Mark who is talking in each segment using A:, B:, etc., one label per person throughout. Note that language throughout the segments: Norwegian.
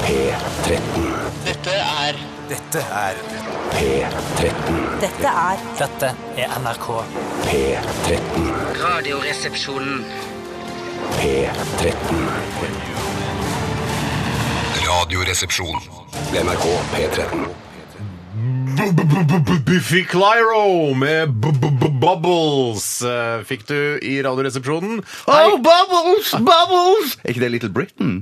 A: P13.
B: Dette er
C: Dette er
A: P13.
D: Dette er
E: Dette er NRK.
A: P13.
B: Radioresepsjonen.
A: P13.
F: Radioresepsjon.
A: NRK P13.
G: Buffy Clyro med bu- bu- bu- Bubbles eh, fikk du i Radioresepsjonen.
H: Oh, bubbles! Bubbles! Er ikke det Little Britain?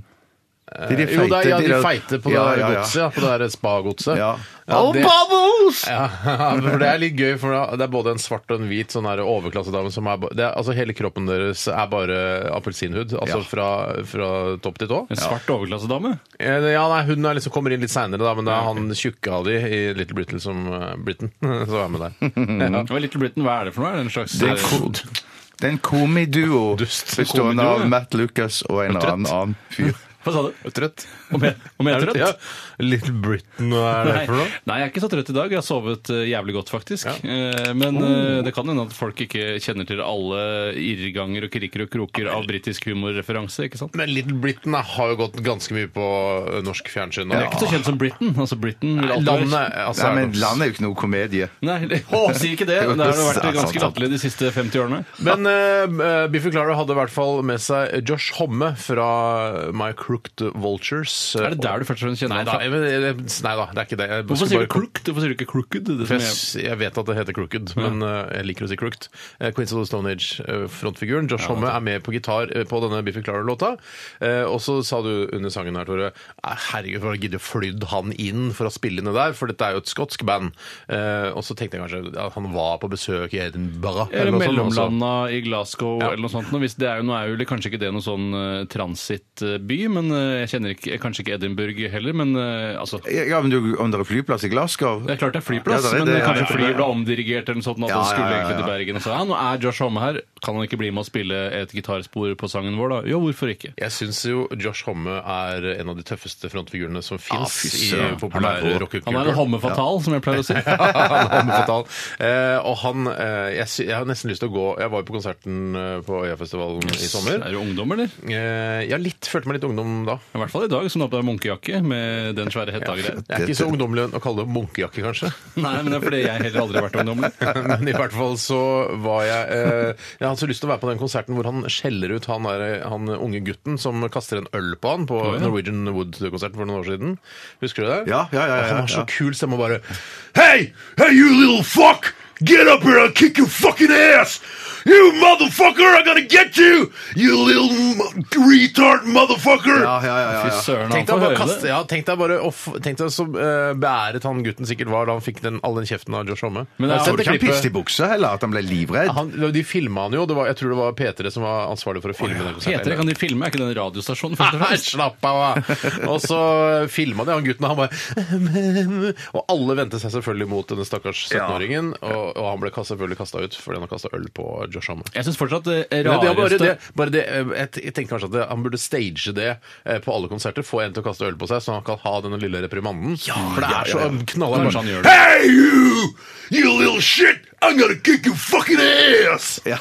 H: De, de
G: Eh, Jo, det er, ja, de
H: der-
G: feite på
H: Ja,
G: det
H: ja,
G: der
H: ja.
G: godset. Ja, på det der spagodset.
H: Ja.
G: Ja,
H: oh,
G: det-
H: bubbles!
G: Ja, for Det er litt gøy, for det er både en svart og en hvit sånn her overklassedame som er ba- det er, altså Hele kroppen deres er bare appelsinhud, altså
H: Ja.
G: fra, fra topp til tå.
I: En svart overklassedame?
G: Eh, Ja, nei, Hun er liksom kommer inn litt seinere, men det er han tjukke av de i Little Britain som eh, Britain som er med der. Ja.
I: Og Little Britain, hva er Mm. det for noe? Er det en slags eh,
H: Det er en ko- det er en komiduo
G: Dust.
H: bestående
G: Komiduo,
H: av
G: ja.
H: Matt Lucas og en eller annen, annen fyr.
I: Hva sa du?
G: Trøtt?
I: Om jeg, om jeg er trøtt?
G: Ja. Little Britain, hva er det
I: Nei,
G: for noe?
I: nei, jeg er ikke så trøtt i dag. Jeg har sovet eh, jævlig godt, faktisk. Eh,
G: Oh.
I: Men eh, det kan hende at folk ikke kjenner til alle irrganger og kriker og kroker av britisk humorreferanse. ikke sant?
G: Men Little Britain da, har jo gått ganske mye på eh, norsk fjernsyn.
I: Det er ikke så kjent som Britain. altså Britain vil
G: Nei,
I: alltid være-
G: Landet altså,
H: Nei,
G: er
H: men
G: nok-
H: landet er jo ikke noe komedie.
I: Nei, si ikke det. Det har jo vært ganske latterlig de siste 50 årene.
G: Men eh, Biffy Clara hadde i hvert fall med seg Josh Homme fra My Crooked Vultures.
I: Er det der du først og fremst
G: Nei
I: kjenner ham
G: da,
I: fra?
G: jeg, men, jeg, nei da, det er ikke det. Jeg
I: Hvorfor
G: skulle
I: sier du
G: bare-
I: crooked? Hvorfor sier du ikke crooked? Det
G: For
I: som
G: jeg,
I: jeg-
G: s- jeg vet at det heter Crooked, men eh, jeg liker å si Crooked. Eh, Queens of the Stone Age-frontfiguren Josh Homme er med på gitar eh, på denne Biffy Clara-låta. Eh, og så sa du under sangen her, Tore, «Nei, herregud, for å gidde flydd han inn for å spille inn det der, for dette er jo et skotsk band. Eh, og så tenkte jeg kanskje at han var på besøk i Edinburgh.
I: Eller
G: noe sånt også.
I: mellomlanda i Glasgow
G: Ja.
I: eller noe sånt. nå. Hvis det er jo, nå er jo li- kanskje ikke det noen sånn eh, transitby, men eh, jeg kjenner ikke, kanskje ikke Edinburgh heller, men eh, altså
H: Ja, men du, Om det er flyplass i Glasgow
I: det er klart det er flyplass,
H: Ja, det er
I: men
H: det, ja.
I: kanskje flyet ble omdirigert eller noe sånt, at
H: Ja,
I: han skulle
H: ja, ja,
I: egentlig til
H: ja.
I: Bergen og sa ja, nå er Josh Homme her, kan han ikke bli med og spille et gitarspor på sangen vår da? Jo, hvorfor ikke?
G: Jeg syns jo Josh Homme er en av de tøffeste frontfigurene som fins
H: fy
G: i
H: søren.
G: populær
H: Han er-
I: Han er en
G: rockekultur.
I: homme fatal, som jeg pleier å si.
G: Han er fatal. Eh, og han eh, jeg, sy- jeg har nesten lyst til å gå Jeg var jo på konserten eh, på Øyafestivalen i sommer.
I: Er du ungdom, eller?
G: Eh, jeg litt, følte meg litt ungdom da.
I: I hvert fall i dag, som du har på deg munkejakke med den svære hetta-greia.
G: Jeg er ikke så ungdommelig å kalle det munkejakke, kanskje.
I: Nei, men det er fordi jeg heller aldri har vært ungdommelig.
G: Men i hvert fall så var jeg eh, Jeg hadde så lyst til å være på den konserten hvor han skjeller ut han, der, han unge gutten som kaster en øl på han på Norwegian Wood-konserten for noen år siden. Husker du det?
H: Ja, ja, ja, ja,
G: Og Han har så
H: ja.
G: kul stemme og bare Hey! Hey, you little fuck! Get up here! I'll kick your fucking ass! You motherfucker! I'm gonna get you! You little m- retard motherfucker!
H: Ja, ja, ja, ja,
I: Fy
H: ja.
I: søren, han
G: Tenk deg,
I: får
G: bare,
I: høre
G: kaste,
I: det.
G: ja, tenk deg bare å f- Tenk deg så eh, beæret han gutten sikkert var da han fikk den, all den kjeften av Josh Homme. Jeg
H: Jeg
I: Men det er-
G: har sett
H: tror ikke
G: det
H: han piste
G: klippet.
H: i buksa heller, at han ble livredd.
G: Han, de filma han jo. Det var, jeg tror det var P3 som var ansvarlig for å filme den
I: P3
G: konserten.
I: kan de filme, er ikke det en radiostasjon? først og
G: Nei,
I: fremst?
G: slapp av! da. Og så filma de han gutten, og han bare Og alle vendte seg selvfølgelig mot denne stakkars 17-åringen, og, og han ble kast- selvfølgelig kasta ut fordi han har kasta øl på Josh Homme.
I: Jeg syns fortsatt det
G: Men det er bare det,
I: rareste
G: bare det, eh, jeg t- jeg tenker kanskje at det, Han burde stage det eh, på alle konserter. Få en til å kaste øl på seg, så han kan ha denne lille reprimanden. For det er så knallhardt.
I: Kanskje han gjør det.
G: Hey, you! You little shit! I'm gonna kick your fucking ass!
H: Ja.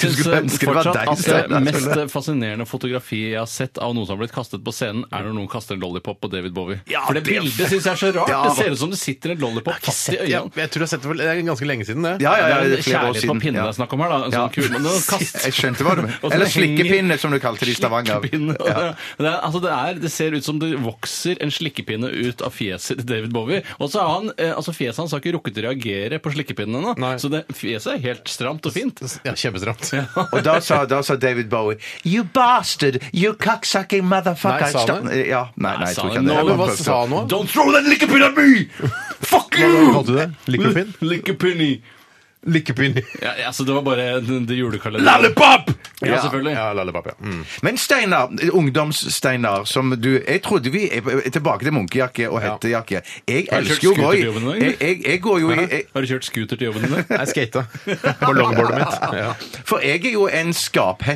H: Du
I: syns
H: skulle ønske det var
I: fortsatt
H: deg,
I: at det
H: Steinar,
I: mest
H: selvfølgelig.
I: fascinerende fotografiet jeg har sett av noen som har blitt kastet på scenen, er når noen kaster en lollipop på David Bowie. For det bildet syns jeg er så rart!
H: Ja.
I: Det ser ut som det sitter en lollipop fast i
G: Ja,
I: øynene.
G: jeg tror jeg har sett det for det er ganske lenge siden, det.
H: Ja, ja, ja,
I: det
H: det er
I: er
H: flere
I: en
H: år
I: kjærlighet på
H: siden.
I: pinne
H: Ja.
I: det er snakk om her, da. En
H: Ja.
I: sånn kul, men den kaster
H: Jeg skjønte hva du
I: Og
H: mente.
I: så
H: Eller
I: henger-
H: slikkepinne, som du kalte det i Stavanger.
I: Slikkepinne. Det, er, altså det, er, det ser ut som det vokser en slikkepinne ut av fjeset til David Bowie. Og så har han, eh, altså Fjeset hans har ikke rukket å reagere på slikkepinnen ennå.
G: Nei.
I: Så det, fjeset er helt stramt og fint.
G: Ja, Kjempestramt.
H: Og da sa, da sa David Bowie You bastard, you cocksucking motherfucker
G: Nei, sa han
H: Stopp- Ja, nei, nei, jeg tror ikke
I: Nei,
H: han
I: sa han.
H: det.
G: Men hva sa han nå?
I: Don't throw that likkepinn at me! Fuck
G: Hva
I: you!
G: kalte du det? Lykkepinn?
I: Likkepinni.
G: Lykkepinn.
I: Ja, ja, så det var bare det, det julekalenderen.
G: Lollipop!
I: Ja, selvfølgelig.
G: Ja, lollipop, ja. Mm.
H: Men Steinar, ungdoms-Steinar, som du Jeg trodde vi jeg- Tilbake til munkejakke og hettejakke. Jeg
I: Har du
H: elsker jo å
I: kjørt
H: gå i
I: scooter til jobben i dag,
H: jeg,
I: eller?
H: jeg, jeg går jo i jeg,
I: Har du kjørt scooter til jobben din?
G: Jeg skata på longboardet mitt. Ja.
H: For jeg er jo en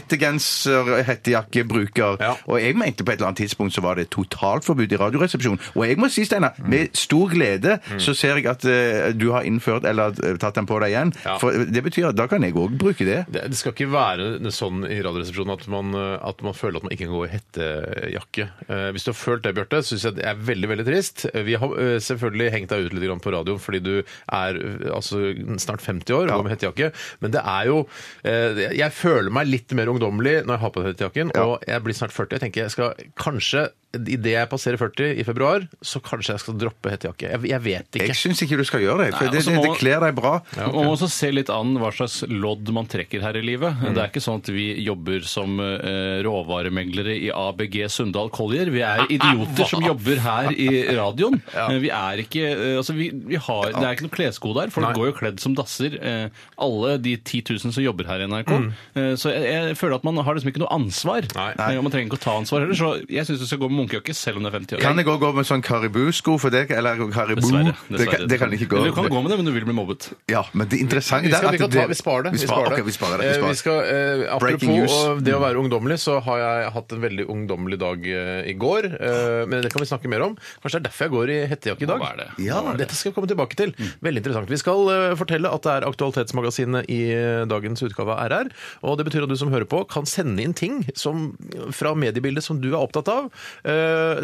H: skaphettegenser, hettejakkebruker.
G: Ja.
H: Og jeg mente på et eller annet tidspunkt så var det totalforbud i Radioresepsjonen. Og
G: Mm.
H: jeg må si, Steinar, med stor glede så ser jeg at eh, du har innført, eller eh, tatt den på deg igjen,
G: Ja.
H: For det betyr at da kan jeg òg bruke det.
G: Det, det skal ikke være sånn i Radioresepsjonen at man, eh, at man føler at man ikke kan gå i hettejakke. Eh, hvis du har følt det, Bjarte, syns jeg det er veldig veldig trist. Eh, Vi har eh, selvfølgelig hengt deg ut litt grann på radioen fordi du er eh, altså, snart 50 år og går med hettejakke, men det er jo eh, Jeg føler meg litt mer ungdommelig når jeg har på den hettejakken, og jeg blir snart 40. Jeg tenker jeg skal kanskje Idet jeg passerer 40 i februar, så kanskje jeg skal droppe hettejakke. Jeg, jeg vet ikke.
H: Jeg syns ikke du skal gjøre det, for
I: Nei,
H: det,
I: altså
H: det,
I: må-
H: det kler deg bra.
I: Man må også se litt an hva slags lodd man trekker her i livet.
G: Mm.
I: Det er ikke sånn at vi jobber som eh, råvaremeglere i ABG Sundal Collier. Vi er idioter som jobber her i radioen. Eh, Vi er ikke eh, Altså, vi, vi har Det er ikke noe kleskode her. Folk
G: Nei.
I: går jo kledd som dasser. eh, Alle de 10 000 som jobber her i NRK. Eh, Så jeg, jeg føler at man har liksom ikke noe ansvar.
G: Mm. Nei.
I: Eh, Og man trenger ikke å ta ansvar heller. Så jeg syns du skal gå med munkejakke selv om du er 50 år.
H: Kan jeg òg gå med sånn karibu-sko for deg? Eller karibu?
I: Dessverre.
H: Det, kan, det kan jeg ikke gå.
I: Men Du kan gå med det, men du vil bli mobbet.
H: Ja, men det interessante
G: Vi, skal,
H: er
G: vi,
H: at
G: kan ta, vi sparer det.
H: Vi sparer, ok, vi sparer det. Vi
G: Eh,
H: sparer.
G: Vi skal, eh,
H: Breaking
G: apropos
H: news.
G: og det å være ungdommelig, så har jeg hatt en veldig ungdommelig dag eh, i går. Eh, men det kan vi snakke mer om. Kanskje det er derfor jeg går i hettejakke i dag.
I: Hva er det?
H: Ja,
G: Hva er det? Mm. Dette skal vi komme tilbake til. Veldig interessant. Vi skal eh, fortelle at det er Aktualitetsmagasinet i eh, dagens utgave av RR. Og det betyr at du som hører på, kan sende inn ting som, fra mediebildet som du er opptatt av, eh,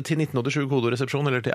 G: til 1987 kodoresepsjon eller til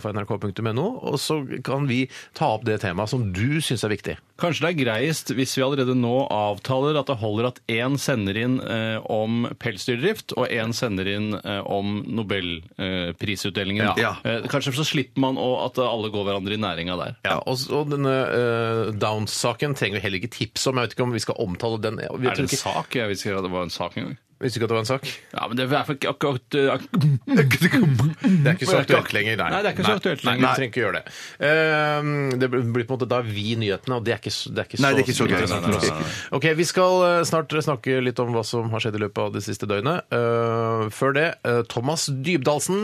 G: rrkrøllalfa.nrk.no, og så kan vi ta opp det temaet som du syns er viktig.
I: Kanskje det er greiest hvis vi allerede nå avtaler at det holder at én sender inn eh, om pelsdyrdrift, og én sender inn eh, om Nobelprisutdelingen. Eh, prisutdelingen.
H: Ja.
I: eh, kanskje så slipper man å, at alle går hverandre i næringa der.
G: Ja, og, og denne eh, Downs-saken trenger vi heller ikke tips om. Jeg vet ikke om vi skal omtale den. Jeg
I: Er
G: tror
I: det en
G: ikke,
I: sak? Jeg visste ikke at det var en sak engang.
G: visste ikke at det var en sak.
I: Ja, men det er i hvert fall ikke akkurat eh, ak
G: Det er ikke så aktuelt lenger. Nei,
I: Nei, det er ikke så aktuelt lenger.
G: Nei, vi trenger ikke gjøre det. Eh, det blir på en måte da vi nyhetene, og det er ikke, så- det er ikke
H: Nei,
G: så
H: det er ikke så gøy.
G: interessant
H: Nei, nei,
G: for oss. Ok, Vi skal eh, snart snakke litt om hva som har skjedd i løpet av det siste døgnet. Eh, før det, eh, Thomas Dybdalsen.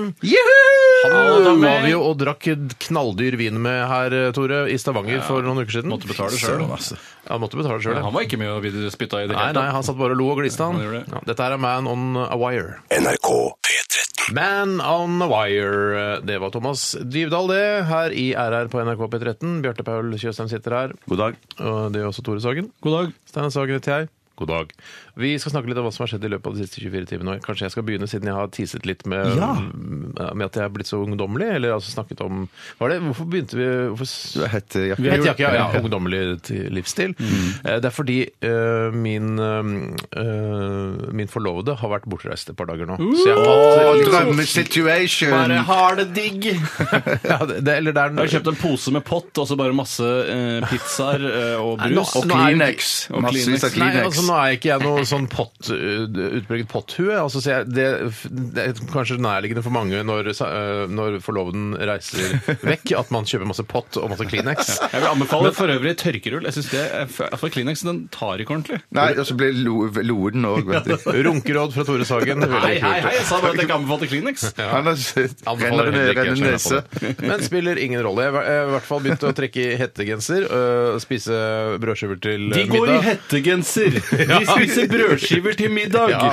G: Han eh, var vi jo og drakk knalldyr vin med her, eh, Tore, i Stavanger for noen uker siden.
I: Måtte betale selv. altså.
G: Ja, måtte betale sjøl.
I: Han var ikke med og ville spytta i det
G: Nei,
I: hele
G: nei,
I: tatt.
G: han satt bare og lo og gliste, han.
I: Ja, han gjorde det.
G: Ja, dette her er Man on a Wire.
A: NRK P13.
G: Man on a Wire. Det var Thomas Dybdahl, det, her i RR på NRK P13. Bjarte Paul Tjøstheim sitter her.
H: God dag.
G: Og det gjør også Tore Sagen.
I: God dag.
G: Steinar Sagen heter jeg. God dag. Vi skal snakke litt om hva som har skjedd i løpet av de siste 24 timene. Og Kanskje jeg skal begynne, siden jeg har teaset litt med,
H: Ja.
G: med at jeg er blitt så ungdommelig? Eller altså snakket om Var det, Hvorfor begynte vi hvorfor, s-
H: Du er hettejakke.
G: Helt jakke, ja, ja. Ungdommelig til- livsstil. Eh, Det er fordi eh, min, eh, min forlovede har vært bortreist et par dager nå.
I: Uh!
G: Så jeg har hatt
H: Drømmesituation!
I: har det digg!
G: ja, det, det- eller det er
I: Jeg har kjøpt en pose med pott og så bare masse eh, pizzaer eh, og
G: Nei, nå-
I: brus.
G: nå er-
H: Kleenex.
I: Og
H: Massevis av
G: Nei,
I: Kleenex.
H: Kleenex.
G: altså Nå er ikke jeg noe sånn pott, utpreget potthue. Altså, så jeg, det, det er kanskje nærliggende for mange når, eh, når forloveden reiser vekk, at man kjøper masse pott og masse Kleenex.
I: Jeg vil anbefale for øvrig tørkerull. Jeg synes det er, for Kleenex den tar ikke ordentlig.
H: Nei, og så blir lo- loden òg, vet du.
G: Runkeråd fra Tore Sagen. veldig
I: Hei, hei,
G: kult.
I: hei, jeg sa bare at jeg ikke anbefalte Kleenex.
H: Han har sett renner det ned- renner nese.
G: Men spiller ingen rolle. Jeg har i hvert fall begynt å trekke i hettegenser, øh, spise brødskiver til øh, middag.
I: hettegenser! De spiser brødskiver til middag!
G: ja,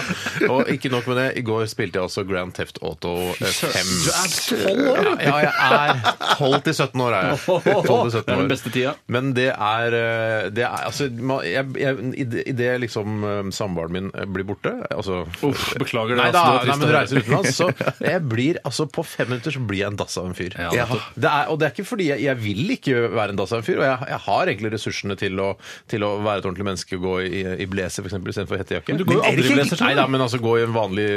G: og ikke nok med det, i går spilte jeg også Grand Theft Auto øh, 5.
I: Du er tolv år!
G: Ja, ja, jeg er 12 til 17 år. Er jeg. 12 til 17 år.
I: Det er den beste tida.
G: Men det er, øh, det er altså, man- jeg, jeg, i det- i det liksom øh, samboeren min øh, blir borte altså,
I: Uff, beklager det,
G: Nei,
I: altså,
G: da,
I: det
G: nei, men
I: var trist å
G: du
I: høre.
G: reiser utenlands, så jeg blir, altså, på fem minutter så blir jeg en dass av en fyr.
I: Ja,
G: jeg,
I: nettopp.
G: det er, og det er ikke fordi jeg, jeg vil ikke være en dass av en fyr, og jeg, jeg har egentlig ressursene til å, til å være et ordentlig menneske og gå i, i blazer for eksempel, istedenfor hettejakke.
I: Men du går jo
G: er det
I: aldri i
G: ikke-
I: blazer, tror du?
G: Nei da, men altså gå i en vanlig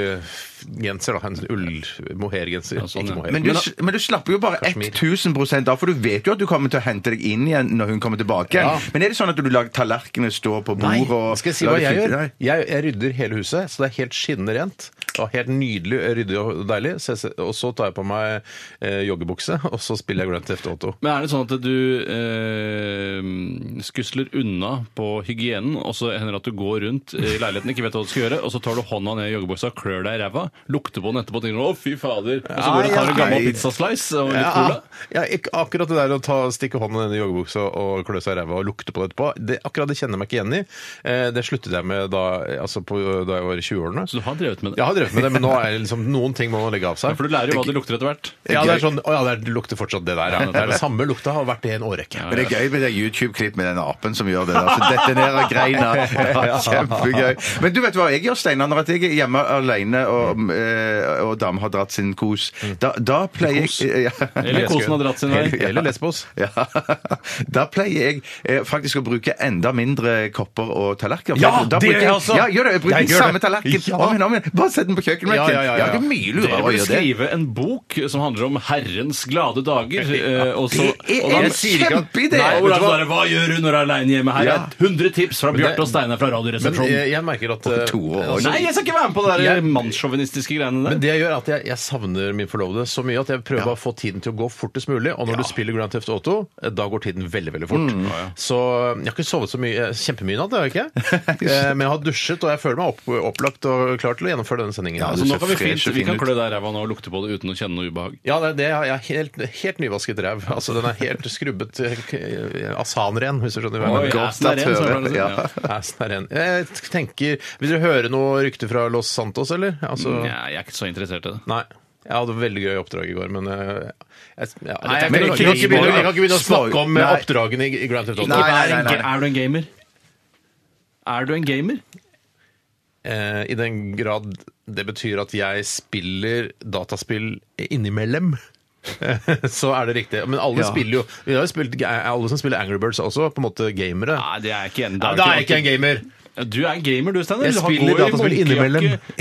G: genser, da. En ull-mohairgenser.
I: sånn,
G: ikke
I: ja.
G: mohair.
H: Men du, men du slapper jo bare 1000 av, for du vet jo at du kommer til å hente deg inn igjen når hun kommer tilbake.
G: Ja.
H: Men er det sånn at du lar tallerkenene stå på
G: Nei,
H: bordet og
G: skal jeg si hva
H: lar det
G: jeg
H: flyte?
G: gjør?
H: Nei.
G: Jeg, jeg rydder hele huset, så det er helt skinnende rent. Og helt nydelig eh, ryddig og deilig. Så jeg, og så tar jeg på meg eh, joggebukse, og så spiller jeg Grand Theft Auto.
I: Men er det sånn at du eh, skusler unna på hygienen, og så hender det at du går rundt i leiligheten, ikke vet hva du skal gjøre, og så tar du hånda ned i joggebuksa, klør deg i ræva, lukter på den etterpå og tenker 'å, fy fader', og så går du og tar en gammel pizzaslice og litt cola?
G: ja, ikke akkurat det der å ta, stikke hånden ned i joggebuksa og klø seg i ræva og lukte på det etterpå, det, akkurat det kjenner jeg meg ikke igjen i. Eh, det sluttet jeg med da, altså på, da jeg var i 20-årene.
I: Så du har drevet med det?
G: Jeg har drevet med det, men nå er det liksom, noen ting må man legge av seg.
I: For du lærer jo hva det lukter etter hvert.
G: Ja, det er sånn, å ja, det lukter fortsatt det der. Ja. Det er det samme lukta har vært det i en årrekke.
H: Men det er gøy med det YouTube-klipp med den apen som gjør det. der, som detonerer greina. Ja, kjempegøy. Men du vet hva jeg gjør, Steinar, når jeg er hjemme alene
G: Mm.
H: og, eh, og dam har dratt sin kos. Da, da pleier jeg ja.
I: Eller kosen har dratt sin vei.
G: Eller lesbos.
H: Ja. Da pleier jeg eh, faktisk å bruke enda mindre kopper og tallerkener.
G: Ja,
H: Da
G: det
H: bruker
G: gjør jeg også.
H: Ja, gjør det. Jeg bruker
G: Jeg
H: den
G: gjør
H: samme
G: det.
H: tallerkenen
G: Ja.
H: om igjen, om igjen. Bare sett den på kjøkkenbenken.
G: Ja, ja, ja, ja.
H: det er mye
I: Dere
H: lurere å
I: burde
H: gjøre det.
I: skrive en bok som handler om Herrens glade dager. eh, og så-
H: Det
I: og
H: er
I: da-
H: en kjempeidé!
I: Nei,
H: Vet
I: Olav,
H: du hva?
I: bare, hva gjør du når du er aleine hjemme her?
H: Ja.
I: 100 tips fra
G: det-
I: Bjarte og Steinar fra
G: Men
I: Radioresepsjonen.
G: jeg, jeg merker at
H: Over
G: eh,
H: to år.
G: altså,
I: Nei, jeg skal ikke være med på det der
G: Jeg-
I: mannssjåvinistiske greiene der.
G: Men det jeg gjør er at jeg, jeg savner min forlovede så mye at jeg prøver bare å få tiden til å gå fortest mulig. Og når du spiller Grand Theft Auto, eh, da går tiden veldig veldig fort.
I: Mm.
G: Så jeg har ikke sovet så mye, eh, kjempemye i natt, det har jeg ikke. Eh, Men jeg har dusjet, og jeg føler meg opp, opplagt og klar til å gjennomføre denne sendingen.
H: Ja,
G: Ja,
I: Så altså, nå kan vi
H: ser fresh
I: fint,
H: og
I: vi
H: fin
I: kan
H: ut.
I: klø deg i ræva nå og lukte på det uten å kjenne noe ubehag.
G: det er det. Jeg er helt, helt nyvasket ræv. Altså, den er helt skrubbet eh, k- asanren, hvis du skjønner hva jeg mener.
H: godt
I: assen er
H: at
I: ren,
H: høre.
I: så pleier jeg å si.
H: Ja.
I: Ja.
G: Asen er ren. Jeg tenker Vil dere høre noe rykte fra Los Santos, eller? Altså,
I: Nei, jeg er ikke så interessert i det.
G: Nei. Jeg hadde veldig gøy oppdrag i går, men eh, jeg, ja,
I: Nei, jeg
G: Men
I: kan
G: jeg
I: ikke-
G: kan ikke begynne- jeg kan ikke begynne å
H: Spoil-
G: snakke om eh,
H: Nei.
G: oppdragene i i Grand Theft Auto.
H: Nei, nei, nei,
I: Er en
H: nei.
I: ga- Er du en gamer? Er du en gamer?
G: Eh, I den grad det betyr at jeg spiller dataspill innimellom. Så er det riktig. Men alle
H: Ja.
G: spiller jo vi har jo spilt, Alle som spiller Angry Birds, er også på en måte gamere.
I: Nei, det er jeg ikke en
G: Nei, da er jeg ikke en gamer!
I: Du er en gamer, du, Steinar.
G: Jeg
I: Du har-
G: spiller
I: går i
G: dataspill innimellom.
I: munkejakke.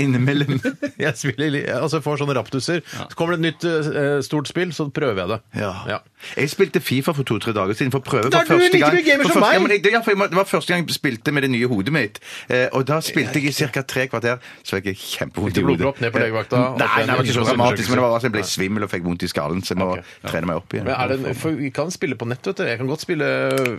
H: Innimellom.
G: Jeg spiller, li- altså jeg får sånne raptuser. Så kommer det et nytt eh, stort spill, så prøver jeg det.
H: Ja.
G: Ja.
H: Jeg spilte Fifa for to-tre dager siden for å prøve
G: Da er
H: for
G: du
H: første
G: like
H: gang.
G: mye gamer
H: for
G: som meg.
H: første- Ja, men jeg, ja, for jeg- det var første gang jeg spilte med det nye hodet mitt. Eh, og da spilte jeg i ca. tre kvarter, så jeg fikk
G: Fikk
H: kjempevondt i
G: du
H: hodet.
G: blodpropp ned på legevakta?
H: Eh, Nei, nei, det var ikke så dramatisk, men det var bare sånn, jeg ble
G: Nei.
H: svimmel og fikk vondt i skallen, så jeg må trene meg opp igjen.
G: Men er det, for vi kan spille på nett, vet du. Jeg kan godt spille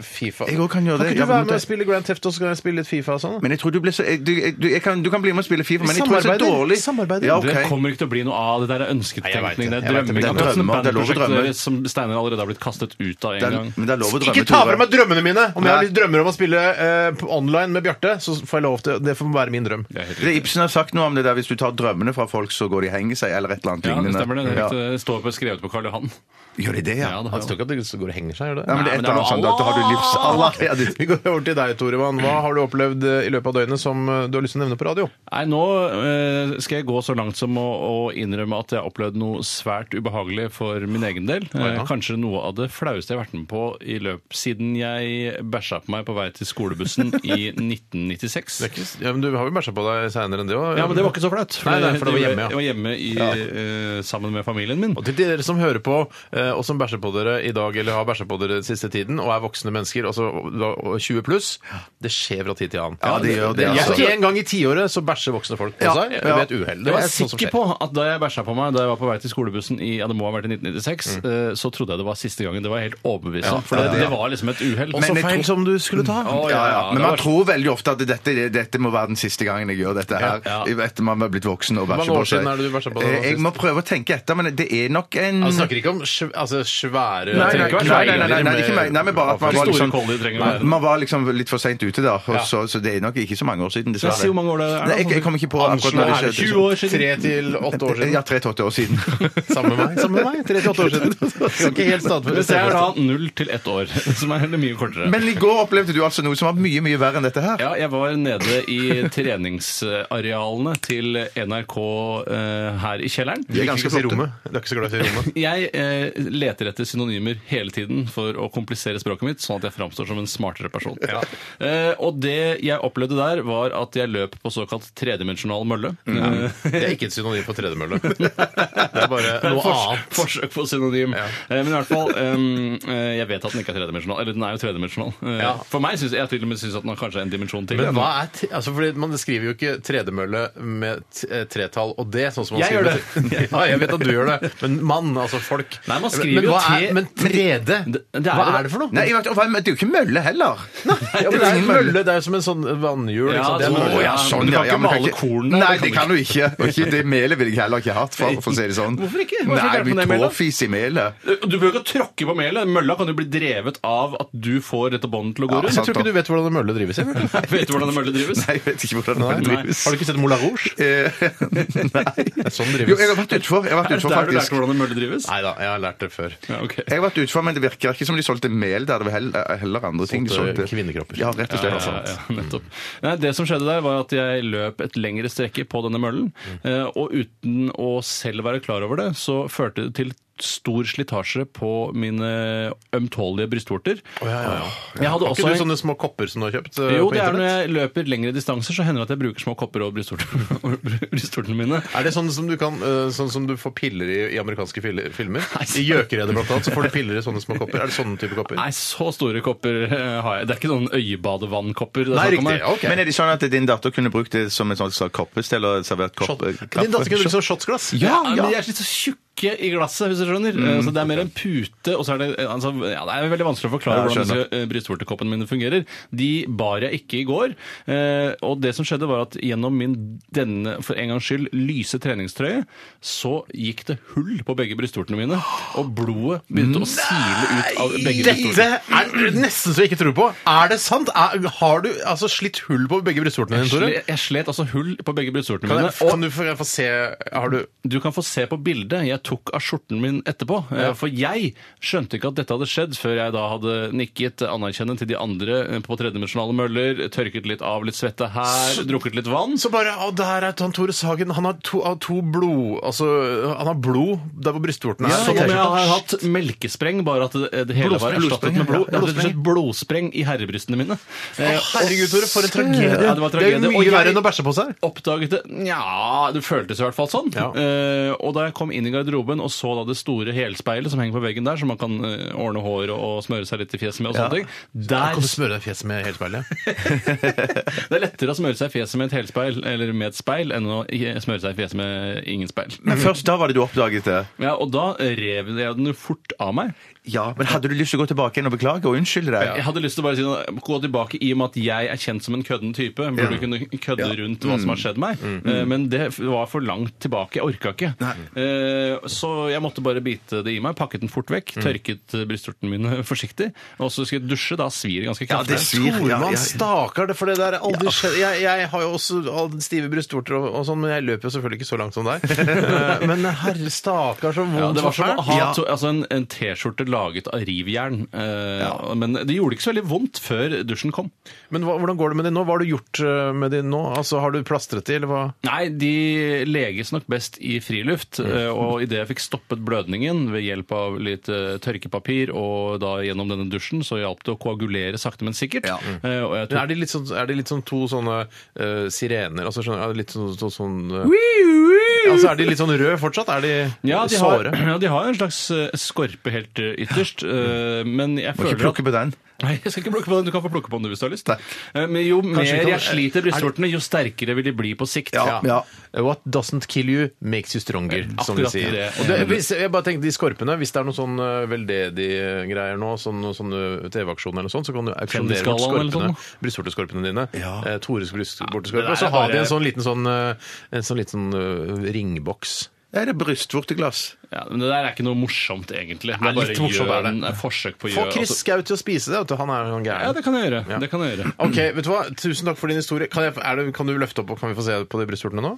G: Fifa.
H: Jeg også kan gjøre det.
G: ikke
H: Ja,
G: du være
H: men
G: med
H: det-
G: og spille Grand Theft, og så kan jeg spille litt Fifa og sånn? da?
H: Men jeg tror du ble så jeg- du, jeg- du, jeg kan, du kan bli med og spille Fifa, men jeg tror det er så
G: Samarbeider.
H: dårlig.
G: Samarbeider.
H: Ja,
I: Det
H: ok.
I: kommer ikke til å bli noe av. Det der er
G: Jeg vet
I: ønsketenkning. Det
G: det, jeg vet
I: er
G: det,
I: drømming.
G: det er
I: Akkurat som
H: drømmer, det er lov å
I: bandprosjektet
H: drømme.
I: deres, Som Steinar allerede har blitt kastet ut av
H: Det
I: en
H: er,
I: gang.
H: men det er lov å drømme.
G: Ikke ta
H: Tore.
G: fra meg drømmene mine! Om jeg
H: Nei.
G: har litt drømmer om å spille eh, på online med Bjarte, så får jeg lov til det. får være min drøm.
I: Det er helt
H: Det
I: riktig.
H: Ibsen har sagt noe om det der hvis du tar drømmene fra folk, så går de og henger seg, eller et eller annet
I: Ja, det
H: lignende.
I: stemmer det. Det
H: Ja.
I: er eh, riktig. Det står på skrevet på Karl Johan.
H: Gjør de det, ja?
I: Ja, det
G: Han
I: har jeg.
G: tror ikke at det går og henger seg, gjør
H: Ja,
G: det?
H: men det er et
I: Nei, men det er
H: eller annet
I: noe
H: sånn, da har du livs... Allah! Ja, det-
G: Vi går over til deg, Torevan. Hva har du opplevd eh, i løpet av døgnet som eh, du har lyst til å nevne på radio?
I: Nei, nå eh, skal jeg gå så langt som å, å innrømme at jeg har opplevd noe svært ubehagelig for min egen del. Eh, kanskje noe av det flaueste jeg har vært med på i løp siden jeg bæsja på meg på vei til skolebussen i 1996.
G: Det er ikke, ja, men du har jo bæsja på deg seinere enn det òg.
I: Ja, men det var ikke så flaut.
G: Nei, nei, for det var hjemme, ja.
I: Jeg var hjemme i, eh, sammen med familien min.
G: Og til dere som hører på, eh, og som bæsjer på dere i dag, eller har bæsja på dere den siste tiden, og er voksne mennesker, altså da- og 20 pluss, det skjer fra tid til annen.
H: Ja, det gjør det, altså.
G: Jeg- En gang i tiåret så bæsjer voksne folk på
H: Ja,
G: seg
H: ja.
G: ved et uhell.
I: Jeg var
G: er sånn som
I: sikker
G: skjer.
I: på at da jeg bæsja på meg da jeg var på vei til skolebussen i ja, det må ha vært i 1996, eh, så trodde jeg det var siste gangen. Det var jeg helt overbevist om. for det, det var liksom et uhell.
G: Og så
H: Men jeg
G: feil
H: tror- Mm.
G: som du skulle ta.
I: Å,
H: Ja, ja. Men
I: det
H: man
I: var-
H: tror veldig ofte at dette, dette må være den siste gangen jeg gjør dette her.
I: Ja, ja.
H: Etter man er blitt voksen og
G: Hvor
H: bæsjer
G: mange
H: på
G: år
H: seg.
G: siden er det du bæsjer på deg
H: Eh,
G: nå
H: Jeg
G: sist?
H: må prøve å tenke etter, men det er nok en
G: Altså, snakker ikke om sv altså, svære
H: Nei, nei,
I: trenger
H: nei,
I: ikke være liksom.
H: nei, nei, nei,
I: lenger
H: nei, ikke meg. Nei, men bare at man var
I: Store
H: liksom,
I: kollier sånn trenger å
H: man,
I: være.
H: man var liksom litt for seint ute, da. Og så, så det er nok ikke så mange år siden, dessverre.
I: Si hvor mange år det er.
H: Nei, jeg, jeg kom ikke på akkurat når det
G: er det
H: skjedde.
G: 20 år siden? Tre til åtte år
H: Ja,
G: siden.
H: tre til åtte år siden.
G: Samme meg. Samme meg. Tre til åtte år siden. Skal Ikke helt
I: Hvis jeg er
G: stadfestet.
I: da null til ett år, som er heller mye kortere.
H: Men i går opplevde du altså noe som var mye, mye verre enn dette her.
I: ja, jeg var nede i treningsarealene til NRK eh, her i kjelleren.
G: Du
H: er
G: liker
H: ganske
G: ikke å si
H: flotte.
G: rommet. Du er ikke så glad i å si rommet.
I: Jeg eh, leter etter synonymer hele tiden for å komplisere språket mitt, sånn at jeg framstår som en smartere person. Eh, og det jeg opplevde der, var at jeg løp på såkalt tredimensjonal mølle. Eh,
G: Mm. Det er ikke et synonym for tredemølle. Det er bare
I: det er
G: noe
I: fors-
G: annet.
I: Forsøk på synonym. Eh, men i hvert fall, em, eh, jeg vet at den ikke er tredimensjonal. Eller den er jo tredimensjonal. Eh,
G: Ja.
I: For meg syns jeg til og med synes at den har kanskje en dimensjon til.
G: Men hva er t altså, fordi Man skriver jo ikke tredemølle med t eh, tretall og det, sånn som man
I: Jeg
G: skriver
I: gjør det.
G: ja, jeg vet at du gjør det. Men mann, altså folk
I: Nei, man skriver
G: men,
I: jo
G: hva
I: T-
G: er, men trede,
I: Det- det er
G: hva
I: det.
G: er det for noe?
H: Nei, jeg vet, og hva- men det er jo ikke mølle heller.
G: Ja, men det er en mølle. Det er jo som en sånn vannhjul.
I: Ja,
G: ikke sant? Det er
I: så-
G: mulig.
H: Å, ja, sånn,
I: Men du
H: ja,
I: kan
H: ja,
I: ikke
H: men
I: male kornene,
H: Nei,
I: det kan
H: det
I: du
H: kan du ikke. Og ikke det melet ville jeg heller ikke hatt, for, for å si det sånn.
I: Hvorfor ikke? Hvorfor ikke
H: Nei,
I: er det på
H: vi
I: det melet?
H: tråfis i melet.
I: Eh, Du behøver ikke å tråkke på melet. Mølla kan jo bli drevet av at du får dette båndet til å gå
H: Ja,
I: rundt.
G: Jeg tror ikke du vet hvordan en mølle drives. jeg. Nei.
I: Vet du hvordan en mølle drives?
H: Nei, jeg vet ikke hvordan det drives.
G: Har du ikke sett Moulin Rouge?
H: Eh, Nei.
G: Sånn
H: Jo, jeg har
G: drives.
H: vært utfor, jeg har vært
I: Er det
H: utfor
I: der du lærte
H: faktisk.
I: hvordan en mølle drives?
G: Nei da, jeg har lært det før.
I: Ja, ok.
H: Jeg har vært utfor, men det virker ikke som de solgte mel der. Det var heller, eh, heller andre ting de
G: Solgte
H: solgte.
G: kvinnekropper.
H: Ja, rett og slett.
I: Ja, ja, ja, nettopp. Nei, det som skjedde der, var at jeg løp et lengre strekke på denne møllen.
G: Mm.
I: eh, Og uten å selv være klar over det, så førte det til stor slitasje på mine eh, ømtålige brystvorter. Jeg hadde
G: Har
I: også
G: ikke du
I: en-
G: sånne små kopper som du har kjøpt? eh,
I: Jo,
G: på
I: det er når
G: internett?
I: jeg løper lengre distanser, så hender det at jeg bruker små kopper over brystvortene- over brystvortene mine.
G: Er det sånn som du, kan, eh, sånn som du får piller i, i amerikanske fil- filmer? I Gjøkeredet blant annet, så får du piller i sånne små kopper. Er det sånne type kopper?
I: Nei, så store kopper eh, har jeg. Det er ikke sånn øyebadevannkopper. det er
G: Nei,
I: snakk om her.
G: riktig. Ja, ok.
H: Men er det sånn at din datter kunne brukt det som et sånt slags koppest, eller servert kopp? eh,
G: Shot. Din datter kunne brukt sånn shotsglass.
H: Ja,
I: Ja,
H: ja.
I: Eh, men de er litt så tjukke i glasset, hvis du skjønner. Eh, Så det er mer en pute, og så er det eh, altså, ja, Det er veldig vanskelig å forklare
H: Ja, jeg
I: hvordan
H: skjønner.
I: disse eh, brystvortekoppene mine fungerer. De bar jeg ikke i går. eh, Og det som skjedde, var at gjennom min denne, for en gangs skyld, lyse treningstrøye, så gikk det hull på begge brystvortene mine, og blodet begynte å sile ut av begge
G: Dette
I: brystvortene.
G: er nesten så jeg ikke tror på. Er det sant? Er, har du altså, slitt hull på begge brystvortene dine, Tore?
I: Sle- Jeg slet altså hull på begge brystvortene
G: Kan,
I: mine.
G: jeg, kan du få, jeg få se Har du
I: Du kan få se på bildet jeg tok av skjorten min etterpå. eh, For jeg skjønte ikke at dette hadde skjedd før jeg da hadde nikket anerkjennende til de andre eh, på tredimensjonale møller, tørket litt av litt svette her, drukket litt vann.
G: Så bare, å, der er han Tore Sagen. Han har to, har to blod Altså, han har blod der hvor brystvorten er.
I: Ja,
G: Sånn
I: som om jeg
G: T-skjorte.
I: har hatt melkespreng, bare at det, det hele var
G: Blodspreng,
I: erstattet
G: blodspreng,
I: med
G: ja.
I: blod. Ja, rett og slett blodspreng i herrebrystene mine. Eh,
G: Herregud, Tore, for en tragedie.
I: Ja, det var
G: det er
I: en
G: jo
I: tragedie. Og
G: mye
I: jeg-
G: verre enn å bæsje på seg.
I: oppdaget det Nja, det føltes i hvert fall sånn.
G: Ja.
I: Eh, og da jeg kom inn i garderoben og så da det store helspeilet som henger på veggen der, som man kan eh, ordne hår og, og smøre seg litt i fjeset med og sånne ting
G: Kan du
I: der,
G: smøre deg i fjeset med helspeilet?
I: Det er lettere å smøre seg i fjeset med et helspeil eller med et speil enn å i- smøre seg i fjeset med ingen speil.
H: Men først da var det du oppdaget det?
I: Ja, Og da rev jeg den jo fort av meg.
H: Ja, men hadde du lyst til å gå tilbake igjen og beklage og unnskylde deg?
I: Jeg hadde lyst til å bare si noe, gå tilbake i og med at jeg er kjent som en kødden type. Burde kunne kødde rundt hva som
H: Mm.
I: har skjedd meg. Eh, Men det var for langt tilbake. Jeg orka ikke. Eh, Så jeg måtte bare bite det i meg. Pakket den fort vekk.
H: Mm.
I: Tørket eh, brystvortene mine forsiktig. Og så skal jeg dusje. Da svir det ganske kraftig.
H: det svir.
G: Tormann,
H: Ja, ja, ja.
G: stakkar, det- for det der er aldri skjedd. Jeg, jeg har jo også all- stive brystvorter og, og sånn, men jeg løper jo selvfølgelig ikke så langt som deg. Eh, men herre stakkar, så
I: Ja,
G: vondt
I: det var
G: og
I: som å
G: fælt.
I: ha
G: Ja.
I: to, altså en, en T-skjorte laget av rivjern. Eh, Men det gjorde ikke så veldig vondt før dusjen kom.
G: Men hva, hvordan går det med det nå? Hva har du gjort eh, med det nå? Altså, Har du plastret det, eller hva?
I: Nei, de leges nok best i friluft.
G: Mm.
I: eh, Og idet jeg fikk stoppet blødningen ved hjelp av litt eh, tørkepapir og da gjennom denne dusjen, så hjalp det å koagulere sakte, men sikkert. Eh, Og
G: Men
I: jeg tok
G: er, de litt sånn, er de litt sånn to sånne eh, sirener? Altså, skjønner, er de litt sånn, så, sånn eh, altså, Er de litt sånn røde fortsatt? Er de
I: ja, de har,
G: såre?
I: ja, de har en slags eh, skorpe helt eh, ytterst,
G: Mm.
I: eh, men jeg
H: Må
I: føler
H: ikke plukke på den.
I: at Nei, jeg skal ikke plukke på den. Du kan få plukke på den hvis du har lyst. Eh, Men jo mer
G: vi kan-
I: jeg sliter brystvortene, jo sterkere vil de bli på sikt.
H: Ja, ja.
G: What doesn't kill you makes you stronger, som de
I: Akkurat
G: sier.
I: det.
G: Og det, hvis, jeg bare tenkte, De skorpene, hvis det er noen sånn eh, veldedig eh, greier nå, sånn, noen sånne TV-aksjoner eller noe sånt, så kan du auksjonere bort
I: Kjendisgallaen eller
G: skorpene,
I: sånn,
G: brystvorteskorpene dine.
H: Ja.
G: Eh, Tores brystvorteskorpe. og
I: Ja, det der
G: så
I: er
G: har de
I: bare-
G: en sånn liten sånn, eh, en sånn, liten sånn eh, ringboks.
H: Er det brystvorteglass?
I: Ja, men det der er ikke noe morsomt, egentlig. Det er bare
G: litt morsomt er det.
I: gjøn, eh, forsøk på
G: Få
I: gjøn.
G: Chris Skau til å spise det, vet du. Han er sånn
I: Ja,
G: gæren.
I: det kan jeg gjøre. Det kan jeg gjøre.
G: Ok, vet du hva? Tusen takk for din historie. Kan, jeg, er det, kan du løfte opp, og kan vi få se på de brystvortene nå?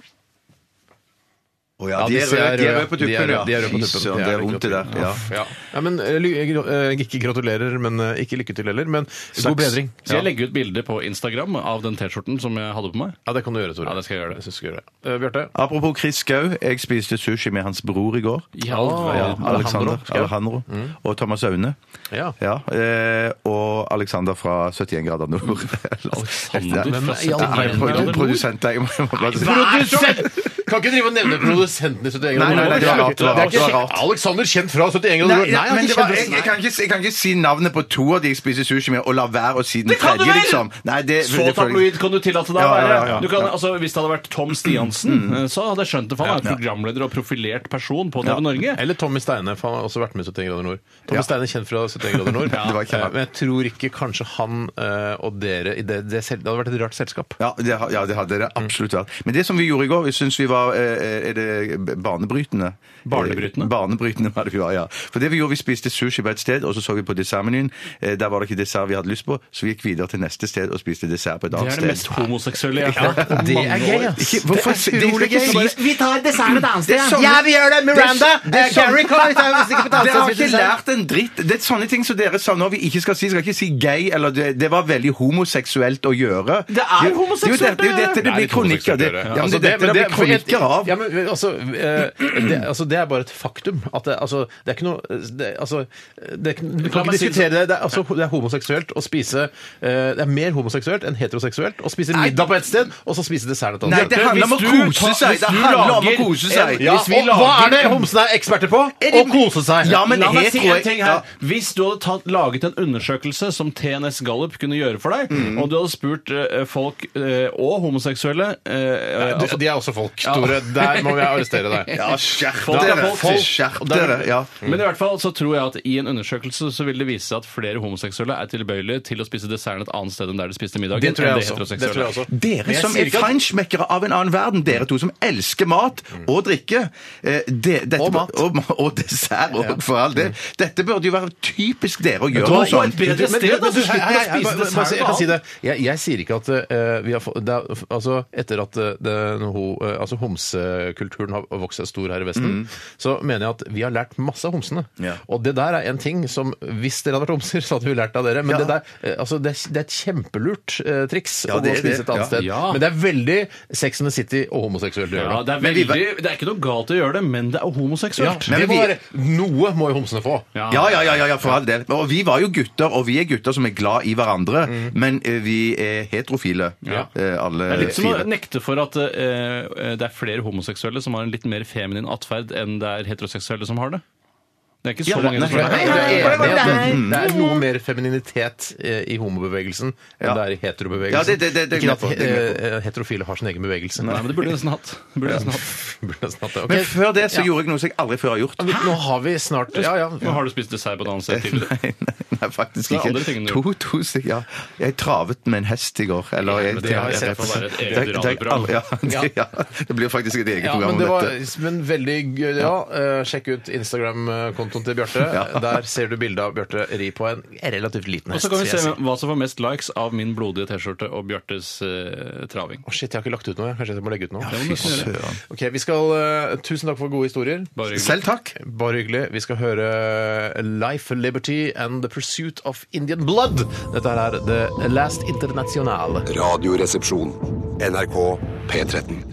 H: Å ja,
G: Ja,
H: de er
G: disse
H: røde de er røde på
G: de er
H: tuppen,
G: røde-
H: ja.
G: de er røde på
H: Fy
G: tuppen.
H: søren,
G: De
H: det
G: er
H: er vondt, det
G: røde på
H: der.
G: tuppen.
H: Ja.
G: Ja. ja, men eh, ly- eh, Ikke gratulerer, men eh, ikke lykke til heller. Men god bedring.
I: Skal jeg legge ut bilde på Instagram av den T-skjorten som jeg hadde på meg?
G: Ja, det kan du gjøre, Tore.
I: Ja, det skal jeg gjøre det.
G: synes du skal gjøre det. Eh, Bjarte?
H: Apropos Chris Skau, jeg spiste sushi med hans bror i går.
G: Ja,
I: Ja,
G: Mm.
H: Ja, Alexander
G: Skau.
H: Alejandro. Og Thomas Aune.
G: Ja.
H: Ja, eh, og Alexander fra 71 grader nord.
I: Alexander fra
H: Nei,
G: i all
H: nei,
G: verden
H: produ-
I: grader nord?
H: Produsent, jeg må jeg må bare si
G: Produsent! kan ikke drive og nevne produsenten i 71 grader.
H: Nei, nei, nei, det var rart, det var
G: Det er ikke
H: rart, det var rart.
G: Alexander kjent fra 71
H: Nei,
G: grader.
H: ja,
G: han er
H: men
G: ikke
H: det
G: kjent
H: var,
G: fra-
H: jeg, jeg, kan ikke, jeg kan ikke si navnet på to av de jeg spiser sushi med, og la være å si den
I: Det kan du
H: tredje,
I: vel!
H: liksom. Nei, det,
I: Så
H: det føler jeg-
I: tabloid kan du tillate deg å
H: Ja, ja, ja,
I: være.
H: ja.
I: Du kan, altså, hvis det hadde vært Tom Stiansen, så hadde jeg skjønt det. For han er programleder og profilert person på TV Norge.
G: Eller Tommy Steine, for han har også vært med i 71 grader nord. Tommy
H: Ja.
G: Steine er kjent fra 71 grader nord.
H: Det var ikke
G: Eh,
H: han.
G: Men jeg tror ikke kanskje han eh, og dere i det, det, sel- det hadde vært et rart selskap.
H: Ja det, ha- ja, det hadde
I: Mm.
H: det absolutt vært. Men det som vi gjorde i går, vi syns vi var eh, Er det banebrytende?
I: Barnebrytende?
H: Eh, Barnebrytende var det vi var, ja. For det vi gjorde, vi spiste sushi på et sted, og så så vi på dessertmenyen. Eh, Der var det ikke dessert vi hadde lyst på, så vi gikk videre til neste sted og spiste dessert på et
I: Det
H: annet
I: er det mest
H: sted.
I: homoseksuelle jeg har hørt. på
G: Det
I: mange
G: er gøy,
I: år.
G: ass.
H: Ikke, hvorfor, det er utrolig gøy!
C: Vi tar desserten et annet sted.
H: Det er
C: ja.
H: sånne-
C: Ja, vi gjør det! Miranda!
H: Det er- det er
C: eh, Carrie,
H: sånne-
C: kom! Vi tar hvis ikke på et annet
H: Dere
C: sted.
H: har ikke
C: spiser dessert.
H: lært en dritt. Det er sånne ting som dere sa nå vi ikke skal si. Skal ikke si gay, eller det, det var veldig homoseksuelt å gjøre.
C: Det er
H: jo-
C: homoseksuelt å
H: Det er jo dette det
G: er
H: blir
G: litt homoseksuelt
H: kronikker
G: å
H: det,
G: gjøre.
H: ja,
G: Altså,
H: men det, er dette
G: men
H: det blir
G: for et-
H: kronikker av.
G: Ja, men men altså, eh, det, altså, det er bare et faktum. At det, altså, det er ikke noe det, altså, det er, ikke- Du kan
I: meg
G: ikke
I: si det
G: diskutere det. Det er, altså, det er homoseksuelt å spise eh, Det er mer homoseksuelt enn heteroseksuelt å spise middag på ett sted, og så spise dessert et annet
H: Nei,
G: sted.
H: det handler om å
I: hvis du
H: kose
I: tar-
H: seg!
I: hvis
H: Det
I: du
H: handler om å
I: lager
H: kose seg!
I: en-
G: Ja,
I: Hvis vi
G: og hva
I: lager-
G: er det homsene er eksperter på? Å kose seg.
H: Ja, men
I: La meg si
H: hetero-
I: en ting her.
H: Ja.
I: Hvis du hadde tatt, laget en undersøkelse som TNS Gallup kunne gjøre for deg,
G: Mm.
I: og du hadde spurt eh, folk, eh, og homoseksuelle eh,
G: De,
I: altså,
G: de er også folk, Tore. Der må jeg arrestere deg.
H: Ja, skjerp
I: Folk er
H: dere!
I: folk, folk.
H: Skjerp
I: Og der-
H: dere! Ja.
I: Men i hvert fall så tror jeg at i en undersøkelse så vil det vise seg at flere homoseksuelle er tilbøyelige til å spise desserten et annet sted enn der de spiste middagen.
G: Det tror
I: enn
G: jeg
I: det
G: også. Det
I: heteroseksuelle.
G: tror jeg også.
H: Dere
G: Men jeg
H: som
G: sier
H: er
G: ikke at-
H: feinschmeckere av en annen verden, dere to som elsker mat og drikke eh, det, dette,
G: Og mat.
H: Og, og dessert, og, for all del.
I: Mm.
H: Dette burde jo være typisk dere å
I: Du
H: gjøre sånn. noe
I: var på et
H: sånt.
I: bedre
G: Men du-
I: sted,
G: men
I: da!
G: du-
I: Så
G: altså. hei,
I: slipper
G: hei, hei,
I: du å
G: bare-
I: spise
G: bare si- Jeg kan si
I: dessert.
G: det. Jeg, jeg sier ikke at eh, vi har fått det er, Altså, etter at eh, den ho- eh, altså, homsekulturen har vokst seg stor her i Vesten, så mener jeg at vi har lært masse av homsene.
H: Mm. Ja.
G: Og det der er en ting som Hvis dere hadde vært homser, så hadde vi lært av dere. Men det der eh, altså, det, er, det er et kjempelurt eh, triks
H: Ja,
G: å
H: det
G: gå
H: er
G: og spise
H: det.
G: et annet
H: Ja.
G: sted.
I: Ja.
G: Men det er veldig Sex and the City og homoseksuelt å
I: Ja,
G: gjøre det.
I: det, er veldig, det er ikke noe galt å gjøre det, men det er homoseksuelt.
G: Det
H: Men
G: må
H: vi-
G: være, noe må jo homsene få.
H: Ja, ja, ja, ja, ja, for all del. Og vi var jo gutter, og vi er gutter som er glad i hverandre, men eh, vi er heterofile,
I: Mm. Ja.
H: eh, alle
I: Det er litt som å
H: fire.
I: nekte for at eh, det er flere homoseksuelle som har en litt mer feminin atferd enn det er heteroseksuelle som har det. Det er ikke så mange
G: Nei,
I: som
G: for
I: har
G: jeg
I: det.
G: er
C: hei,
G: enig i at
C: hei.
G: det, det er noe mer femininitet eh, i homobevegelsen enn
H: Ja.
G: det er i heterobevegelsen.
H: Ja, det- det- det- det
G: ikke
H: er jeg
G: at
H: med på, det er jeg
G: eh, heterofile har sin egen bevegelse.
I: Nei, men det burde jeg nesten hatt. Det Burde jeg nesten hatt.
G: Burde nesten hatt det. Ok.
H: Men før det så gjorde jeg noe som jeg aldri før har gjort.
G: Nå har vi snart Ja, ja.
I: Nå har du spist dessert på et annet sted tidligere.
H: Nei, nei, nei, faktisk
I: Det er andre
H: ikke.
I: tingene du
H: To, to stykker. Ja. Jeg travet med en hest i går. Eller jeg,
I: men det har jeg sett på være et eget
H: Det- det-
I: radioprogram.
H: Ja, det, ja, det blir faktisk et eget
G: Ja, men
H: program om
G: det var
H: dette.
G: men veldig gøy. Ja, eh, sjekk ut Instagram-kontoen til Bjarte. Der ser du bilde av Bjarte ri på en relativt liten
I: Og
G: hest.
I: så kan vi
G: vil jeg
I: se
G: si.
I: hva som får mest likes av min blodige T-skjorte og Bjørtes eh, traving.
G: Å, shit, jeg har ikke lagt ut noe. jeg. Kanskje jeg må legge ut noe.
I: Det må du nesten gjøre.
H: Søren.
G: Ok, vi skal, eh, Tusen takk for gode historier.
I: Bare hyggelig.
H: Selv takk.
G: Bare hyggelig. Vi skal høre Life, Liberty and the Pursuit of Indian Blood. Dette her er The Last Internationale.
F: Radioresepsjon. NRK P13.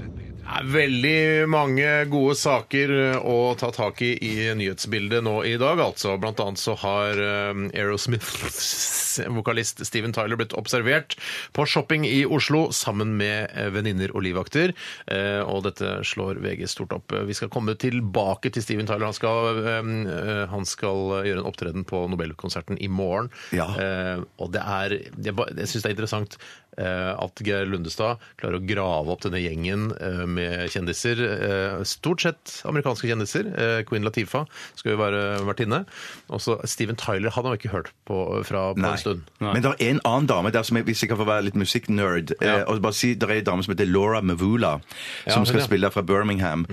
G: Det er veldig mange gode saker eh, å ta tak i i nyhetsbildet nå i dag. altså. Blant annet så har eh, Aerosmiths vokalist Steven Tyler blitt observert på shopping i Oslo sammen med eh, venninner og livvakter. Eh, Og dette slår VG stort opp. Eh, Vi skal komme tilbake til Steven Tyler. Han skal, eh, eh, han skal gjøre en opptreden på Nobelkonserten i morgen.
H: Ja.
G: Eh, Og det er Jeg, ba- jeg syns det er interessant eh, at Geir Lundestad klarer å grave opp denne gjengen eh, med kjendiser. eh, Stort sett amerikanske kjendiser. Eh, Queen Latifa skal jo være vertinne. Også Steven Tyler han har vi ikke hørt på, fra på en stund.
H: Men det er en annen dame der som jeg, hvis jeg kan få være litt musikknerd eh, og bare si, Det er en dame som heter Laura Mavula,
G: hun,
H: som skal
G: ja.
H: spille fra Birmingham.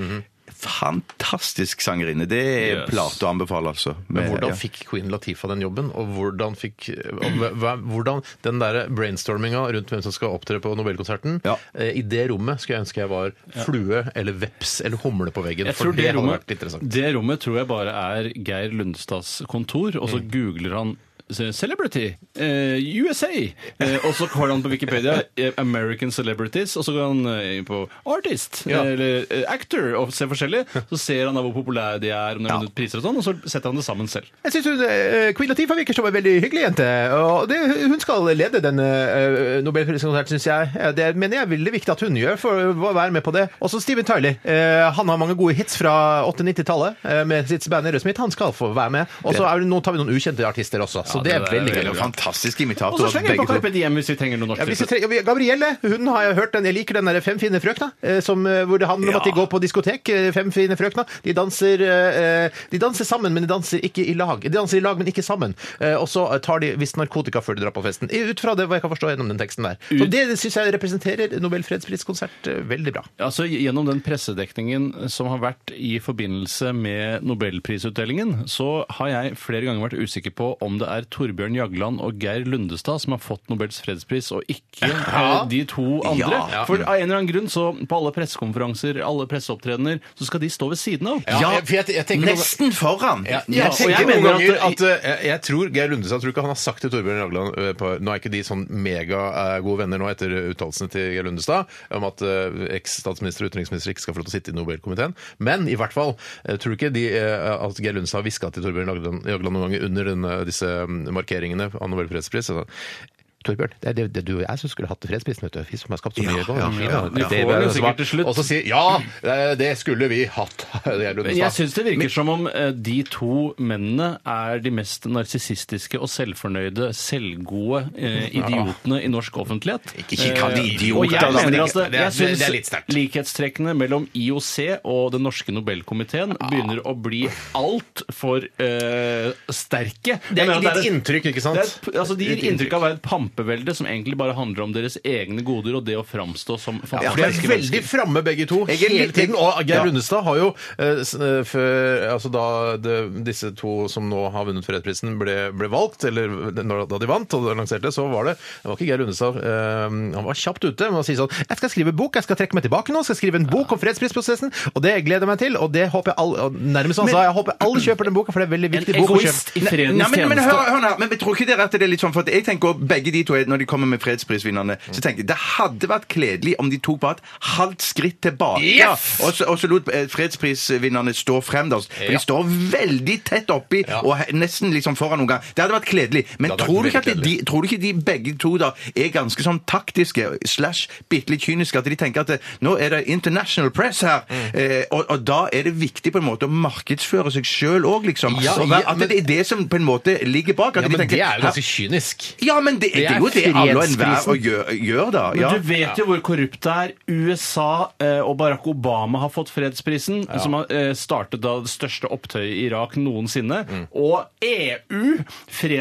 H: Fantastisk sangerinne. Det er
I: Mhm. Yes.
H: plate å anbefale, altså. Med-
G: Men
H: ja.
G: hvordan fikk Queen Latifa den jobben? Og hvordan fikk og hva- hva- hvordan, Den der brainstorminga rundt hvem som skal opptre på Nobelkonserten
H: Ja.
G: eh, I det rommet skulle jeg ønske jeg var flue eller veps eller humle på veggen.
I: Jeg
G: For
I: tror det,
G: det hadde
I: rommet,
G: vært interessant.
I: det rommet tror jeg bare er Geir Lundstads kontor, og så googler han se- celebrity eh, USA. Eh, og så går han på Wikipedia eh, American celebrities, og så går han eh, inn på artist
G: Ja.
I: eller eh, actor og ser forskjellig. Så ser han da hvor populære de er, om de har vunnet priser og sånn, og så setter han det sammen selv.
D: Jeg syns hun eh, Queen Latifah virker som en veldig hyggelig jente. Og det, hun skal lede denne eh, Nobelpriskonserten, syns jeg. Eh, Det mener jeg er veldig viktig at hun gjør, for å være med på det. Også Steven Tyler. Eh, han har mange gode hits fra 80-90-tallet eh, med sitt band Aerosmith. Han skal få være med. Og så er det- nå tar vi noen ukjente artister også, så det er
I: det er
D: veldig
H: Det
D: gøy.
H: er Fantastisk
I: Og
H: imitator.
I: så slenger vi på
H: begge to.
I: Carpe Diem hvis vi trenger noe norsk.
D: Ja, hvis vi tre- ja, vi- Gabrielle, hun har jeg hørt den, jeg liker den der Fem fine frøkna, eh, som, eh, hvor det handler om at de går på diskotek. eh, Fem fine frøkna. De danser, eh, eh, de danser sammen, men de danser ikke i lag. De danser i lag, men ikke sammen. Eh, Og så tar de visst narkotika før de drar på festen. I- Ut fra det hva jeg kan forstå gjennom den teksten der. Så det syns jeg representerer Nobel fredspriskonsert eh, veldig bra.
I: Altså, Gjennom den pressedekningen som har vært i forbindelse med nobelprisutdelingen, så har jeg flere ganger vært usikker på om det er Torbjørn Jagland og Geir Lundestad som har fått Nobels fredspris, og ikke eh, de to andre.
H: Ja.
I: For av en eller annen grunn, så på alle pressekonferanser, alle presseopptredener, så skal de stå ved siden av.
G: Ja, for jeg, jeg tenker noen-
H: Nesten foran!
G: Ja,
I: Ja,
G: jeg
I: og
G: tenker
I: jeg
G: noen
I: mener
G: ganger
I: at
G: at, eh, jeg, jeg tror Geir Lundestad tror ikke han har sagt til Torbjørn Jagland eh, på- Nå er ikke de sånn megagode venner nå etter uttalelsene til Geir Lundestad om at eh, eks-statsminister og utenriksminister ikke skal få lov til å sitte i Nobelkomiteen. Men i hvert fall eh, tror du ikke de, eh, at Geir Lundestad har hviska til Torbjørn Jagland Jagland noen ganger under denne, disse mm, markeringene av Nobels fredspris? Altså, Torbjørn, det er det, det du og jeg som skulle hatt fredsprisen, vet du. Fy som har skapt så mye ja,
I: Vi får den jo sikkert til slutt.
G: Og så sier Ja, eh, det skulle vi hatt! Geir Lundestad.
I: Men jeg syns det virker som om eh, de to mennene er de mest narsissistiske og selvfornøyde, selvgode eh, idiotene i norsk offentlighet.
H: Ikke kall de
I: Eh,
H: idioter, da,
I: Og jeg
H: men
I: mener
H: det-
I: altså,
G: det er-
I: jeg
G: det er litt
I: syns
G: sterkt.
I: likhetstrekkene mellom IOC og den norske Nobelkomiteen
G: Ah.
I: begynner å bli altfor eh, sterke.
G: Det
I: Jeg
G: er
I: mener at
G: litt
I: et-
G: inntrykk, ikke
I: det
G: sant?
I: er, et- altså, de gir inntrykk av å være et pampevelde som egentlig bare handler om deres egne goder og det å framstå som
G: Ja, for de
I: fantastiske
G: er veldig framme begge to
H: Jeg er
G: hele
H: litt-
G: tiden. Og Geir
H: Ja.
G: Lundestad har jo eh, s- eh, før altså da det, disse to som nå har vunnet fredsprisen, ble, ble valgt, eller når- da de vant og lanserte, så var det Det var ikke Geir Lundestad eh, Han var kjapt ute med å si sånn Jeg skal skrive bok, jeg skal trekke meg tilbake nå, jeg skal skrive en bok om fredsprisprosessen, og det gleder jeg meg til, og det håper jeg alle og Nærmest han sa, jeg håper alle kjøper den boka, for det er en veldig
I: En
G: viktig bok å
I: egoist
G: kjøpe.
I: i
H: Nei,
I: fredens
H: men, men,
I: tjeneste.
H: hør, hør, nå, men tror ikke dere at det er litt sånn For at jeg tenker også, begge de to er- Når de kommer med fredsprisvinnerne Så tenker jeg Det hadde vært kledelig Om de tok bare et halvt skritt tilbake og, så, og så lot eh, fredsprisvinnerne stå frem da, For de står veldig tett oppi Og he- nesten liksom foran noen gang Det hadde vært kledelig Men
G: Det hadde
H: tror
G: vært
H: du, ikke at
G: veldig
H: de, tror du ikke de begge to da Er ganske sånn taktiske Slash bitte litt kyniske At de tenker at eh, Nå er det international press her eh, og, og da er det viktig på en måte Å markedsføre seg selv også liksom
G: Ja,
H: Så hva-
G: ja,
H: At
G: men-
H: det det er det som på en måte ligger bak. At
G: Ja,
H: de
G: men
H: tenker,
G: det er jo
H: "Hæ?"
G: ganske kynisk.
H: Ja, men det, det er jo det alle og enhver å gjøre, gjør da.
I: Men
H: Ja.
I: du vet jo hvor korrupt det er. USA eh, og Barack Obama har fått fredsprisen, som har eh, startet da det største opptøyet i Irak noensinne.
G: Mm.
I: Og EU,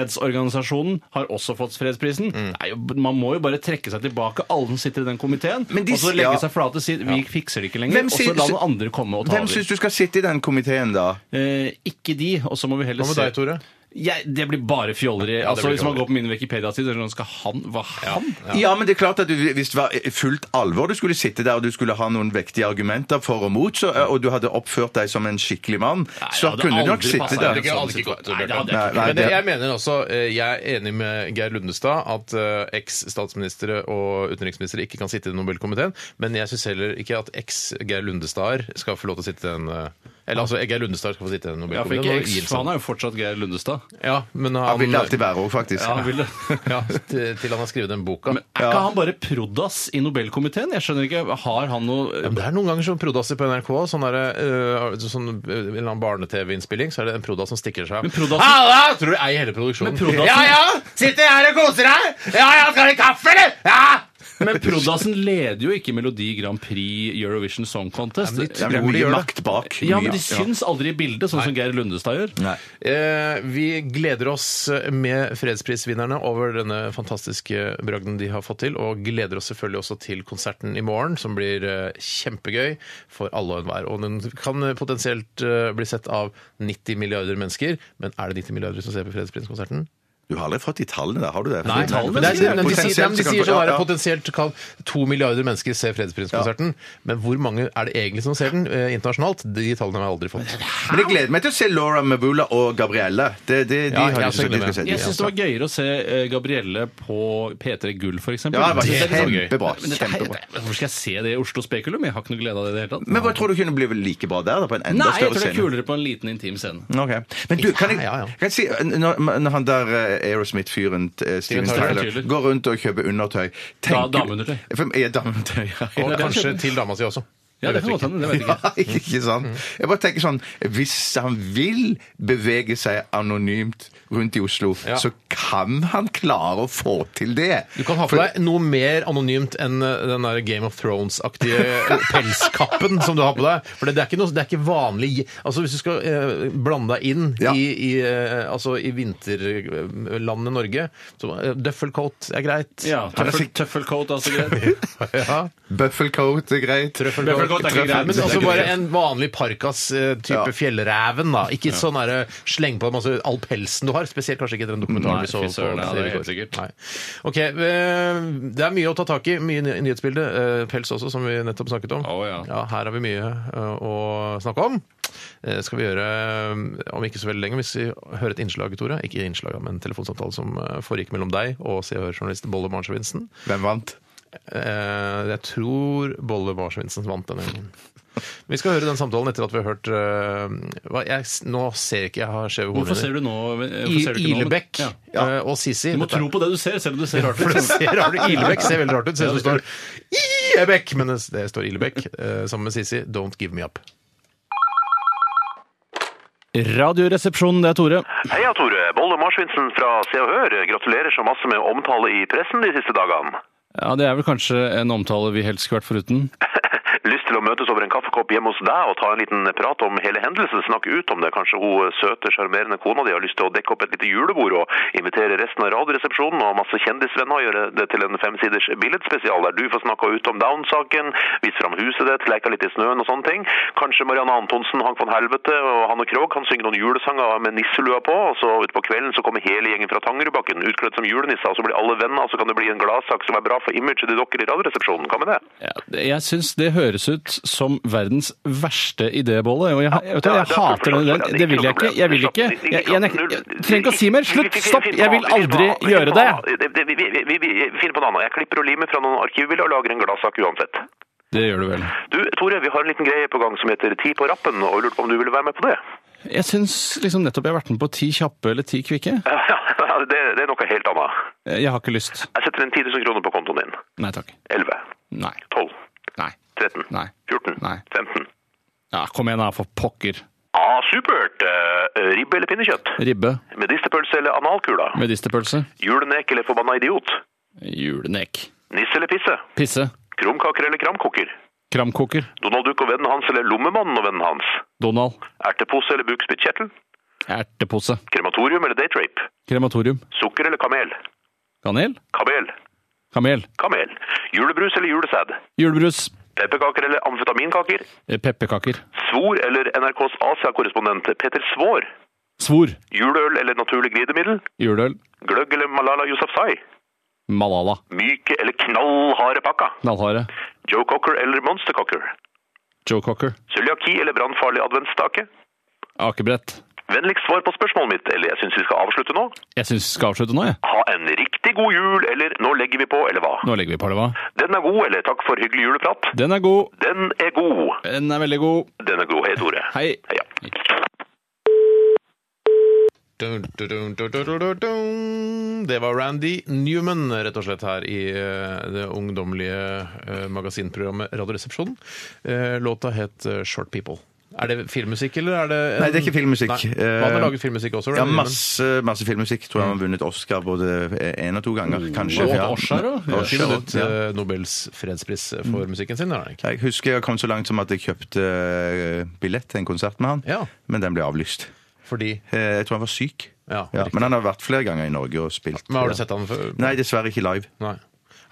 I: fredsorganisasjonen, har også fått fredsprisen.
G: Mm.
I: Nei, man må jo bare trekke seg tilbake, alle som sitter i den komiteen,
H: Men de-
I: og så legge
H: ja.
I: seg flate og si vi fikser det ikke lenger,
H: Hvem
I: og så
H: sier-
I: la noen andre komme og ta
H: Hvem
I: over.
H: syns du skal sitte i den komiteen, da?
I: Eh, ikke de, og så må vi heller
G: Hva med
I: se
G: deg, Tore?
I: Jeg, det blir bare fjolleri.
G: det
I: altså,
G: blir
I: hvis man
G: fjolleri.
I: går på min Wikipedia-side, så sånn, skal han Hva han?
H: Ja. men det er klart at du, hvis det var fullt alvor du skulle sitte der, og du skulle ha noen vektige argumenter for og mot, så, og du hadde oppført deg som en skikkelig mann,
I: Nei,
H: så
I: det hadde
H: kunne du nok
I: aldri
H: sitte
I: passet.
H: der.
I: Det hadde ikke gått, Nei, det hadde jeg ikke.
H: Nei,
G: Men det,
H: det-
G: jeg mener også, eh, jeg er enig med Geir Lundestad at eh, eks-statsministre og utenriksministre ikke kan sitte i Nobelkomiteen, men jeg syns heller ikke at eks-Geir Lundestad skal få lov til å sitte i den eh, Eller altså, Geir Lundestad skal få sitte i den
I: Ja, for
G: Nobelkomiteen. og
I: ikke X,
G: Gilson.
I: for han er jo fortsatt Geir Lundestad.
G: Ja, men han,
H: Han ville alltid være òg, faktisk.
I: Ja, han vil det.
G: ja, til, til han har skrevet den boka.
I: Men er ikke han bare prod.ass i Nobelkomiteen? Jeg skjønner ikke, har han noe
G: Ja, men det er noen ganger sånn prodasser på NRK, sånn der, eh, sånn, eh, en eller annen barne-TV-innspilling, så er det en prodass som stikker seg.
I: Men prodassen-
G: Halla! Tror du jeg eier hele produksjonen?
I: Men prodassen-
G: Sitter jeg her og koser deg! Ja ja, skal du ha kaffe, eller? Ja!
I: Men prod.assen leder jo ikke Melodi Grand Prix Eurovision Song Contest.
G: Ja, men de
H: Det
I: Ja,
H: er
G: Tror de
H: mye
G: gjør det.
H: makt bak.
I: ja, men
H: mye-
I: de syns aldri i bildet, sånn som Geir Lundestad gjør.
H: Nei.
G: Eh, vi gleder oss med fredsprisvinnerne over denne fantastiske bragden de har fått til, og gleder oss selvfølgelig også til konserten i morgen, som blir eh, kjempegøy for alle og enhver. Og den kan potensielt eh, bli sett av 90 milliarder mennesker, men er det 90 milliarder som ser på fredspriskonserten?
H: Du har aldri fått de tallene der, har du det?
I: Nei, tallene
G: Men det er, men de, sier, nei,
H: Potensielt
G: men
H: så
G: de
H: kan-
G: sier sånn
H: ja,
G: her,
H: ja.
G: potensielt kan to milliarder mennesker se Fredsprinskonserten. Men hvor mange er det egentlig som ser den eh, internasjonalt? De tallene har jeg aldri fått.
H: Men jeg gleder meg til å se Laura Mabula og Gabrielle. Det, det, de
G: Ja,
H: har
G: jeg
H: jeg
G: også
H: lyst til å
G: gleder
H: se.
G: meg.
I: Jeg syns det var gøyere å se eh, Gabrielle på P3 Gull, f.eks.
H: Ja, det var
I: sånn
H: kjempebra, kjempebra.
I: Hvorfor skal jeg se det i Oslo Spekulum? Jeg har ikke noe glede av det i det hele tatt.
H: Men hva tror du kunne bli like bra der? da, på en enda
I: Nei,
H: større
I: jeg tror det er
H: scene?
I: kulere på en liten, intim scene.
H: Ok. Men du, kan jeg,
G: Ja, ja, ja.
H: Kan jeg si, når, når han der eh, Aerosmith-fyren eh, Steven
G: Tyler.
H: Tyler
I: Tyler.
H: går rundt og kjøper undertøy
I: Ja, dameundertøy.
H: For- Ja, dameundertøy. ja.
G: Og
I: det er
G: kanskje til dama si også.
I: Ja, det
G: Jeg vet
I: kan godt
G: ikke.
I: hende. Det vet jeg ikke.
H: Ja, ikke sant?
G: Mm.
H: Jeg bare tenker sånn Hvis han vil bevege seg anonymt rundt i Oslo,
G: Ja.
H: så kan han klare å få til det.
G: Du kan ha på
H: For-
G: deg noe mer anonymt enn eh, den der Game of Thrones-aktige pelskappen som du har på deg. For det, det, er ikke noe, det er ikke vanlig Altså Hvis du skal eh, blande deg inn
H: Ja.
G: i, i, eh, altså, i vinterlandet Norge, så eh, døffelcoat er greit.
I: Ja,
H: Han er sikk-
I: Tøffelcoat, altså. greit.
G: Ja.
H: Bøffelcoat er greit.
I: Tøffelcoat er ikke greit.
G: Men altså
I: Det er
G: bare
I: ikke greit.
G: en vanlig parkas-type
H: Ja.
G: fjellreven, da. Ikke sånn derre sleng på deg masse all pelsen du har. Spesielt kanskje ikke den dokumentaren
I: Nei,
G: vi så
I: fy
G: på.
I: søren, ja, det er
G: i går.
I: helt sikkert.
G: Nei. Ok, eh, Det er mye å ta tak i. Mye ny- nyhetsbilde. Eh, Pels også, som vi nettopp snakket om.
I: Å, ja.
G: her har vi mye eh, å snakke om. Eh, skal vi gjøre eh, om ikke så veldig lenge, hvis vi hører et innslag, Tore. Ikke innslag, men en telefonsamtale som eh, foregikk mellom deg og Se og Hør-journalist Bolle Marnsjø-Vinsen.
H: Hvem vant?
G: Eh, jeg tror Bolle Barsvinsen vant denne gangen. Vi skal høre den samtalen etter at vi har hørt eh, hva, jeg, s- Nå ser ikke jeg har skjeve
I: Hvorfor ser
G: hoder.
I: du nå eh, hvorfor ser du ikke nå-
G: Ilebekk
I: Ja.
G: eh, og Sisi.
I: Du må
G: Dette er-
I: tro på det du ser, selv om du ser rart
G: For det
I: ut.
G: ser rart ut. Ilebekk ser veldig rart ut. Ser ut som det står Ilebekk, men det, det står Ilebekk. eh, sammen med Sisi. Don't give me up.
I: Radioresepsjonen, det er Tore.
E: Heia, Tore. Bolle Marsvinsen fra Se og Hør gratulerer så masse med omtale i pressen de siste dagene.
I: Ja, Det er vel kanskje en omtale vi helst skulle vært foruten.
E: Lyst til å møtes over en kaffekopp hjemme hos deg og ta en liten prat om hele hendelsen? Snakke ut om det? Kanskje hun søte, sjarmerende kona di har lyst til å dekke opp et lite julebord og invitere resten av Radioresepsjonen og masse kjendisvenner og gjøre det til en femsiders billedspesial der du får snakka ut om Down-saken, vise fram huset ditt, leke litt i snøen og sånne ting? Kanskje Marianne Antonsen, Hank von Helvete og Hanne Krogh kan synge noen julesanger med nisselua på, og så utpå kvelden så kommer hele gjengen fra Tangerudbakken utkledd som julenisser, og så blir alle venner, og så kan det bli en gladsak som er bra for imaget til dere i Radioresepsjonen. Hva med det?
I: Ja, det- jeg syns det høres ut som verdens verste idébolle. Og jeg, jeg, vet du, hva, jeg
E: Ja, det er
I: hater den ideen. Det vil jeg ikke. Jeg vil ikke. Jeg, jeg, nek- jeg trenger ikke å si mer. Slutt! Stopp! Jeg vil aldri gjøre det.
E: Vi, vi, vi, vi finner på noe annet. Jeg klipper og limer fra noen arkivbilder og lager en gladsak uansett.
I: Det gjør du vel.
E: Du, Tore, vi har en liten greie på gang som heter Ti på rappen, og jeg lurte på om du ville være med på det?
I: Jeg syns liksom nettopp jeg har vært med på ti kjappe eller ti kvikke.
E: Ja, det, det er noe helt annet.
I: Jeg har ikke lyst.
E: Jeg setter en 10 000 kroner på kontoen din.
I: Nei takk.
E: 11,
I: Nei.
E: 12,
I: Nei.
E: 13,
I: Nei.
E: 14,
I: Nei.
E: 15.
I: Ja, kom igjen, da, for pokker.
E: Ah, supert! Eh, ribbe eller pinnekjøtt?
I: Ribbe.
E: Medisterpølse eller analkula?
I: Medisterpølse.
E: Julenek eller forbanna idiot?
I: Julenek.
E: Nisse eller pisse?
I: Pisse.
E: Krumkaker eller kramkoker?
I: Kramkoker.
E: Donald Duck og vennen hans, eller lommemannen og vennen hans.
I: Donald.
E: Ertepose eller bukspyttkjertel.
I: Ertepose.
E: Krematorium eller daytrape.
I: Krematorium.
E: Sukker eller kamel.
I: Kanel.
E: Kamel.
I: Kamel.
E: Kamel. Julebrus eller julesæd.
I: Julebrus.
E: Pepperkaker eller amfetaminkaker.
I: Eh, Pepperkaker.
E: Svor eller NRKs Asia-korrespondent Peter Svår.
I: Svor.
E: Juleøl eller naturlig glidemiddel.
I: Juleøl.
E: Gløgg eller Malala Yousafzai.
I: Malala.
E: Myke eller knallharde pakka.
I: Knallharde.
E: Joe Cocker eller Monster Cocker.
I: Joe Cocker.
E: Cøliaki eller brannfarlig adventsstake.
I: Akebrett.
E: Vennligst svar på spørsmålet mitt, eller jeg syns vi skal avslutte nå.
I: Jeg syns vi skal avslutte nå, jeg.
E: Ha en riktig god jul, eller nå legger vi på, eller hva?
I: Nå legger vi på det, hva?
E: Den er god, eller takk for hyggelig juleprat.
I: Den er god.
E: Den er god.
I: Den er veldig god.
E: Den er god. Hei, Tore.
I: Hei.
E: Heia.
G: Dun, dun, dun, dun, dun, dun, dun. Det var Randy Newman, rett og slett, her i eh, det ungdommelige eh, magasinprogrammet Radioresepsjonen. Eh, Låta het eh, Short People. Er det filmmusikk, eller er det en-
H: Nei, det er ikke filmmusikk. Eh,
G: Nei. Han har laget filmmusikk også,
H: Ja,
G: Randy Newman.
H: masse, masse filmmusikk. Tror jeg han har vunnet Oscar både én og to ganger,
G: Mm.
H: kanskje.
I: Og
H: Ja.
I: Oscar, da?
H: Oscar,
G: Ikke vunnet
H: ja. Mm.
G: eh, Nobels fredspris eh, for musikken sin, har han ikke?
H: Jeg husker jeg kom så langt som at jeg kjøpte eh, billett til en konsert med han,
G: Ja.
H: men den ble avlyst.
G: Fordi
H: Eh, Jeg tror han var syk.
G: Ja,
H: Ja,
G: riktig.
H: men han har vært flere ganger i Norge og spilt. eh,
G: Men har du sett han før?
H: Nei, dessverre ikke live.
G: Nei.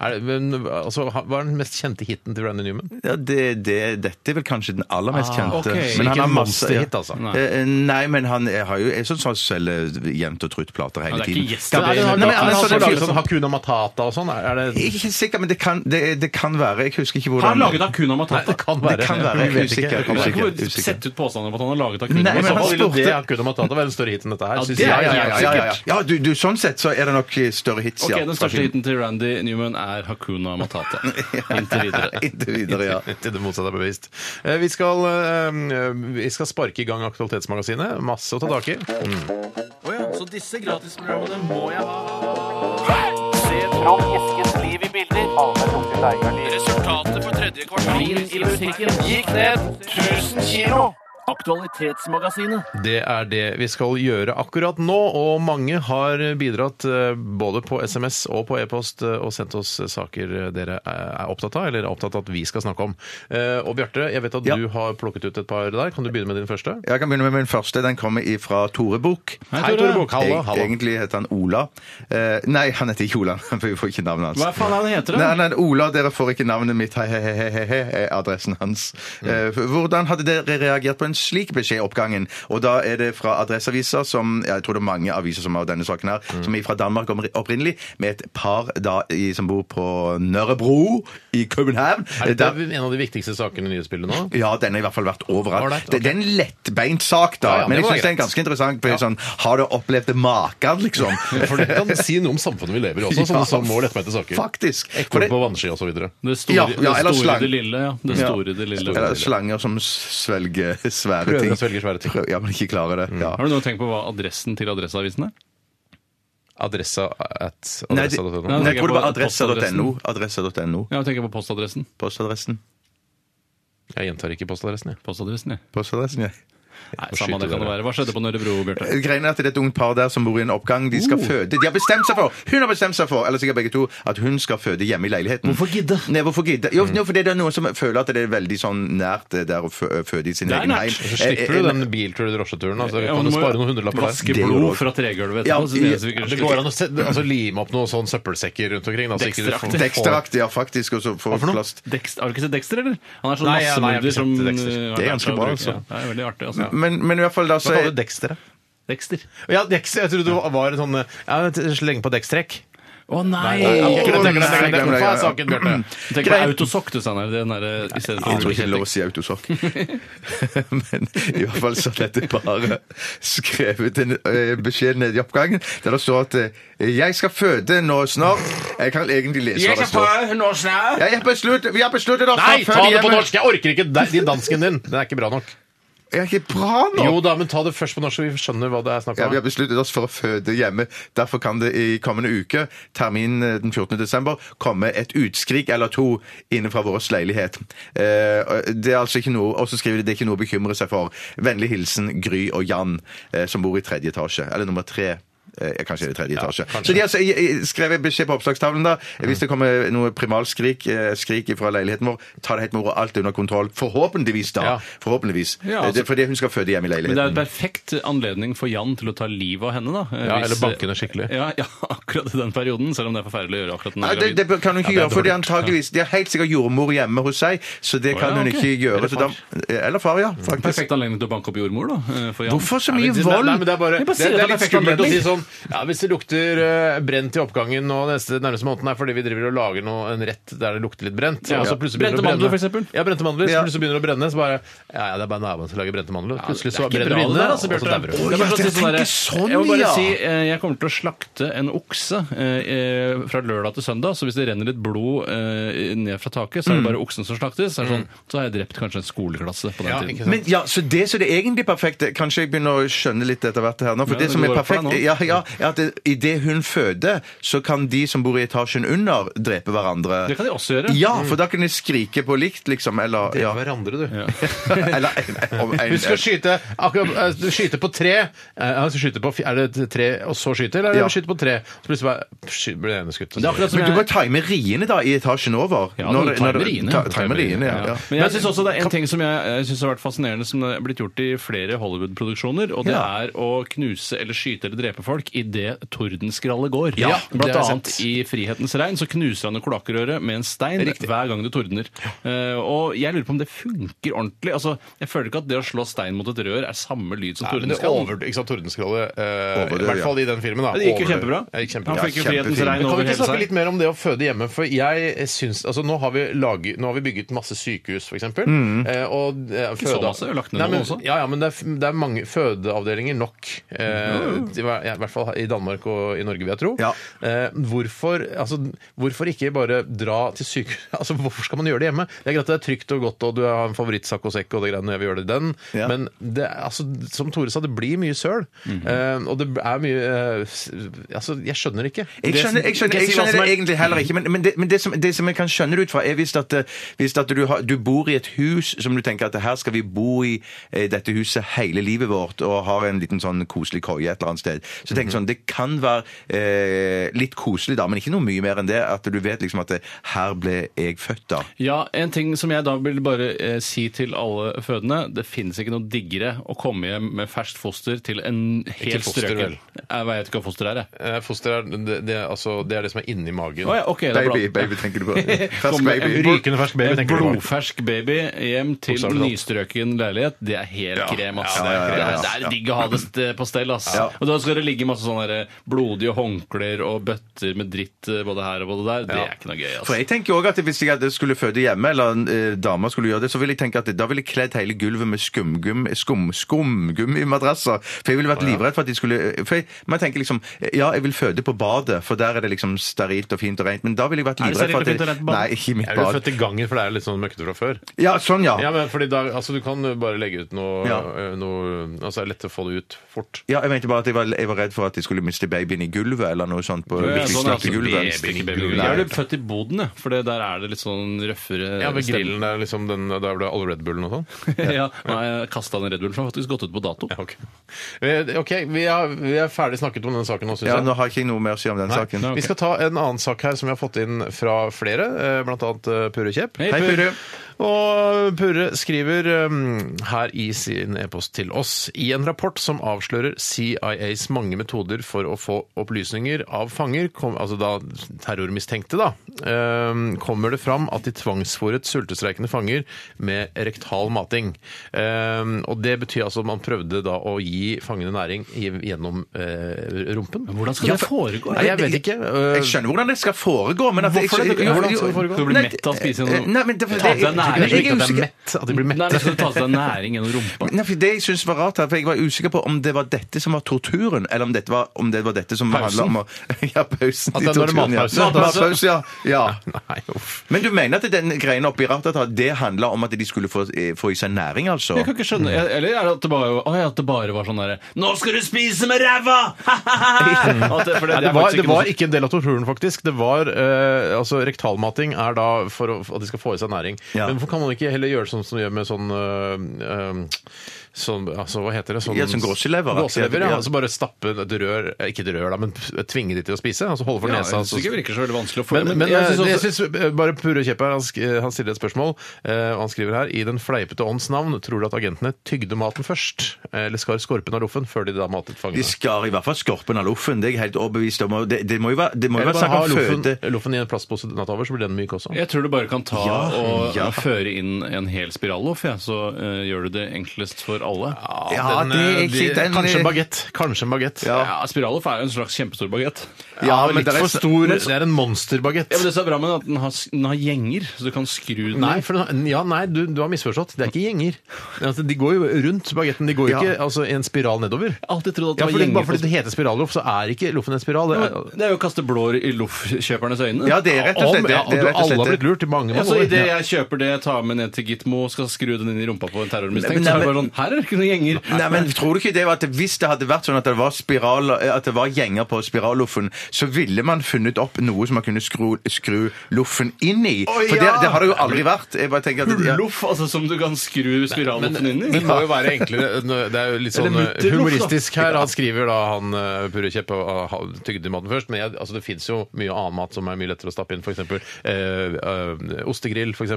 G: Er det, men, altså, ha- hva er den mest kjente hiten til Randy Newman?
H: Ja, det, det, dette er vel kanskje den aller mest kjente.
I: Ah, ok. Så
G: ikke
H: har
G: en
H: masse-
G: monsterhit, altså?
H: Nei. Eh, Nei, men han er- har jo jeg synes han selger jevnt og trutt plater hele
I: Ja, det er
H: tiden.
I: ikke gjester,
H: Kan-
I: det er-
H: Nei,
G: Han
H: men han er
G: har også
H: sånn-
G: laget sånn Hakuna Matata og sånn. Er er
H: Jeg
G: det
H: er ikke sikker, men det kan, det, det kan være. Jeg husker ikke hvordan
I: Har han laget Akuna
G: Nei,
I: Matata?
G: det kan være.
H: Det kan være.
G: Vi vet
H: Usikker.
G: ikke.
I: Du kan ikke
H: Usikker,
I: bare
H: usikker.
I: sette ut påstander om at han har laget Akuna
H: Nei,
G: I så
H: men han
I: Matata.
G: fall vil jo
H: spurte-
G: det Hakuna Matata være en større hit enn dette her.
I: Ja,
G: synes
I: det er-
G: jeg.
H: ja, ja, ja, ja, ja.
I: sikkert.
H: ja du, du, sånn sett så er det nok større hits,
I: Ok,
H: ja.
I: Den største hiten til Randy Newman er Hakuna Matata. Inntil videre.
H: Inntil videre, ja.
G: Til det motsatte er bevist. Eh, Vi skal, eh, vi skal sparke i gang Aktualitetsmagasinet. Masse å ta tak i.
I: Så disse gratisprogrammene må jeg ha. Resultatet for tredje kvartal gikk ned 1000 kilo. Aktualitetsmagasinet.
G: Det er det vi skal gjøre akkurat nå, og mange har bidratt eh, både på SMS og på e-post eh, og sendt oss saker dere eh, er er opptatt av, eller er opptatt av at vi skal snakke om. Eh, Og Bjarte, jeg vet at
H: Ja.
G: du har plukket ut et par der. Kan du begynne med din første?
H: Jeg kan begynne med min første. Den kommer fra Tore Buch.
G: Hei, Tore Buch. Halla,
H: Eg-
G: halla.
H: Egentlig heter han Ola. Eh, nei, han heter ikke Ola, for vi får ikke navnet hans.
I: Hva faen er det han heter, da?
H: Nei, nei, Ola, dere får ikke navnet mitt, hei, hei, hei, hei, hei, er adressen hans.
G: Mm.
H: Eh, hvordan hadde dere reagert på en slik beskjed i oppgangen? Og da er det fra adresseaviser, som ja, jeg tror det er mange aviser som har denne saken her,
G: Mm.
H: som er fra Danmark oppri- opprinnelig, med et par da, i, som bor på Nørrebro i København.
G: Er
H: Der-
G: det en av de viktigste sakene i nyhetsbildet nå?
H: ja, den har i hvert fall vært overalt.
G: Ålreit, ok.
H: Det, det er en lettbeint sak, da.
G: Ja, ja, men det
H: men jeg
G: var
H: syns det er
G: greit.
H: ganske interessant. På, sånn, har du opplevd maken, liksom?
G: For det kan si noe om samfunnet vi lever i også, sånne
H: Ja,
G: som må lettbeite saker.
H: Faktisk. For
G: Ekko
H: det,
G: på vannski og så videre.
I: Det store,
H: Ja, ja, eller
I: det, store
H: slang.
I: det lille. Ja. Det
H: Ja.
I: store, det lille.
H: eller slanger som svelger svære
G: Prøver
H: ting.
G: å svelge svære ting.
H: Prøv- ja, men ikke klarer det. Ja.
I: Mm. Har du noe tenkt på hva adressen til Adresseavisen er?
G: Adressa at
H: Nei, det-
G: adressa.no.
I: Nei,
H: Nei, jeg tror det var
I: Postadressen.
H: adresse.no. Adresse.no.
I: Ja, jeg tenker på postadressen.
H: Postadressen.
G: Jeg gjentar ikke postadressen, jeg.
I: Postadressen, ja.
H: Postadressen, ja.
I: Nei,
G: Må
I: samme
G: skyte
I: det kan det
G: dere.
I: være. Hva skjedde på Nørrebro, Bjarte?
H: Eh, Greien er at det er et ungt par der som bor i en oppgang. De skal
G: Oh.
H: føde. De har bestemt seg for, hun har bestemt seg for, eller sikkert begge to, at hun skal føde hjemme i leiligheten. Hvorfor gidde? Nei, hvorfor gidde?
I: Mm.
H: Jo, jo, fordi det er noen som føler at det er veldig sånn nært det der å fø- eh, føde i sin
I: Det er
H: egen
I: nært.
H: heim.
G: Så slipper du den bilturen eller drosjeturen. Altså,
I: Ja,
G: kan
I: men
G: du
I: må
G: spare
I: jo
G: noen hundrelapper der?
I: Vaske
H: Eh, Det gjør du
I: blod
H: også.
I: fra tregulvet.
H: Ja,
I: etterpå, så det
H: i-
I: eneste vi kunne
G: Det
I: slippe.
G: går an å se- altså, lime opp noen sånn søppelsekker rundt omkring. Da, så ikke du får-
I: Dexteraktig.
H: Deksteraktig, ja, faktisk. Og så får
G: for noe?
H: plass.
I: Dexter, har du ikke sett Dexter, eller? Han er sånn
G: Nei, ja, nei, jeg har
I: massemorder
G: ikke
I: som
G: sett Dexter.
I: uh, har
H: Det er
I: lært seg
H: ganske
I: å
H: bra,
I: bruke-
H: altså. Mm.
I: Ja, det er veldig artig, altså.
H: Men, men i hvert fall da
G: Hva
H: så
G: kaller du Dexter? da?
I: Dexter.
G: Ja, Dexter. Jeg trodde det var en sånn eh, ja, Slenge på Dextrek.
I: Å nei!
G: Glem det, glem det, glem det.
H: Glem
G: Hva er
H: det, ja, ja.
G: saken, Bjarte?
I: Mm. Tenk på autosokk, du, Steinar. det er den der, eh, i stedet for
H: Jeg tror ikke det er lov å
I: Kjetil.
H: si autosokk. Men i hvert fall så har dette paret skrevet en eh, beskjed nede i oppgangen der det står at eh, 'Jeg skal føde nå snart'. Jeg kan egentlig lese hva det står.
B: nå snart.
H: Jeg har besluttet, vi har besluttet oss
G: Nei,
H: for
G: ta det på
H: hjemme.
G: norsk! Jeg orker ikke de- de dansken din. Den er ikke bra nok.
H: Er ikke bra nå?
G: Jo da, men ta det først på norsk, så vi skjønner hva det er snakk
H: Ja, vi har
G: om.
H: besluttet oss for å føde hjemme. Derfor kan det i kommende uke, termin eh, den 14. desember, komme et utskrik eller to innenfra vår leilighet. Eh, Det er altså ikke noe, og så skriver de det er ikke noe å bekymre seg for. Vennlig hilsen Gry og Jan, eh, som bor i tredje etasje. Eller nummer tre. Eh, ja, Kanskje i tredje etasje. så de har altså, eh, eh, skrevet beskjed på oppslagstavlen da. Hvis det kommer noe primalskrik eh, skrik fra leiligheten vår, ta det helt med ro, alt er under kontroll. Forhåpentligvis, da.
G: Ja.
H: Forhåpentligvis.
I: Ja,
H: Eh,
I: altså-
H: det- Fordi hun skal føde hjemme i
I: Men
H: leiligheten.
I: det er en perfekt anledning for Jan til å ta livet av henne, da. Eh,
G: Ja, eller banke henne skikkelig.
I: Ja, ja, akkurat i den perioden, selv om det er forferdelig å gjøre akkurat
H: Nei, det,
I: når
H: det kan hun ikke gjøre, for de antageligvis, de har helt sikkert jordmor hjemme hos seg, så det kan
I: ja,
H: hun
I: ok.
H: ikke gjøre.
I: Eller
H: Så da, Eh, eller far, ja.
I: Perfekt
H: faktisk.
I: anledning til å banke opp jordmor, da. eh, For Jan.
H: Hvorfor så
G: Nei,
H: mye
G: men det-
H: vold?
G: Nei, men det er bare
I: Jeg
G: det,
I: bare
G: det
I: sier at
G: er
I: det er
G: litt
I: perfekt
G: skummelt å si
I: anledning.
G: sånn Ja, hvis det lukter eh, brent i oppgangen nå neste nærmeste måneden, er fordi vi driver og lager noe, en rett der det lukter litt brent.
I: Ja.
G: Og så plutselig begynner det
I: Brente
G: å
I: mandler,
G: brenne.
I: for eksempel.
G: Ja, brente mandler.
H: Ja.
G: Så plutselig begynner det å brenne, så bare Ja, ja, det er bare naboen som lager brente mandler. Plutselig så
I: Det
G: brenner det
I: er ikke bra det
G: inne,
I: der,
G: og
I: altså,
G: så
I: Bjarte.
G: dauer du.
I: Det er
H: ja,
I: bare sånn å
H: jeg
I: si sånn
H: tenker
I: der,
H: sånn,
I: Jeg må
H: ja.
I: bare si, eh, jeg kommer til å slakte en okse eh, eh, fra lørdag til søndag, så hvis det renner litt blod eh, ned fra taket, så er det bare oksen som slaktes. Så, er det sånn, så har jeg drept kanskje en skoleklasse på
G: Ja,
I: den
G: ikke
I: tiden.
G: sant?
H: Men ja, så det som det egentlig perfekte Kanskje jeg begynner å skjønne litt etter hvert her nå. For
I: Ja,
H: det
I: det
H: som er
I: går opp for deg
H: perfekt,
I: nå.
H: ja, ja, er at det- i det hun føder, så kan de som bor i etasjen under, drepe hverandre.
I: Det kan de også gjøre. Mm.
H: Ja, for da kan de skrike på likt, liksom. Eller
G: Ja.
H: ja.
G: hverandre, du.
H: Eller om en-
G: Husk å skyte akkurat, eh, skyte på tre. Eh, ja, så skyte på, fi- er det et tre og så skyte, eller er det
H: Ja.
G: skyte på tre? Så plutselig bare sky- blir det ene skutt. og
I: Det er
G: så-
I: akkurat som
H: Men du
I: jeg
H: kan time riene, da, i etasjen over.
I: Ja,
H: Når
I: du
H: det-
I: timer
H: når det-
I: riene.
H: ta- Timer riene, ja. ja.
I: Men jeg synes også det er en ting som jeg, jeg synes har vært fascinerende, som er blitt gjort i flere Hollywood-produksjoner, og det
H: Ja.
I: er å knuse eller skyte eller drepe folk. folk idet tordenskrallet går.
G: Ja, det
I: Blant
G: har jeg
I: annet
G: sett.
I: i Frihetens regn så knuser han jo kloakkrøret med en stein hver gang det tordner. Eh, og jeg lurer på om det funker ordentlig. Altså, Jeg føler ikke at det å slå stein mot et rør er samme lyd som
G: Nei, men det
I: tordenskrall.
G: over, ikke sant, Tordenskrallet eh,
H: Overdøv,
G: I hvert fall i den filmen. da
I: Men Det gikk jo
G: Overdøv.
I: kjempebra.
G: Det gikk kjempebra.
I: Han fikk jo
H: Ja,
I: Frihetens
H: kjempefint.
G: Men
I: regn
G: kan vi
I: over
G: ikke
I: hele
G: snakke
I: seg.
G: litt mer om det å føde hjemme? For jeg syns altså, nå, har vi laget, nå har vi bygget masse sykehus, f.eks. Eh, og eh,
I: Mm. Ikke så masse, vi har lagt ned
G: Nei,
I: noen
G: men,
I: også.
G: Ja, ja, men det er, det er mange fødeavdelinger nok. Eh,
I: Mm.
G: i, hver- ja, I hvert fall i Danmark og i Norge, vil jeg tro.
H: Ja.
G: Eh, hvorfor, altså, hvorfor ikke bare dra til sykehus? Altså, hvorfor skal man gjøre det hjemme? Det er greit at det er trygt og godt, og du har en favorittsak og sekk og det greiene, jeg vil gjøre det den,
H: Ja.
G: men det, er- altså, som Tore sa, det blir mye søl.
I: Mhm.
G: eh, og det er mye eh, s- Altså, jeg skjønner det ikke.
H: Jeg skjønner, jeg skjønner, jeg skjønner det egentlig heller ikke, men, men, det, men det, som, det som jeg kan skjønne det ut fra, er hvis at, eh, hvis at du, har, du bor i et hus som du tenker at her skal vi bo i eh, dette huset hele livet vårt, og har en liten sånn koselig koie et eller annet sted. Så tenk sånn, det kan være eh, litt koselig da, men ikke noe mye mer enn det, at du vet liksom at eh, her ble jeg født da.
I: Ja, en ting som jeg da vil bare eh, si til alle fødende, det finnes ikke noe diggere å komme hjem med ferskt foster til en helt
G: foster,
I: strøken.
G: vel?
I: Jeg vet ikke hva foster er, jeg.
G: Eh, Foster er det, det, er- altså, det er det som er inni magen.
I: Å ja, ok, det er bra.
H: Baby, baby tenker du på. Fersk
I: Kommer
H: baby.
I: en
G: Rykende fersk baby,
I: En
G: tenker du på.
I: blodfersk baby hjem til
G: Bokstavelig talt.
I: nystrøken leilighet, det er helt krem, ass.
H: ja, ja, ja, ja, ja.
I: Det er- det er digg å ha det st- på stell, ass. Og da skal det ligge masse sånne der eh, blodige håndklær og bøtter med dritt eh, både her og både der. Det er ikke noe gøy,
H: For
I: ass.
H: jeg tenker også at Hvis jeg hadde- skulle føde hjemme, eller en eh, dame skulle gjøre det, så ville jeg tenke at da ville jeg kledd hele gulvet med skumgum, skum, skumgummimadrasser. For jeg ville vært livredd for at de skulle eh, for jeg, Man tenker liksom Ja, jeg vil føde på badet, for der er det liksom sterilt og fint og rent, men da ville jeg vært
I: Er det
H: livredd for at
I: sterilt og
H: det-
I: fint og rent på badet?
H: Nei, ikke i mitt
G: Jeg ble født
H: bad.
G: i gangen, for det er litt sånn møkkete fra før.
H: Ja, sånn, ja.
G: Ja, men fordi da, altså, Du kan bare legge ut noe,
H: Ja.
G: eh, noe Altså, det er lett å få det ut fort.
H: Ja, jeg mente bare at jeg var, jeg var redd for at jeg skulle miste babyen i gulvet, eller noe sånt. på
I: Ja,
H: hvis jeg
I: sånn,
H: snakket
I: altså,
H: gulvet.
I: baby, ikke baby. Jeg ble født i boden, jeg, for det der er det litt sånn røffere
G: Ja, ved
I: stemning.
G: grillen der, liksom, den, der ble det all Red Bullen og sånn.
I: ja, nei, jeg kastet den Red Bullen, for den har faktisk gått ut på dato.
G: Ja, ok, Eh, ok, vi, er, vi er ferdig snakket om den saken nå, syns
H: Ja,
G: jeg.
H: Nå har ikke jeg noe mer å si om den saken.
I: Nei, ok.
G: Vi skal ta en annen sak her som vi har fått inn fra flere, eh, blant annet eh, Purre Kjepp.
I: Hei, Purre.
G: Og Purre skriver eh, her i sin e-post til oss i en rapport som avslører CIAs mange metoder for å få opplysninger av fanger, kom, altså da terrormistenkte, da, eh, kommer det fram at de tvangsfòret sultestreikende fanger med rektal mating. Eh, Og det betyr altså at man prøvde da å gi fangene næring gjennom eh, rumpen.
I: Hvordan skal det foregå?
G: Nei, jeg vet ikke. Øh,
H: Jeg skjønner hvordan det skal foregå, men at
G: Hvorfor
H: jeg-
G: det?
H: jo,
G: Hvordan
H: jo,
G: skal det foregå?
I: Du blir
H: Nei, eh,
I: mett av å spise noe.
H: Nei, men det,
I: Ta deg næring.
H: jeg- jeg
G: ikke
H: er
G: at det er
H: usikker-
G: mett, at de blir
I: Nei, liksom, men
G: mette.
I: skal du ta seg næring gjennom rumpa?
H: Nei, for Det jeg synes var rart her, for jeg var usikker på om det var dette som var torturen, eller om, dette var, om det var dette som
G: Pausen?
H: handla om å Ja, pausen
G: At
H: i
G: det- nå er det
H: torturen. ja.
G: matpause.
H: Matpause, ja. ja.
G: Nei, uff.
H: Men du mener at den greien oppi Ratata, det handla om at de skulle få, eh, få i seg næring, altså?
I: Jeg kan ikke skjønne, Eller er det at det bare, å, ja, at det bare var sånn derre 'Nå skal du spise med ræva!' At det- for det-
G: Nei,
I: det
G: det,
I: er
G: var,
I: faktisk
G: det
I: noe
G: var
I: som-
G: ikke en del av torturen, faktisk. Det var, eh, altså Rektalmating er da for å, at de skal få i seg næring.
H: Ja.
G: Men hvorfor kan man ikke heller gjøre sånn som de gjør med sånn eh, eh, Sånn, altså, hva heter det? Sånn,
H: Ja, sånn gåselever, da.
G: Gåselever,
H: Ja.
G: ja. Altså bare stappe et rør eh, Ikke et rør, da, men tvinge de til å spise. Altså holde for
I: Ja, jeg
G: nesa.
I: synes
G: Altså,
I: ikke det virker så veldig vanskelig å få
G: Men, men
I: jeg
G: eh,
I: synes
G: det
I: også-
G: jeg synes, eh, bare Purre Kjepp her, han, sk eh, han stiller et spørsmål. eh, og han skriver her I den fleipete ånds navn, tror du at agentene tygde maten først? eh, Eller skar skorpen av loffen før de da matet
H: De
G: fangene?
H: skar i hvert fall skorpen av loffen, det er jeg helt overbevist om. og Det, det må jo være, det må jo
G: Eller
H: være
G: bare
H: snakk
G: ha
H: om
G: loffen,
H: føde.
G: loffen i en plastpose natt over, så blir den myk også.
I: Jeg tror du bare kan ta
H: Ja,
I: og
H: ja.
I: føre inn en hel spiralloff, ja, så eh, gjør du det enklest for alle.
H: Ja,
G: den,
H: det er
G: eh,
H: ikke-
G: de-
H: den-
G: Kanskje en bagett. Kanskje en bagett.
I: Ja, Spiralloff er jo en slags kjempestor bagett.
G: Ja, men litt
H: det er-
G: for stor. Det er en monsterbagett.
I: Ja, men det som er bra med den, er at den har, s- den har gjenger, så du kan skru den
G: Nei,
I: i.
G: for, den- ja, nei du, du har misforstått. Det er ikke gjenger. Altså, de går jo rundt bagetten. De går jo
H: Ja.
G: ikke altså, i en spiral nedover.
I: Alltid trodd at det
G: Ja,
I: var
G: fordi,
I: gjenger.
G: bare fordi
I: på-
G: det heter spiralloff, så er ikke loffen en spiral. Det
I: Ja,
G: er,
I: men Det er jo å kaste blår i loffkjøpernes øyne.
H: Ja, det er rett og slett det.
G: ja,
H: det er
G: du,
H: rett og slett
G: alle har
H: det.
G: blitt lurt i mange
I: Altså,
G: mange år.
I: Idet jeg kjøper det, tar med ned til Gitmo, skal skru den inn i rumpa på en terrormistenkt,
H: Men-
I: så er
H: men-
I: det bare sånn Her er det ikke noen gjenger.
H: Nei, men tror du ikke det var at Hvis det hadde vært sånn at det var, spiral, at det var gjenger på spiralloffen, så ville man funnet opp noe som man kunne skru, skru loffen inn i. For det, det har det jo aldri vært. Jeg bare tenker at det, ja.
I: Loff, altså, som du kan skru spiralloffen inn i.
G: Men det må jo være enklere. Det er jo litt sånn
I: Eller mutterloff, da.
G: humoristisk her. Han skriver da han eh, Purre Kjepp og ah, ha- tygde maten først, men jeg, altså, det fins jo mye annen mat som er mye lettere å stappe inn, f.eks. Eh, eh, ostegrill, f.eks.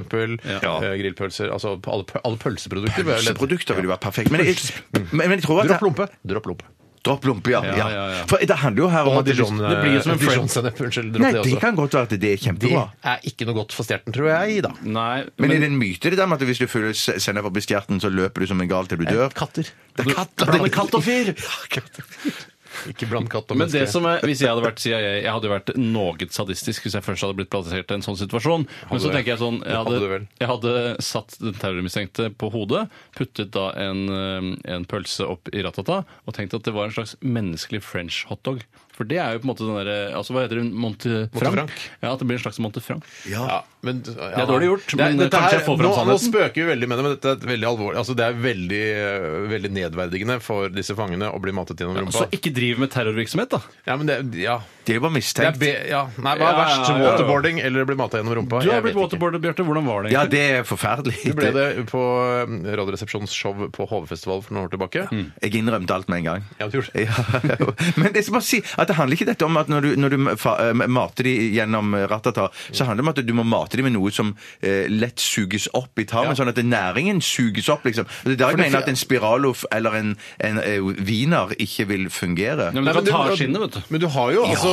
I: Ja.
G: Eh, grillpølser. Altså alle, pø- alle pølseprodukter. vil jeg lett-
H: Pølseprodukter ville jo vært perfekt. Mm. Men jeg, men, men jeg tror at
G: Mm. Dropp lompe. Dropp lompe.
H: Dropplompe, ja.
I: Ja,
H: ja,
I: ja, ja.
H: For det handler jo her om
G: Og
H: at det-
G: Dijon,
I: det blir jo som en
G: eh,
I: French-
G: Dijon-sennep. Unnskyld, dropp
H: Nei,
G: det
H: det
G: også.
H: kan godt være at det er
G: Det
H: kjempebra.
G: er ikke noe godt for stjerten, tror jeg, da.
I: Nei,
H: Men, er det en myte det der med at hvis du fyller se- sennep opp i stjerten, så løper du som en gal til du dør?
G: Katter.
H: Det er katt,
G: Blande katt og fyr! Ikke bland katt og
I: Men det
G: menneske.
I: som er, hvis jeg hadde vært CIA, jeg hadde vært noe sadistisk hvis jeg først hadde blitt plassert i en sånn situasjon. Men så
G: du-
I: tenker jeg sånn, jeg
G: hadde du
I: hadde,
G: vel?
I: jeg hadde satt den terrormistenkte på hodet, puttet da en, eh, en pølse opp i ratata, og tenkt at det var en slags menneskelig french hotdog. For det er jo på en måte den derre altså Hva heter hun? Monte Frank?
G: Frank.
I: Ja, at det blir en slags Monte Frank.
G: Ja, men, ja,
I: er dårlig gjort,
G: Det er-
I: men eh,
G: dette
I: kanskje
G: her-
I: jeg får fram
G: nå, nå
I: sannheten.
G: spøker vi veldig med det, men dette er et veldig alvorlig altså Det er veldig, eh, veldig nedverdigende for disse fangene å bli matet gjennom rumpa.
I: Så ikke driv med terrorvirksomhet, da.
G: Ja, men det, ja.
H: Det er jo bare
G: Det er
H: mistenkt.
G: be, ja. Nei, hva er
I: Ja, ja,
G: verst?
I: ja, ja.
G: Waterboarding eller bli mata gjennom rumpa?
I: Du
G: Jeg
I: har
G: vet
I: blitt
G: ikke.
I: waterboardet, Bjarte. Hvordan var det?
H: Ja,
I: egentlig?
H: det er forferdelig.
G: Du ble det på eh, Radioresepsjonens show på HV-festival for noen år tilbake.
I: Mm.
H: Jeg innrømte alt med en gang.
G: Ja, du gjorde det.
H: Ja. Men jeg skal bare si at det handler ikke dette om at når du, når du fa eh, mater de gjennom ratata, så handler det om at du må mate de med noe som eh, lett suges opp i tarmen, sånn at næringen suges opp, liksom. Og det er da jeg mener at en Spiraloff eller en, en eh, wiener ikke vil fungere.
I: Nei, men
G: Nei,
I: du
G: men
I: kan ta
G: du-
I: av skinnet, vet du.
G: Men du har jo altså eh,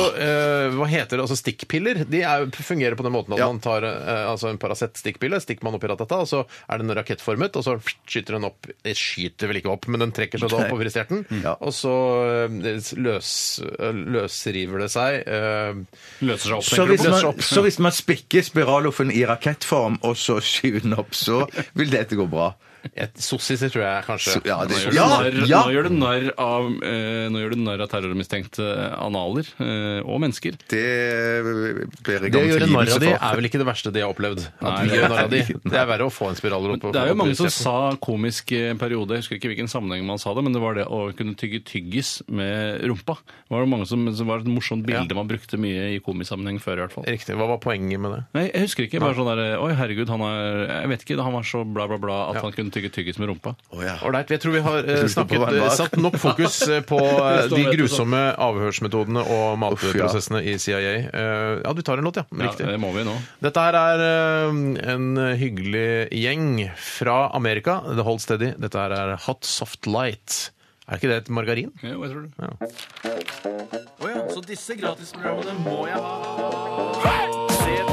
G: Hva heter det? Altså stikkpiller? De er, jo- fungerer på den måten at
H: Ja.
G: man tar eh, altså en Paracet-stikkpille, stikker man opp i ratata, og så er den rakettformet, og så skyter den opp eh, Skyter vel ikke opp, men den trekker seg da oppover i stjerten,
I: Mm.
H: Ja.
G: og så eh, løs, eh, løsriver det seg. eh,
I: Løser seg opp.
H: Så
I: tenker
H: hvis,
I: du.
H: man, så hvis man spikker Spiraloffen i rakettform, og så skyver den opp, så vil dette gå bra.
G: et Sossiser, tror jeg kanskje.
H: Så- ja, det-
I: Nå gjør du
H: ja,
I: narr-
H: ja.
I: Nå gjør du narr av, eh, nå gjør du narr av terrormistenkte analer eh, og mennesker.
H: Det blir jeg
G: Det å gjøre
H: tilgivelse
G: narr av de
H: for.
G: er vel ikke det verste de har opplevd. At
I: Nei,
G: vi gjør narr av de.
H: det er-
G: Det er verre å få en spiraler opp.
I: Det er jo mange som sa komisk i en periode, jeg husker ikke hvilken sammenheng man sa det, men det var det å kunne tygge tyggis med rumpa. Det var, det mange som, som var et morsomt bilde man brukte mye i komisk sammenheng før i hvert fall.
G: Riktig. Hva var poenget med det?
I: Nei, jeg husker ikke. Bare sånn der Oi, herregud, han er Jeg vet ikke, han var så bla, bla, bla at han kunne tygge tyggis med rumpa.
G: Ålreit. Jeg tror vi har eh,
H: Jeg lurte på
G: snakket,
H: hva den var.
G: eh, satt nok fokus eh, på eh,
I: Det
G: de
I: står rett og
G: grusomme avhørsmetodene og
H: ja.
G: matprosessene i CIA. Eh, Ja, du tar en låt, ja.
I: Ja,
G: Riktig.
I: det må vi nå.
G: Dette her er eh, en hyggelig gjeng fra Amerika. The Hold Steady. Dette her er Hot Soft Light. Er ikke det et margarin?
I: Jo, jeg tror det. Så disse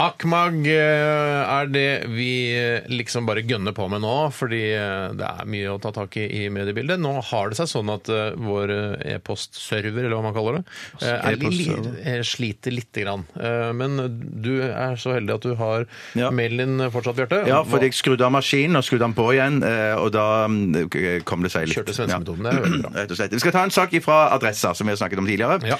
G: Akmag eh, er det vi eh, liksom bare gønner på med nå, fordi eh, det er mye å ta tak i i mediebildet. Nå har det seg sånn at eh, vår eh, e-postserver, eller hva man kaller det, eh, er li
H: E-postserver.
G: eh, sliter lite grann. Eh, Men du er så heldig at du har
H: Ja.
G: mailen din fortsatt, Bjarte.
H: Ja, fordi jeg skrudde av maskinen og skrudde den på igjen, eh, og da mm, kom det seg litt.
G: Kjørte svenskemetoden, det er veldig bra.
H: Rett og slett. Vi skal ta en sak fra Adressa, som vi har snakket om tidligere.
G: Ja.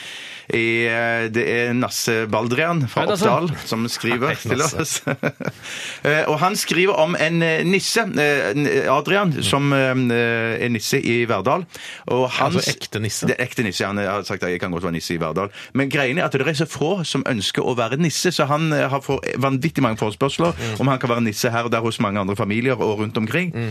H: I, eh, det er Nasse Baldrian fra
I: Hei, Nasse.
H: Oppdal som skriver
G: Hei,
H: til
G: Nasse.
H: oss. Eh, og han skriver om en eh, nisse, eh, Adrian, som eh, er nisse i Verdal. Og hans,
G: Altså ekte nisse.
H: Det er ekte nisse. Han har sagt at jeg kan godt være nisse i Verdal. Men greien er at det er så få som ønsker å være nisse, så han eh, har for, vanvittig mange forespørsler om han kan være nisse her og der hos mange andre familier og rundt omkring.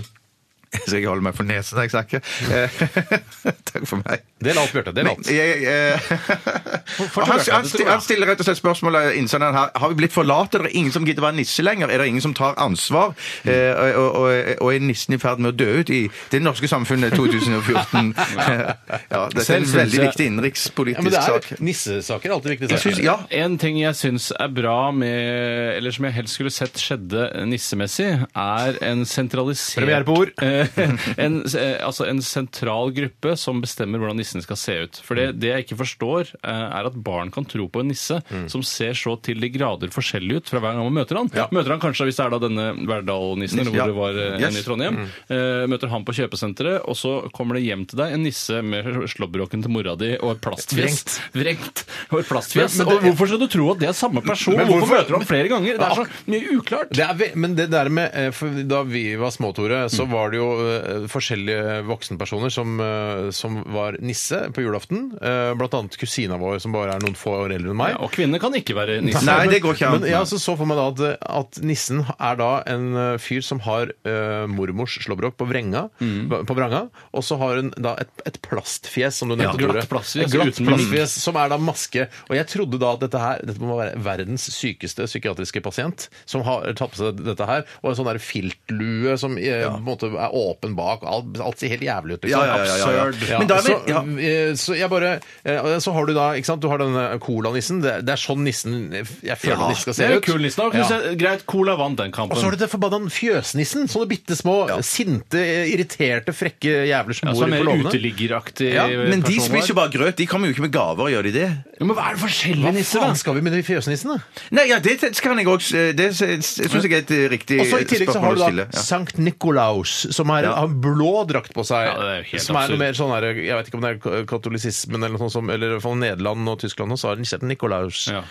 H: Så jeg holder meg for nesen når jeg snakker. Eh, Takk for meg.
G: Del alt, Bjarte. Del alt.
H: Jeg, eh,
G: fortsett,
H: han,
G: Bjarte,
H: han,
G: du
H: sti-
G: tror
H: han stiller rett og slett spørsmålet innsenderen her. Har vi blitt for late? Er det ingen som gidder å være nisse lenger? Er det ingen som tar ansvar? Eh, og, og, og, og er nissen i ferd med å dø ut i det norske samfunnet 2014? ja,
G: Selv
H: dette er en
G: synes
H: veldig
G: jeg-
H: viktig
G: Ja,
H: innenrikspolitisk
G: men det er,
H: sak.
G: nissesaker er alltid viktige
H: Jeg
G: saker.
H: synes, ja,
I: En ting jeg syns er bra med, eller som jeg helst skulle sett skjedde nissemessig, er en sentralisert
G: Premiere på ord.
I: en, eh, altså en sentral gruppe som bestemmer hvordan nissen skal se ut. For
G: Mm.
I: det, det jeg ikke forstår, eh, er at barn kan tro på en nisse
G: Mm.
I: som ser så til de grader forskjellig ut fra hver gang man møter han. Møter han kanskje, hvis det er da denne Verdal-nissen, eller hvor
H: Ja.
I: det var eh, en
H: Yes.
I: i Trondheim, eh, møter han på kjøpesenteret, og så kommer det hjem til deg en nisse med slåbroken til mora di og et plastfjes. Vrengt. Og et plastfjes.
G: Men- men det-
I: og hvorfor skal du tro at det er samme person?
G: Men
I: Hvorfor,
G: hvorfor-
I: møter du ham flere ganger? Det er så mye uklart.
G: Det er, ve- men det der med eh, for Da vi var små, Tore, så var det jo eh, forskjellige voksenpersoner som, eh, som var nisse på julaften. Eh, blant annet kusina vår, som bare er noen få år eldre enn meg.
I: Ja, og kvinner kan ikke være nisser.
H: Nei, det går ikke an.
G: Men jeg altså så for meg da at, at nissen er da en eh, fyr som har eh, mormors slåbrok på, vrenga,
H: Mm.
G: på vranga, og så har hun da et, et plastfjes, som du
I: Ja,
G: nevnte,
I: glatt
G: Tore.
I: plastfjes,
G: Et glatt
I: uten mimik.
G: plastfjes, som er da maske. Og jeg trodde da at dette her dette må være verdens sykeste psykiatriske pasient, som har tatt på seg dette her, og en sånn der filtlue som eh, på en måte er åpen bak, alt, alt ser helt jævlig ut, liksom.
H: Ja, ja, ja, ja, ja.
G: Absurd.
H: Men da er vi-
G: så,
H: ja.
G: Eh, Så jeg bare eh, Så har du da, ikke sant, du har den eh, colanissen. Det, det er sånn nissen jeg føler at nissen skal
I: Det
G: se
I: er jo
G: ut.
I: kul nissen. da.
G: Ja.
I: Kunne se- Greit, Cola vant den kampen.
G: Og så har du det forbanna fjøsnissen. Sånne bitte små, sinte, eh, irriterte, frekke jævler som
I: ja, som
G: bor
I: er
G: på
I: mer
G: låvene.
I: uteliggeraktig
G: Ja,
H: Men de
I: person var.
H: spiser jo bare grøt. De kommer jo ikke med gaver, gjør de det?
I: Ja, Men hva er det forskjellige
G: Hva
I: nisser, da?
G: faen skal vi med de fjøsnissene?
H: Nei, ja, det t- kan jeg også Det syns jeg er et eh, riktig
G: Og så I tillegg så har
H: spørsmål
G: du
H: å
G: da
H: stille. Ja.
G: Sankt Nikolaus, som er,
H: Ja.
G: har en blå drakt på seg.
I: Ja, det er jo helt
G: som er
I: absurd.
G: noe mer sånn her, Jeg vet ikke om det er katolisismen eller noe sånt, som- eller i hvert fall Nederland og Tyskland, og så har de Sankt Nikolaus.
I: Ja.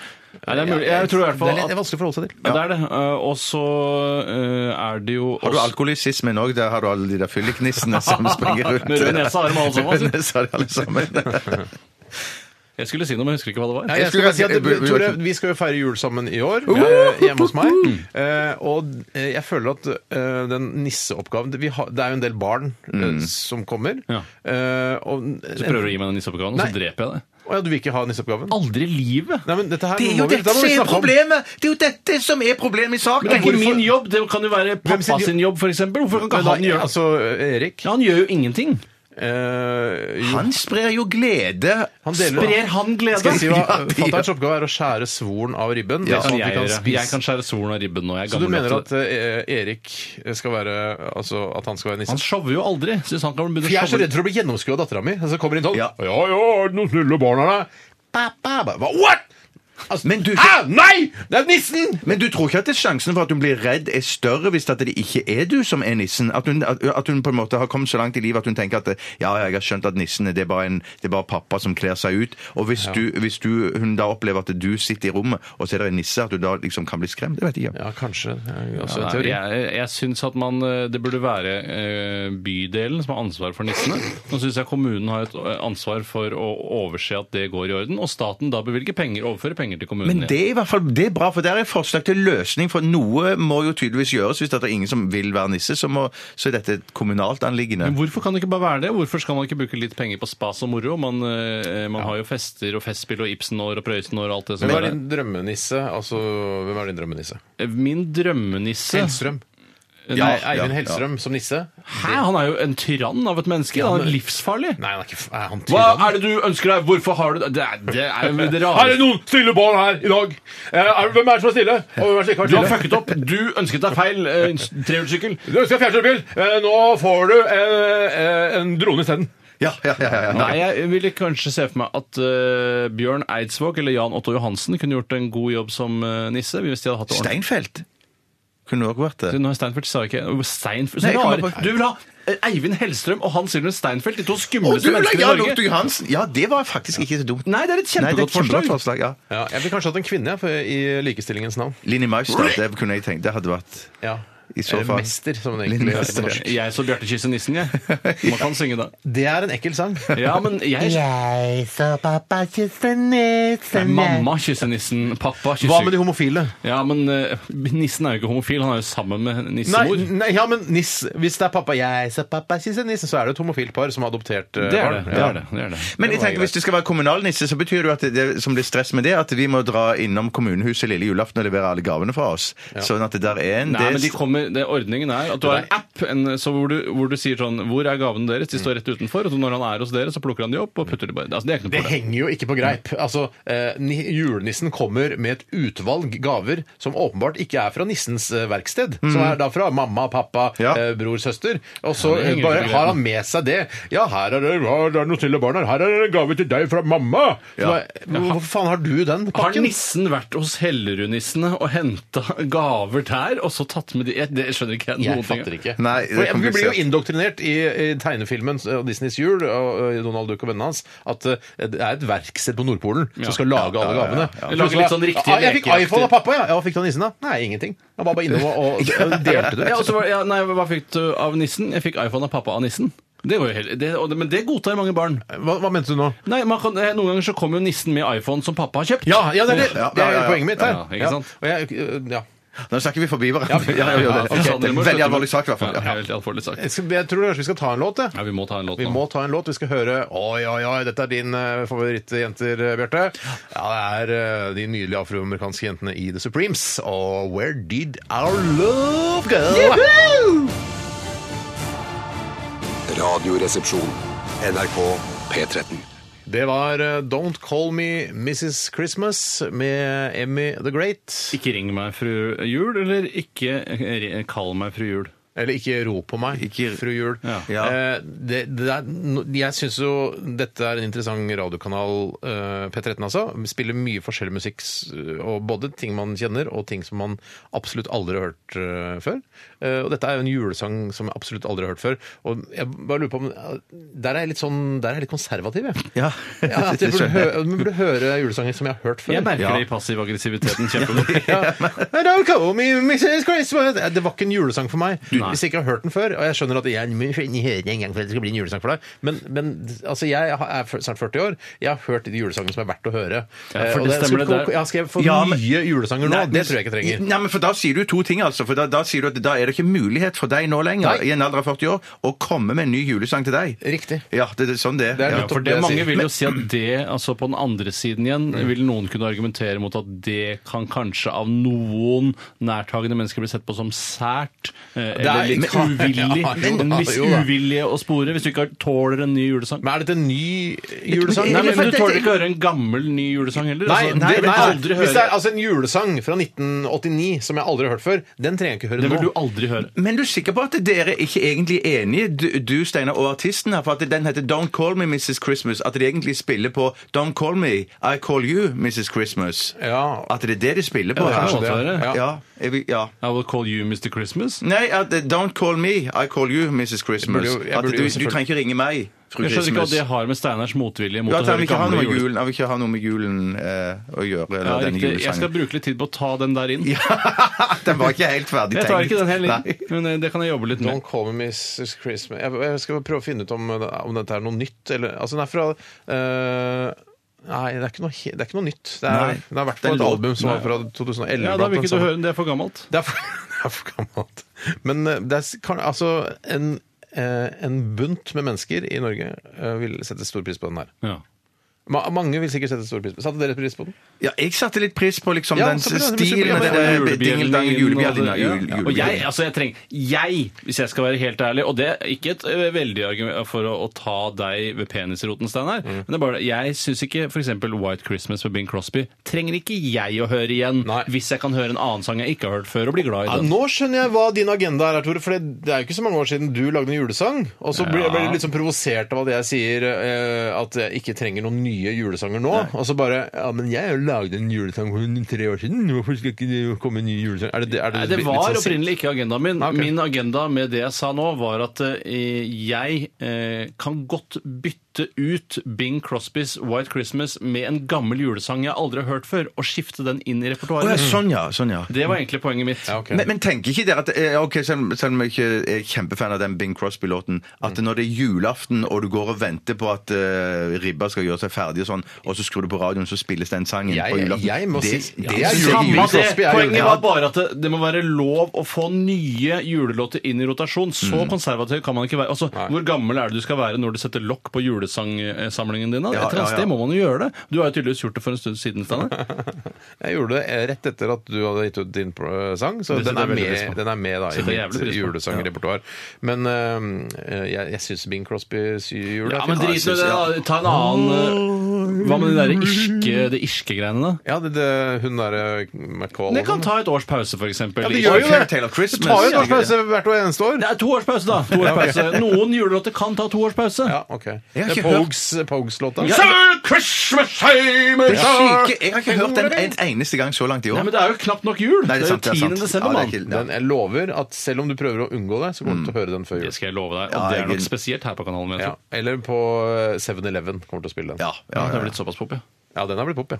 I: Nei, det er mulig. Jeg tror i hvert fall
G: Det er litt-
I: at-
G: det er vanskelig å forholde seg til.
I: Ja, det er det. Eh, Og så eh, er det jo
H: Har du
I: også-
H: alkoholisismen òg? Der har du alle de der fylliknissene som springer rundt.
I: Med rød nese har de alle sammen, altså.
H: Med rød nese har de alle sammen.
I: Jeg skulle si noe, men jeg husker ikke hva det var.
G: Nei, jeg skulle bare si at
H: Jeg-
G: Tore, Vi skal jo feire jul sammen i år, eh, hjemme hos meg. Eh, og eh, jeg føler at eh, den nisseoppgaven vi har, Det er jo en del barn eh, som kommer.
I: Ja.
G: Eh, og,
I: Så prøver du å gi meg den nisseoppgaven, og
G: Nei.
I: så dreper jeg deg.
G: Å ja, du vil ikke ha nisseoppgaven?
I: Aldri i livet!
G: Nei, men dette her
H: Det er
G: må
H: jo
G: vi- da
H: dette
G: må
H: som
G: vi
H: er
G: snakke om-
H: problemet! Det er jo dette som er problemet i saken!
I: Men det er ikke
H: Hvorfor-
I: min jobb! Det kan jo være
G: Hvem
I: pappa
G: sin
I: sin jobb, f.eks. Hvorfor
G: Men
I: kan ikke
G: da,
I: han gjøre det?
G: altså, Erik
I: Ja, han gjør jo ingenting.
G: eh, jo,
H: Han sprer jo glede.
G: han deler
I: Sprer han glede?
G: Skal jeg si hva?
H: Ja, det-
G: Fatterens oppgave er å skjære svoren av ribben.
I: Det
G: sånn at vi
I: kan jeg gjøre.
G: spise-
I: Jeg kan skjære solen av ribben nå. Jeg
G: Så
I: er
G: du
I: gammel nok
G: mener
I: til
G: at eh, Erik skal være Altså at han skal være
I: det.
G: nisse?
I: Han shower jo aldri. Synes han kan begynne
G: For jeg
I: å
G: er så
I: showe.
G: redd for å bli gjennomskua av dattera mi. Og så kommer inn sånn
H: Ja.
G: Ja, ja, er det noen snille barn her, da? Pappa ba- hva- What?! Altså,
H: Men du-
G: Hæ? Nei! Det er nissen!
H: Men du tror ikke at det er sjansen for at hun blir redd er større hvis at det ikke er du som er nissen? At hun, at, at hun på en måte har kommet så langt i livet at hun tenker at ja, jeg har skjønt at nissen det er bare, en, det er bare pappa som kler seg ut. Og hvis, du, hvis du, hun da opplever at du sitter i rommet og så er det en nisse, at du da liksom kan bli skremt? Det vet jeg ikke.
G: Ja, kanskje. Det er jo også en
I: Nei,
G: teori.
I: jeg jeg syns at man, eh, det burde være eh, bydelen som har ansvar for nissene. Nå syns jeg kommunen har et eh, ansvar for å overse at det går i orden, og staten da bevilger penger, overfører penger til kommunen.
H: Men det er i hvert fall det er bra, for der er forslag til løsning. For noe må jo tydeligvis gjøres. Hvis det er ingen som vil være nisse, så, må, så er dette et kommunalt anliggende.
I: Men hvorfor kan det ikke bare være det? Hvorfor skal man ikke bruke litt penger på spas og moro? Man, eh, man har jo fester og festspill og Ibsenår og Prøysenår og alt det som
G: Hvem er
I: er
G: din drømmenisse? Altså, hvem er din drømmenisse?
I: der. Min drømmenisse
G: Hellstrøm.
I: Nei,
G: Nei,
I: Hæ?
G: Eivind Hellstrøm som nisse?
I: Han er jo en tyrann av et menneske. Han er livsfarlig.
G: Nei, han er ikke f- er han
I: Hva
G: tyrann?
I: er det du ønsker deg? Hvorfor har du det? Det er, det er jo det
G: Er det
I: rareste.
G: noen stille barn her i dag? Eh, er, hvem er det som er stille? Og hvem er det som ikke
I: Du har
G: har vært
I: fucket opp. Du ønsket deg feil eh, trehjulssykkel.
G: Du ønsker deg fjernsynbil. Eh, nå får du eh, eh, en drone isteden.
H: Ja, ja, ja, ja, ja.
I: Nei, jeg ville kanskje se for meg at eh, Bjørn Eidsvåg eller Jan Otto Johansen kunne gjort en god jobb som eh, nisse. Hvis de hadde hatt det ordentlig.
H: Steinfeld kunne også vært det.
I: Du, Nå har Steinfeld sa jeg ikke Steinfeld,
H: Nei, jeg kommer
I: rar.
H: på-
I: Du vil ha eh, Eivind Hellstrøm og Hans Silvian Steinfeld, de to
H: Og
I: skumleste
H: du la
I: menneskene i
H: Jan
I: Norge.
H: Otto Johansen! Ja, det var faktisk ikke så dumt.
I: Nei, det er
H: Nei, det
I: et
H: er
I: kjempegodt
H: et kjempegodt
I: forslag.
H: forslag. Ja.
G: Ja, jeg ville kanskje hatt en kvinne jeg, for- i likestillingens navn.
H: Linni Meister, det kunne jeg tenkt. Det hadde vært
G: Ja.
H: I så
G: Eller
H: fall.
G: Mester, som det
H: Linni
G: egentlig heter på
H: Meister.
G: norsk.
I: Jeg så Bjarte kysse nissen, jeg. Man kan synge det.
G: Det er en ekkel sang.
I: Ja, men jeg
C: Jeg så pappa kysse nissen
I: Mamma kysser nissen, pappa kysser
G: Hva med de homofile?
I: Ja, men eh, nissen er jo ikke homofil, han er jo sammen med nissemor.
G: Nei, nei, ja, men niss, hvis det er pappa jeg så pappa kysser nissen, så er det et homofilt par som har adoptert eh,
I: Det er det.
G: barn.
I: det,
G: Ja.
I: er det, det, er det.
H: Men jeg tenker, hvis det skal være kommunalnisse, så betyr det jo at det som blir stress med det, at vi må dra innom kommunehuset lille julaften og levere alle gavene fra oss. Sånn at det der er en
I: Nei, men de
H: del
I: kommer, det, Ordningen er at du har en app en, så hvor, du, hvor du sier sånn Hvor er gavene deres? De står rett utenfor. Og så når han er hos dere, så plukker han de opp og putter de bare altså, Det er ikke noe
G: Det
I: problem.
G: henger jo ikke på greip.
H: Mm.
G: Altså, eh, ni- Julenissen kommer med et utvalg gaver som åpenbart ikke er fra nissens eh, verksted, som er da fra mamma, pappa,
H: Ja.
G: eh, bror, søster. Og så
I: Mm. det
G: eh,
I: henger ikke
G: bare
I: på greip.
G: har han med seg det. Ja, her er det, her er det noen snille barn her. Her er det en gave til deg fra mamma! Så
H: Ja.
G: bare, Hvor faen har du den
I: Har
G: pakken?
I: nissen vært hos Hellerudnissene og henta gaver der, og så tatt med de Jeg, det skjønner ikke jeg noen
G: Jeg
I: ting av.
G: fatter ikke.
H: Nei, Nei, det er
G: For vi blir jo
H: komplisert.
G: indoktrinert i, i tegnefilmen eh, og Disneys jul og eh, Donald Duck og vennene hans at eh, det er et verksted på Nordpolen som skal lage alle gavene.
I: ja. Lage litt sånn riktig
G: ja, Jeg fikk
I: lekeaktig.
G: iPhone av pappa, ja. ja! Hva fikk du av nissen, da? Nei, ingenting. Han var bare innom og, og, og delte det.
I: Ja, og så var, ja, nei, hva fikk du av nissen? Jeg fikk iPhone av pappa av nissen. Det var jo helt, det, og det, men det godtar mange barn.
G: Hva, hva mente du nå?
I: Nei, man kan, eh, Noen ganger så kommer jo nissen med iPhone som pappa har kjøpt.
G: Ja, ja det er det. Det er
H: ja, ja.
G: poenget mitt her.
I: Ja, ikke sant?
G: Og jeg, eh, ja.
H: Nå snakker vi forbi hverandre. Ja, ja, ja,
I: Ja, for
H: det.
I: faen,
H: Det
I: dere
H: er en Veldig
I: må slutte med-
H: alvorlig sak, i hvert fall.
I: Ja,
H: Ja.
I: helt alvorlig sak.
G: Jeg, skal, jeg tror kanskje vi skal ta en låt, jeg.
I: Ja, vi må ta en låt
G: Vi
I: nå.
G: må ta en låt. Vi skal høre Oi, oi, oi, dette er din eh, favorittjenter, eh, Bjarte. Ja, det er eh, de nydelige afroamerikanske jentene i The Supremes. Og Where Did Our Love Go?
F: Radioresepsjon. NRK P13.
G: Det var eh, Don't Call Me Mrs. Christmas med Emmy the Great.
I: Ikke ring meg fru jul, eller ikke eh, kall meg fru jul.
G: Eller ikke rop på meg,
H: Ikke-
G: fru Jul.
I: Ja.
G: Eh, det, det er, no- jeg syns jo dette er en interessant radiokanal, eh, P13 altså. Spiller mye forskjellig musikk, s- og både ting man kjenner og ting som man absolutt aldri har hørt eh, før. Eh, og dette er jo en julesang som jeg absolutt aldri har hørt før. Og jeg bare lurer på om Der er jeg litt, sånn, der er jeg litt konservativ, jeg.
H: Ja.
G: Ja, at jeg burde,
H: Det skjønner jeg.
G: hø burde høre julesanger som jeg har hørt før.
I: Jeg merker
H: Ja.
I: det i passiv aggressiviteten kjempegodt.
G: Ja. Don't call me Mrs. Christmas. Det var ikke en julesang for meg.
I: Nei.
G: Hvis jeg ikke har hørt den før. Og jeg skjønner at jeg må ikke høre den en gang for det skal bli en julesang for deg. Men, men altså, jeg er snart 40 år. Jeg har hørt de julesangene som er verdt å høre.
I: Ja, for
G: Eh, og
I: det stemmer
G: skulle
I: det
G: ikke-
I: der.
G: ja, skal jeg få
H: Ja, men-
G: nye julesanger nå? det tror jeg ikke jeg trenger.
H: Nei, men for Da sier du to ting. altså, for Da, da sier du at da er det ikke mulighet for deg nå lenger,
G: Nei.
H: i en alder av 40 år, å komme med en ny julesang til deg.
G: Riktig.
H: Ja, det, det, sånn det er.
G: Det er
H: ja.
G: nettopp
I: For
G: det
I: det
G: jeg
I: Mange
G: sier.
I: vil jo si at det, altså på den andre siden igjen, vil noen kunne argumentere mot at det kan kanskje av noen nærtagende mennesker bli sett på som sært, eh,
G: er-
I: eller litt
G: men-
I: uvillig.
G: Ja, jo da,
I: En viss
G: jo da.
I: uvilje å spore hvis du ikke tåler en ny julesang.
G: Men er dette en ny julesang?
I: Nei, men
G: eller?
I: Du tåler ikke å høre en gammel ny julesang heller?
G: Nei,
I: altså.
G: nei,
I: det vil
G: nei,
I: du aldri
G: Hvis det
I: høre.
G: er altså en julesang fra 1989 som jeg aldri har hørt før, den trenger jeg ikke høre
I: Det vil
G: nå.
I: du aldri høre.
H: Men du er sikker på at dere ikke egentlig er enige, du, du Steinar, og artisten her, for at den heter Don't Call Me Mrs. Christmas, at de egentlig spiller på Don't Call Me, I Call You Mrs. Christmas.
G: Ja.
H: At det er det de spiller på
G: Ja, det
H: her.
G: kan
I: godt være.
H: Ja. jeg vil- ja.
I: I will call you Mr. Christmas.
H: Nei, at eh, Don't Call Me, I Call You Mrs. Christmas.
G: Jeg burde jo- jeg
H: at
G: burde
H: du,
G: jo
H: du
G: selvfølgelig-
H: trenger ikke ringe meg, fru
I: Jeg skjønner ikke
H: Christmas.
I: hva det har med Steiners motvilje mot
H: Ja,
I: å
H: at han
I: høre
H: vil ikke ha noe
I: gamle
H: med
I: julesanger.
H: julen, han vil ikke ha noe med julen eh, å gjøre, eller
I: Ja,
H: denne
I: riktig. Jeg skal
H: julesangen.
I: bruke litt tid på å ta den der inn.
H: den var ikke helt ferdig
I: Jeg tar ikke den
H: Nei.
I: heller, men eh, det kan jeg jobbe litt med.
G: Don't call me Mrs. Christmas Jeg, jeg skal prøve å finne ut om, om dette er noe nytt. Eller, altså, den er fra eh, Nei, det er ikke noe, he- det er ikke noe nytt. Det er,
H: Nei.
G: den har vært
H: Det
G: på
H: er
G: et
H: lov-
G: album som var fra 2011. blant
I: Ja, da
G: annet.
I: vil ikke du høre den. Det er for gammelt.
G: Det er for, det er for gammelt. Men eh, det er s- kan, altså en, eh, en bunt med mennesker i Norge eh, vil sette stor pris på den her.
I: Ja.
G: Ma, mange vil sikkert sette stor pris på den. Satte dere pris på den?
H: Ja, jeg satte litt pris på liksom
G: Ja,
H: den
G: så bra, det
H: stilen
G: blir så
H: med
G: bra.
H: den der
I: Julebjellen
H: dingeldang, julebjellen.
I: og det-
H: jul-
I: ja. Og
H: julebjellen.
I: jeg, altså jeg trenger Jeg, hvis jeg skal være helt ærlig, og det er ikke et eh, veldig argument for å, å ta deg ved penisroten, Steinar,
H: Mm.
I: men det er bare det, jeg syns ikke f.eks. White Christmas med Bing Crosby trenger ikke jeg å høre igjen
G: Nei.
I: hvis jeg kan høre en annen sang jeg ikke har hørt før, og bli glad i
G: Ja,
I: den.
G: nå skjønner jeg hva din agenda er, Tore. For det, det er jo ikke så mange år siden du lagde en julesang. Og så blir jeg blir litt sånn provosert av at jeg sier eh, at jeg ikke trenger noen nye julesanger nå. Og så bare Ja, men jeg lagde en julesang for tre år siden. Hvorfor skal ikke det komme en ny julesang? Er det, er det,
I: Nei, det
G: litt
I: var
G: sånn sint? Ah,
I: opprinnelig ikke agendaen min.
G: Ok.
I: Min agenda med det jeg sa nå, var at eh, jeg eh, kan godt bytte ut Bing Crosbys White Christmas med en gammel julesang jeg aldri har hørt før, og skifte den inn i
H: Å, ja,
I: repertoaret.
H: sånn, ja. Sånn, ja.
I: Det var egentlig poenget mitt.
G: Ja, ok.
H: Men, men tenker ikke dere at eh, ok, selv, om- selv om jeg ikke er kjempefan av den Bing Crosby-låten, at
I: Mm.
H: når det er julaften og du går og venter på at eh, ribba skal gjøre seg ferdig og sånn, og så skrur du på radioen, så spilles den sangen
G: Jeg-
H: på julaften
G: jeg må
H: det,
G: si-
H: det,
G: jeg er
H: synes
G: julaften.
H: jeg er
I: Samme
H: julaften.
I: det.
G: Crosby er
I: Poenget
G: jo-
I: var bare at det, det må være lov å få nye julelåter inn i rotasjon. Så
G: Mm.
I: konservativ kan man ikke være. Altså, Hvor gammel er det du skal være når du setter lokk på julesangsamlingen din? da? Et
H: Ja,
I: eller annet
H: ja, ja.
I: sted må man jo gjøre det. Du har jo tydeligvis gjort det for en stund siden. Steinar.
G: Jeg gjorde det eh, rett etter at du hadde gitt ut din pro- sang, så
I: Det
G: den er,
I: setter jeg veldig
G: med,
I: pris på.
G: den er med da, i
I: Setter jeg jævlig
G: mitt
I: pris på.
G: julesangrepertoar. Men eh, jeg, jeg syns Bing Crosbys jul
I: Ja,
G: er
I: men
G: fint.
I: drit i det. da. Ta en annen eh, Hva med de der irske, de irske greiene, da?
G: Ja, det, det, hun derre McCall sånn.
I: Det kan ta et års pause, f.eks.
G: Ja, det gjør jo det!
H: Tale of Christmas.
G: Det tar jo en års pause hvert år eneste år.
I: Det er to års pause, da. To års pause. Noen julelåter kan ta to års pause.
G: Ja, ok.
H: Jeg har har ikke hørt
G: Pogues- Pogues-låta.
H: det syke, Jeg har ikke hørt den en eneste gang så langt i år.
I: Nei, men det er jo knapt nok jul!
H: Nei, det er sant, det er
I: jo 10.
H: sant. Ja, det
I: desember,
H: er
I: mann.
H: ikke-
G: Den, jeg lover at selv om du prøver å unngå det, så kommer du til å høre den før
I: Det
G: jul.
I: skal jeg love deg. Og
H: Ja,
I: det er nok
H: jeg-
I: spesielt her på kanalen. min,
G: Ja,
I: jeg tror.
G: eller på eh, 7-Eleven kommer til å spille den.
H: Ja, ja,
I: Det
H: ja.
I: er blitt såpass pop, ja.
G: Ja, den har blitt pop, ja.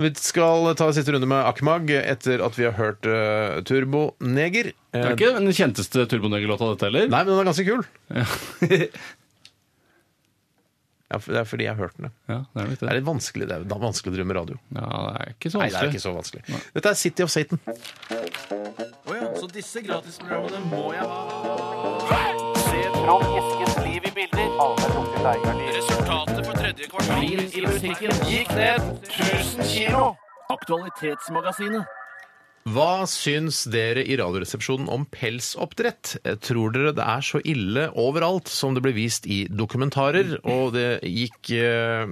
G: Vi skal ta siste runde med Akmag etter at vi har hørt eh, Turbo Neger. Eh,
I: Det er ikke den kjenteste Turboneger-låta, dette heller.
G: Nei, men den er ganske kul. Ja, for- det er fordi jeg har hørt den. ja.
I: Ja, det er litt
G: Det er
I: det.
G: litt vanskelig, det er da- vanskelig å drive med radio.
I: Ja, det er ikke så
G: Nei, det er
I: vanskelig.
G: ikke så vanskelig. Dette er City of Satan.
J: Så disse gratisprogrammene må jeg ha. Se fram eskens liv i bilder. Resultatet på tredje kvartal i musikken gikk ned 1000 kilo. Aktualitetsmagasinet.
G: Hva syns dere i Radioresepsjonen om pelsoppdrett? Eh, Tror dere det er så ille overalt som det ble vist i dokumentarer? Og det gikk eh,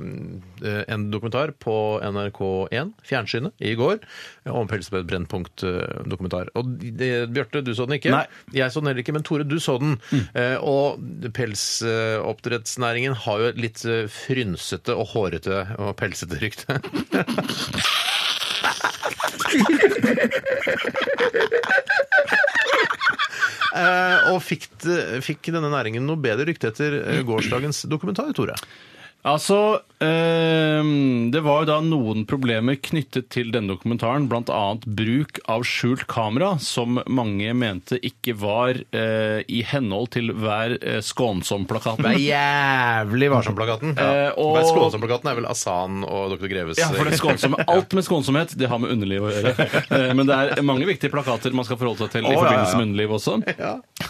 G: en dokumentar på NRK1, fjernsynet, i går eh, om pels på et Brennpunkt-dokumentar. Og det- Bjarte, du så den ikke?
H: Nei.
G: Jeg så den heller ikke, men Tore, du så den. Eh, Og pelsoppdrettsnæringen har jo et litt eh, frynsete og hårete og pelsete rykte. Eh, Og fikk, det- fikk denne næringen noe bedre rykte etter eh, gårsdagens dokumentar, Tore?
I: Altså, ehm, det var jo da noen problemer knyttet til denne dokumentaren, bl.a. bruk av skjult kamera, som mange mente ikke var eh, i henhold til hver eh, skånsom-plakaten.
G: jævlig varsom-plakaten.
I: Ja.
G: Eh, og... Skånsom-plakaten er vel Asan og Dr. Greves eh,
I: Ja, for det skånsomme, Alt med skånsomhet det har med underliv å gjøre. Eh, Men det er mange viktige plakater man skal forholde seg til i
H: ja,
I: forbindelse
H: ja.
I: med underliv også.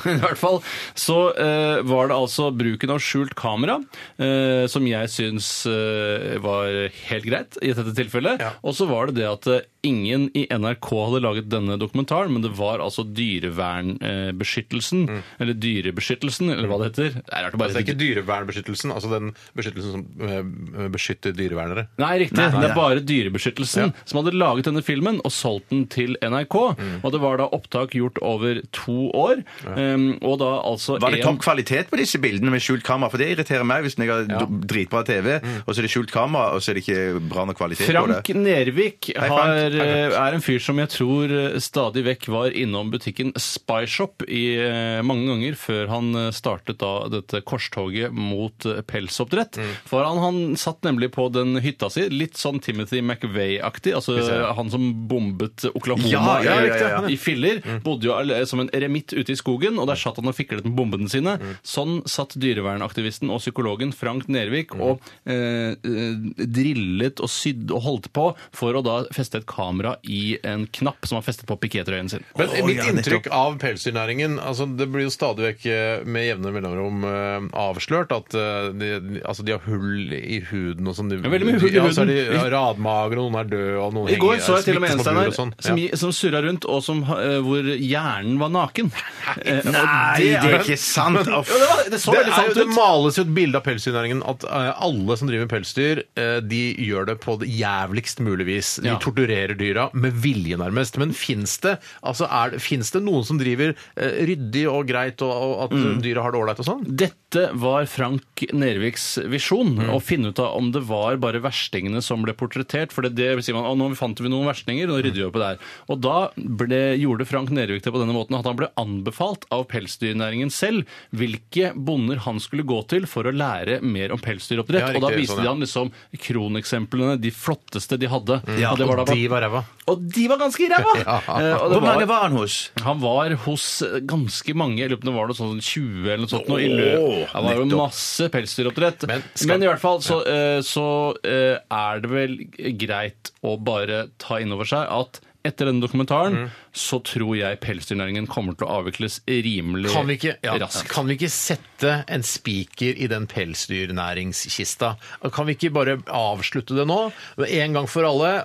I: I hvert fall så eh, var det altså bruken av skjult kamera, eh, som jeg syns eh, var helt greit i dette tilfellet. Og så var det det at eh, ingen i NRK hadde laget denne dokumentaren, men det var altså dyrevernbeskyttelsen, eller dyrebeskyttelsen, eller hva det heter. Det er rart å
G: Altså,
I: bare
G: det er ikke dyrevernbeskyttelsen, altså den beskyttelsen som eh, beskytter dyrevernere.
I: Nei, riktig. det er bare Dyrebeskyttelsen som hadde laget denne filmen og solgt den til NRK.
H: Mm.
I: Og det var da opptak gjort over to år. Um, og da altså
H: Var det
I: en-
H: topp kvalitet på disse bildene med skjult kamera? For det irriterer meg hvis jeg har do- dritbra TV, og så er det skjult kamera, og så er det ikke bra nok kvalitet
I: Mm. Frank
H: på det.
I: Nervik
H: Hei, Frank.
I: har, eh,
H: Hei, Frank.
I: er en fyr som jeg tror eh, stadig vekk var innom butikken Spy Shop i, eh, mange ganger før han eh, startet da dette korstoget mot eh, pelsoppdrett.
H: Mm.
I: For han, han satt nemlig på den hytta si, litt sånn Timothy McVeigh-aktig, altså eh, han som bombet Oklahoma
H: Ja, ja, ja, ja, ja.
I: i filler, bodde jo alle- som en eremitt ute i skogen, og der satt han og fiklet med bombene sine. Sånn satt dyrevernaktivisten og psykologen Frank Nervik og eh, eh, drillet og sydde og holdt på for å da feste et kamera i en knapp som han festet på piketrøyen sin.
G: Men
H: Å,
G: mitt
H: ja,
G: inntrykk av pelsdyrnæringen altså Det blir jo stadig vekk eh, med jevne mellomrom eh, avslørt at eh, de, altså de har hull i huden og sånn. De,
I: Ja, veldig mye hull i
G: ja, så er de
I: huden.
G: radmagre, og noen er døde, og noen
I: I går
G: henger
I: så jeg til og med en
G: smittet på bur
I: Steinar
G: og sånn.
I: som,
G: Ja.
I: gi- som surra rundt, og som, ha- eh, hvor hjernen var naken. Eh, og
H: Nei, det er
I: jo-
H: ikke sant! Uff.
I: Jo, det, var, det så
G: Det, er
I: veldig
G: jo,
I: sant
G: det
I: ut.
G: males jo et bilde av pelsdyrnæringen at eh, alle som driver med pelsdyr, eh, de gjør det på det jævligst mulig vis. De
I: Ja.
G: torturerer dyra med vilje, nærmest. Men fins det, altså er det- finnes det noen som driver eh, ryddig og greit, og, og at
I: Mm.
G: dyra har det ålreit og sånn?
I: Dette var Frank Nerviks visjon,
G: Mm.
I: å finne ut av om det var bare verstingene som ble portrettert. For det, det sier man, «Å, nå fant vi noen verstinger, nå rydder vi opp i det her. Og da ble, gjorde Frank Nervik det på denne måten at han ble anbefalt av pelsdyrnæringen selv hvilke bonder han skulle gå til for å lære mer om pelsdyroppdrett.
G: Ja,
I: og da
G: riktig,
I: viste
G: sånn, ja.
I: de ham liksom kroneksemplene, de flotteste de hadde.
H: Ja,
I: det var da-
G: Mm. De var ræva.
I: og de var ganske ræva! Eh, og det
H: Hvor mange
I: var-
H: var han hos?
I: han var hos ganske mange, jeg lurer på om det var noe sånn 20 eller noe sånt. nå i løpet. Det var jo
H: nettopp.
I: masse pelsdyroppdrett.
G: Men
I: Men,
G: skal-
I: i hvert fall så, eh, så eh, er det vel greit å bare ta inn over seg at etter denne
G: Mm.
I: dokumentaren så tror jeg pelsdyrnæringen kommer til å avvikles rimelig
G: Kan vi, ikke, ja,
I: raskt.
G: kan vi ikke sette en spiker i den pelsdyrnæringskista? Kan vi ikke bare avslutte det nå? En gang for alle.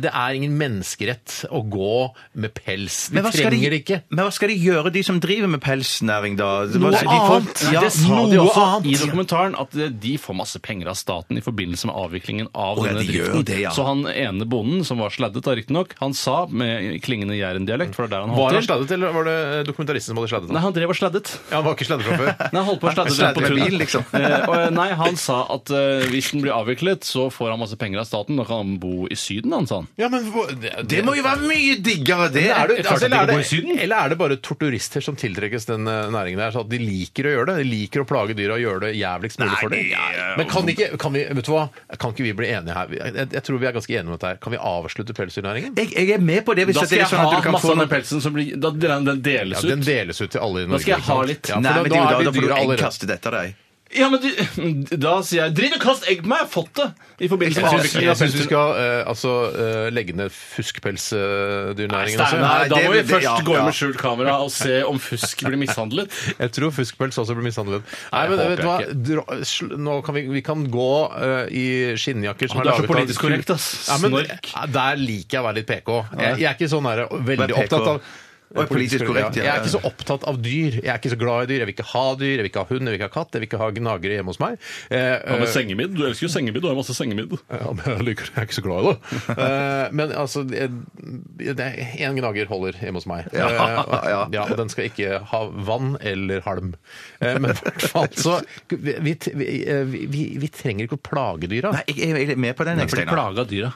G: Det er ingen menneskerett å gå med pels. Vi trenger
H: de,
G: det ikke.
H: men hva skal de gjøre, de som driver med pelsnæring, da?
G: Noe
H: de får-
G: annet.
H: Ja,
I: det sa de
G: noe
I: også i
G: annet.
I: dokumentaren, at de får masse penger av staten i forbindelse med avviklingen av
H: Å, ja,
I: denne
H: de gjør
I: driften.
H: det, ja.
I: Så han ene bonden, som var sladdet da riktignok, han sa USA med klingende jærendialekt, for det er der han
G: Var han
I: holdt til.
G: sladdet, eller var det eh, dokumentaristen som hadde sladdet?
I: Nei,
G: han?
I: han drev og sladdet.
G: Ja, han var ikke sladdet fra før.
I: Nei, han holdt på å sladde
H: Sladde
I: den på
H: med
I: tunet.
H: bil, liksom.
I: Eh, og, eh, nei, han sa at eh, hvis den blir avviklet, så får han masse penger av staten. Da kan han bo i Syden, han sa han.
G: Ja, men hvor- det,
H: Det må jo være mye diggere, det!
G: er det,
I: klart
G: altså,
I: at de
G: eller, er
I: bor i
G: det, eller er det bare torturister som tiltrekkes den eh, næringen der? Så at de liker å gjøre det? De liker å plage dyra og gjøre det jævligst mulig for dem? Men kan, ikke, kan, vi, vet du hva? kan ikke vi bli enige her? Jeg, jeg tror vi er ganske enige om dette her. Kan vi avslutte pelsdyrnæringen?
H: Jeg, jeg er med på det hvis
I: Da
H: det
I: skal
H: er
I: jeg
H: sånn at
I: ha
H: du kan
I: masse
H: få
I: av den
H: noen
I: pelsen som blir da, Den den deles
G: Ja, den
I: ut.
G: deles ut til alle i Norge.
I: skal jeg
G: ikke sant?
I: ha litt.
G: Ja, for
H: Nei,
G: da,
H: men det
G: da,
H: er jo da,
G: er
H: da
G: de
H: får du
G: dyra allerede.
H: eggkastet etter deg.
I: Ja, men du, Da sier jeg 'driv og kast egg på meg! Jeg har fått det!' I forbindelse med
G: Jeg syns- Jeg syns vi
I: avviklingen.
G: skal eh, altså, eh, legge ned fuskpelsdyrnæringen også.
I: Nei, da
H: det
I: må vi
H: vil- det-
I: først
H: ja,
I: gå
H: ja.
I: inn med skjult kamera og se om fusk blir mishandlet.
G: Jeg tror fuskpels også blir mishandlet. Nei, men
I: håper
G: vet du hva?
I: jeg
G: Dra, sl- nå kan vi, vi kan gå eh, i skinnjakker som
I: Å,
G: er
I: du er så
G: laget av
I: politisk korrekt, ass.
G: Ja, men,
I: Snork.
G: ja, der liker jeg å være litt PK. Jeg, jeg er ikke sånn her,
H: Vær
G: veldig
H: PK.
G: opptatt av
H: Og er politisk korrekt, ja.
G: Jeg er ikke så opptatt av dyr. Jeg er ikke så glad i dyr. Jeg vil ikke ha dyr, jeg vil ikke ha hund, jeg vil ikke ha katt, jeg vil ikke ha gnagere hjemme hos meg. Eh,
I: Hva med
G: eh,
I: sengemidd? Du elsker jo sengemidd. Du har jo masse sengemidd.
G: ja, men jeg liker det. Jeg er ikke så glad i det. Eh, men altså Én gnager holder hjemme hos meg.
H: Ja,
G: Eh, og-
H: ja.
G: ja, og den skal ikke ha vann eller halm. Eh, men i hvert fall så vi, vi, vi, vi, vi trenger ikke å plage dyra.
H: Nei, jeg, jeg er med på den. jeg,
I: For de
H: Steinar.
I: plaga dyra.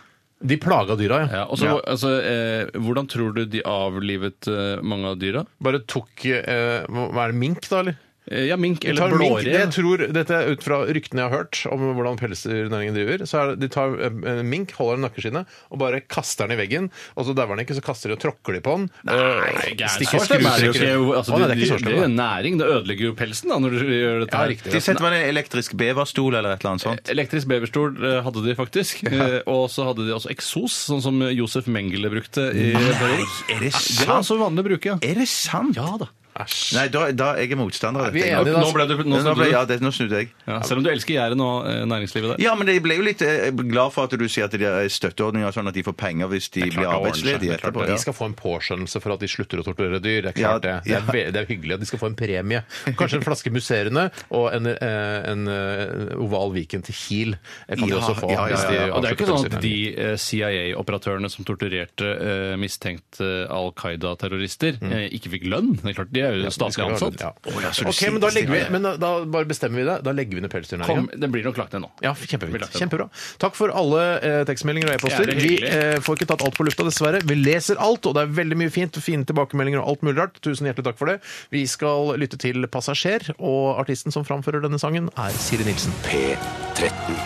G: De plaga dyra, ja.
I: Ja, og så, altså, eh, hvordan tror du de avlivet eh, mange av dyra?
G: Bare tok eh, Hva er det, mink, da, eller?
I: Eh, ja, mink
G: De tar
I: eller
G: mink, det
I: blårev.
G: jeg tror, dette er ut fra ryktene jeg har hørt om hvordan pelsdyrnæringen driver. så er det, De tar eh, en mink, holder den i nakkeskinnet og bare kaster den i veggen. og Så dauer den ikke, så kaster de og tråkker de på den.
I: Eh,
G: Eh, Nei,
I: Stikker skruestykker. Altså,
G: Å, nei,
I: det,
G: det er ikke så
I: det er
G: slemt. da.
I: næring. Det ødelegger jo pelsen da, når du gjør dette. her.
G: riktig,
H: De setter meg en elektrisk beverstol eller et eller annet sånt.
I: Elektrisk beverstol eh, hadde de faktisk. Eh, Og så hadde de også eksos, sånn som Josef Mengele brukte. I Nei,
H: er det
I: Det var
H: sant?
I: altså vanlig å bruke, ja.
H: Er det sant?
I: Ja da.
H: Nei, da, da er jeg motstander. av
G: Vi
H: dette.
G: er enige, da.
I: Nå ble du, nå
H: Nå
I: snudde
H: ble,
I: du.
H: ja, det, nå snudde jeg.
I: Ja, selv om du elsker gjerdet nå, eh, næringslivet der.
H: Ja, men jeg ble jo litt eh, glad for at du sier at de har støtteordninger, sånn at de får penger hvis de blir arbeidsledige etterpå.
G: De skal få en påskjønnelse for at de slutter å torturere dyr. Det er
H: Ja,
G: klart det. Det er, ve- det er hyggelig at de skal få en premie. Kanskje en flaske musserende og en, eh, en eh, oval Viken til Kiel eh, kan de
H: Ja,
G: også få.
H: ja, ja,
G: hvis de
H: ja.
I: Og det er jo ikke sånn
G: avslutter
I: at de eh, CIA-operatørene som torturerte eh, mistenkt eh, Al Qaida-terrorister, eh, ikke fikk lønn. Det er klart, De er jo statlig
G: pelsdyrnæringen.
I: ansatt.
G: Ja.
H: ja, så du
G: Ok,
H: sier-
G: men da, legger vi, men da, da bare bestemmer vi det. Da legger vi ned pelsdyrnæringen.
I: Kom, den blir nok lagt ned nå.
G: Ja,
I: Blir
G: kjempefint.
I: lagt ned.
G: Kjempebra. Takk for alle eh, tekstmeldinger og
I: Det
G: e-poster.
I: er
G: Vi
I: hyggelig.
G: eh, får ikke tatt alt på lufta, dessverre. Vi leser alt, og det er veldig mye fint. Fine tilbakemeldinger og alt mulig rart. Tusen hjertelig takk for det. Vi skal lytte til Passasjer, og artisten som framfører denne sangen, er Siri Nilsen.
F: P13.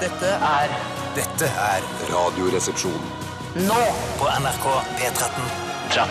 B: Dette er
F: Dette er Radioresepsjonen.
B: nå på NRK P13.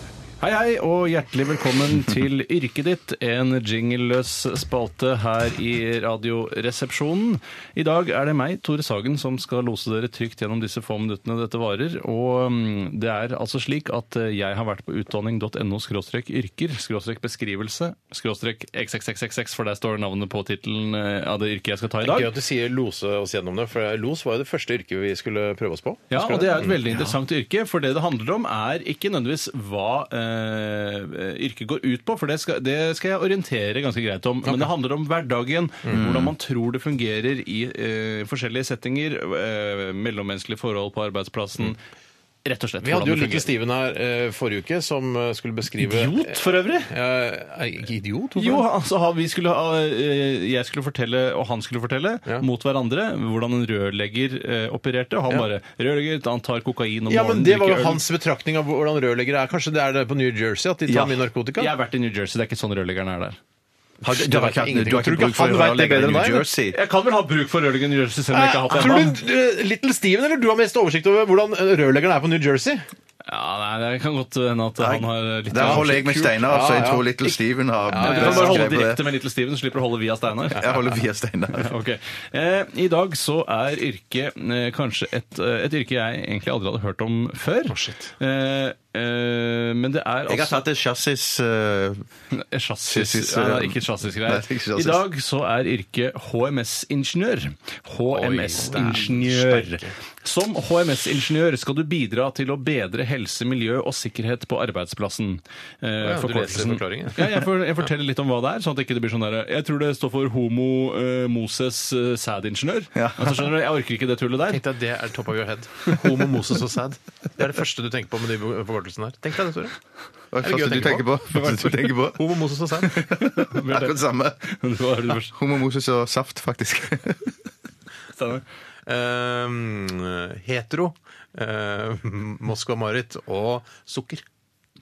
I: Hei, hei, og hjertelig velkommen til Yrket ditt, en jingleløs spalte her i Radioresepsjonen. I dag er det meg, Tore Sagen, som skal lose dere trygt gjennom disse få minuttene dette varer. Og mm, det er altså slik at eh, jeg har vært på utdanning.no-yrker, beskrivelse, skråstrek xxxxx, for der står navnet på tittelen eh, av det yrket jeg skal ta i dag.
G: Gøy at du sier lose oss gjennom det, for los var jo det første yrket vi skulle prøve oss på.
I: Ja, og det er et veldig interessant yrke, for det det handler om er ikke nødvendigvis hva eh, yrket går ut på, for det skal, det skal jeg orientere ganske greit om, men det handler om hverdagen,
G: Mm.
I: hvordan man tror det fungerer i eh, forskjellige settinger, eh, mellommenneskelige forhold på arbeidsplassen, rett og slett.
G: Mm. Vi hadde jo
I: hvordan det
G: Little
I: fungerer.
G: Steven her eh, forrige uke, som eh, skulle beskrive
I: Idiot, for øvrig?
G: Eh, ikke idiot? hvorfor?
I: Jo, altså han- vi skulle, ha- eh, jeg skulle fortelle, og han skulle fortelle, mot hverandre, hvordan en rørlegger eh, opererte, og han bare, rørlegger, han tar kokain om
G: Ja,
I: morgenen,
G: men Det var jo
I: drikker øl.
G: hans betraktning av hvordan rørleggere er. Kanskje det er det på New Jersey at de tar
I: Ja.
G: mye narkotika?
I: Jeg har vært i New Jersey, det er ikke sånn rørleggeren er der.
H: Har du, du, har ikke, hatt-
G: ingenting.
H: du har
G: Tror du
H: ikke
G: ikke
H: bruk for
G: han vet det bedre enn
H: rørleggere i New
G: deg, vet
H: Jersey?
I: Jeg kan vel ha bruk for rørleggeren i New Jersey, selv om jeg ikke har hatt det
G: Tror
I: ennå.
G: du eh, Little Steven eller du har mest oversikt over hvordan eh, rørleggeren er på New Jersey?
I: Ja, nei, det kan godt hende at han har litt
H: Der holder jeg med Steinar, altså. Jeg
G: Ja, ja.
H: tror Little Steven har
I: Du
H: best
I: kan bare holde
H: greie på det.
I: direkte med Little Steven, så slipper du å holde via Steinar.
H: Jeg holder via Steinar.
I: Ok. Eh, I dag så er yrket eh, kanskje et, eh, et yrke jeg egentlig aldri hadde hørt om før. Eh, eh, men det er
H: Jeg har tatt et chassis eh,
I: Chassis
H: Chassis,
I: Nei,
H: ja.
I: det
H: eh, Nei, det er
I: er ikke
H: ikke
I: chassisgreier.
H: chassis.
I: I dag så er yrket HMS-ingeniør. HMS-ingeniør. Som HMS-ingeniør skal du bidra til å bedre helse, miljø og sikkerhet på arbeidsplassen. Eh,
G: ja, du leser
I: forkortelsen-
G: forklaringen.
I: ja, jeg, for, jeg forteller litt om hva det er, sånn at det ikke blir sånn der Jeg tror det står for Homo eh, Moses eh, sædingeniør. Altså, skjønner du, jeg orker ikke det tullet der.
G: Tenk deg at det er top of your head. Homo Moses og sad. Det er det første du tenker på med de forkortelsene her. Tenk deg det, Tore.
H: Hva er
G: gøy
H: det
G: å
H: første du
G: tenke
H: tenker på? Første du tenker på?
G: Homo Moses og sad.
H: Akkurat det samme.
I: Det var det første.
H: Homo Moses og saft, faktisk.
I: Steinar.
G: Eh, hetero. eh, Moskva-Marit og sukker.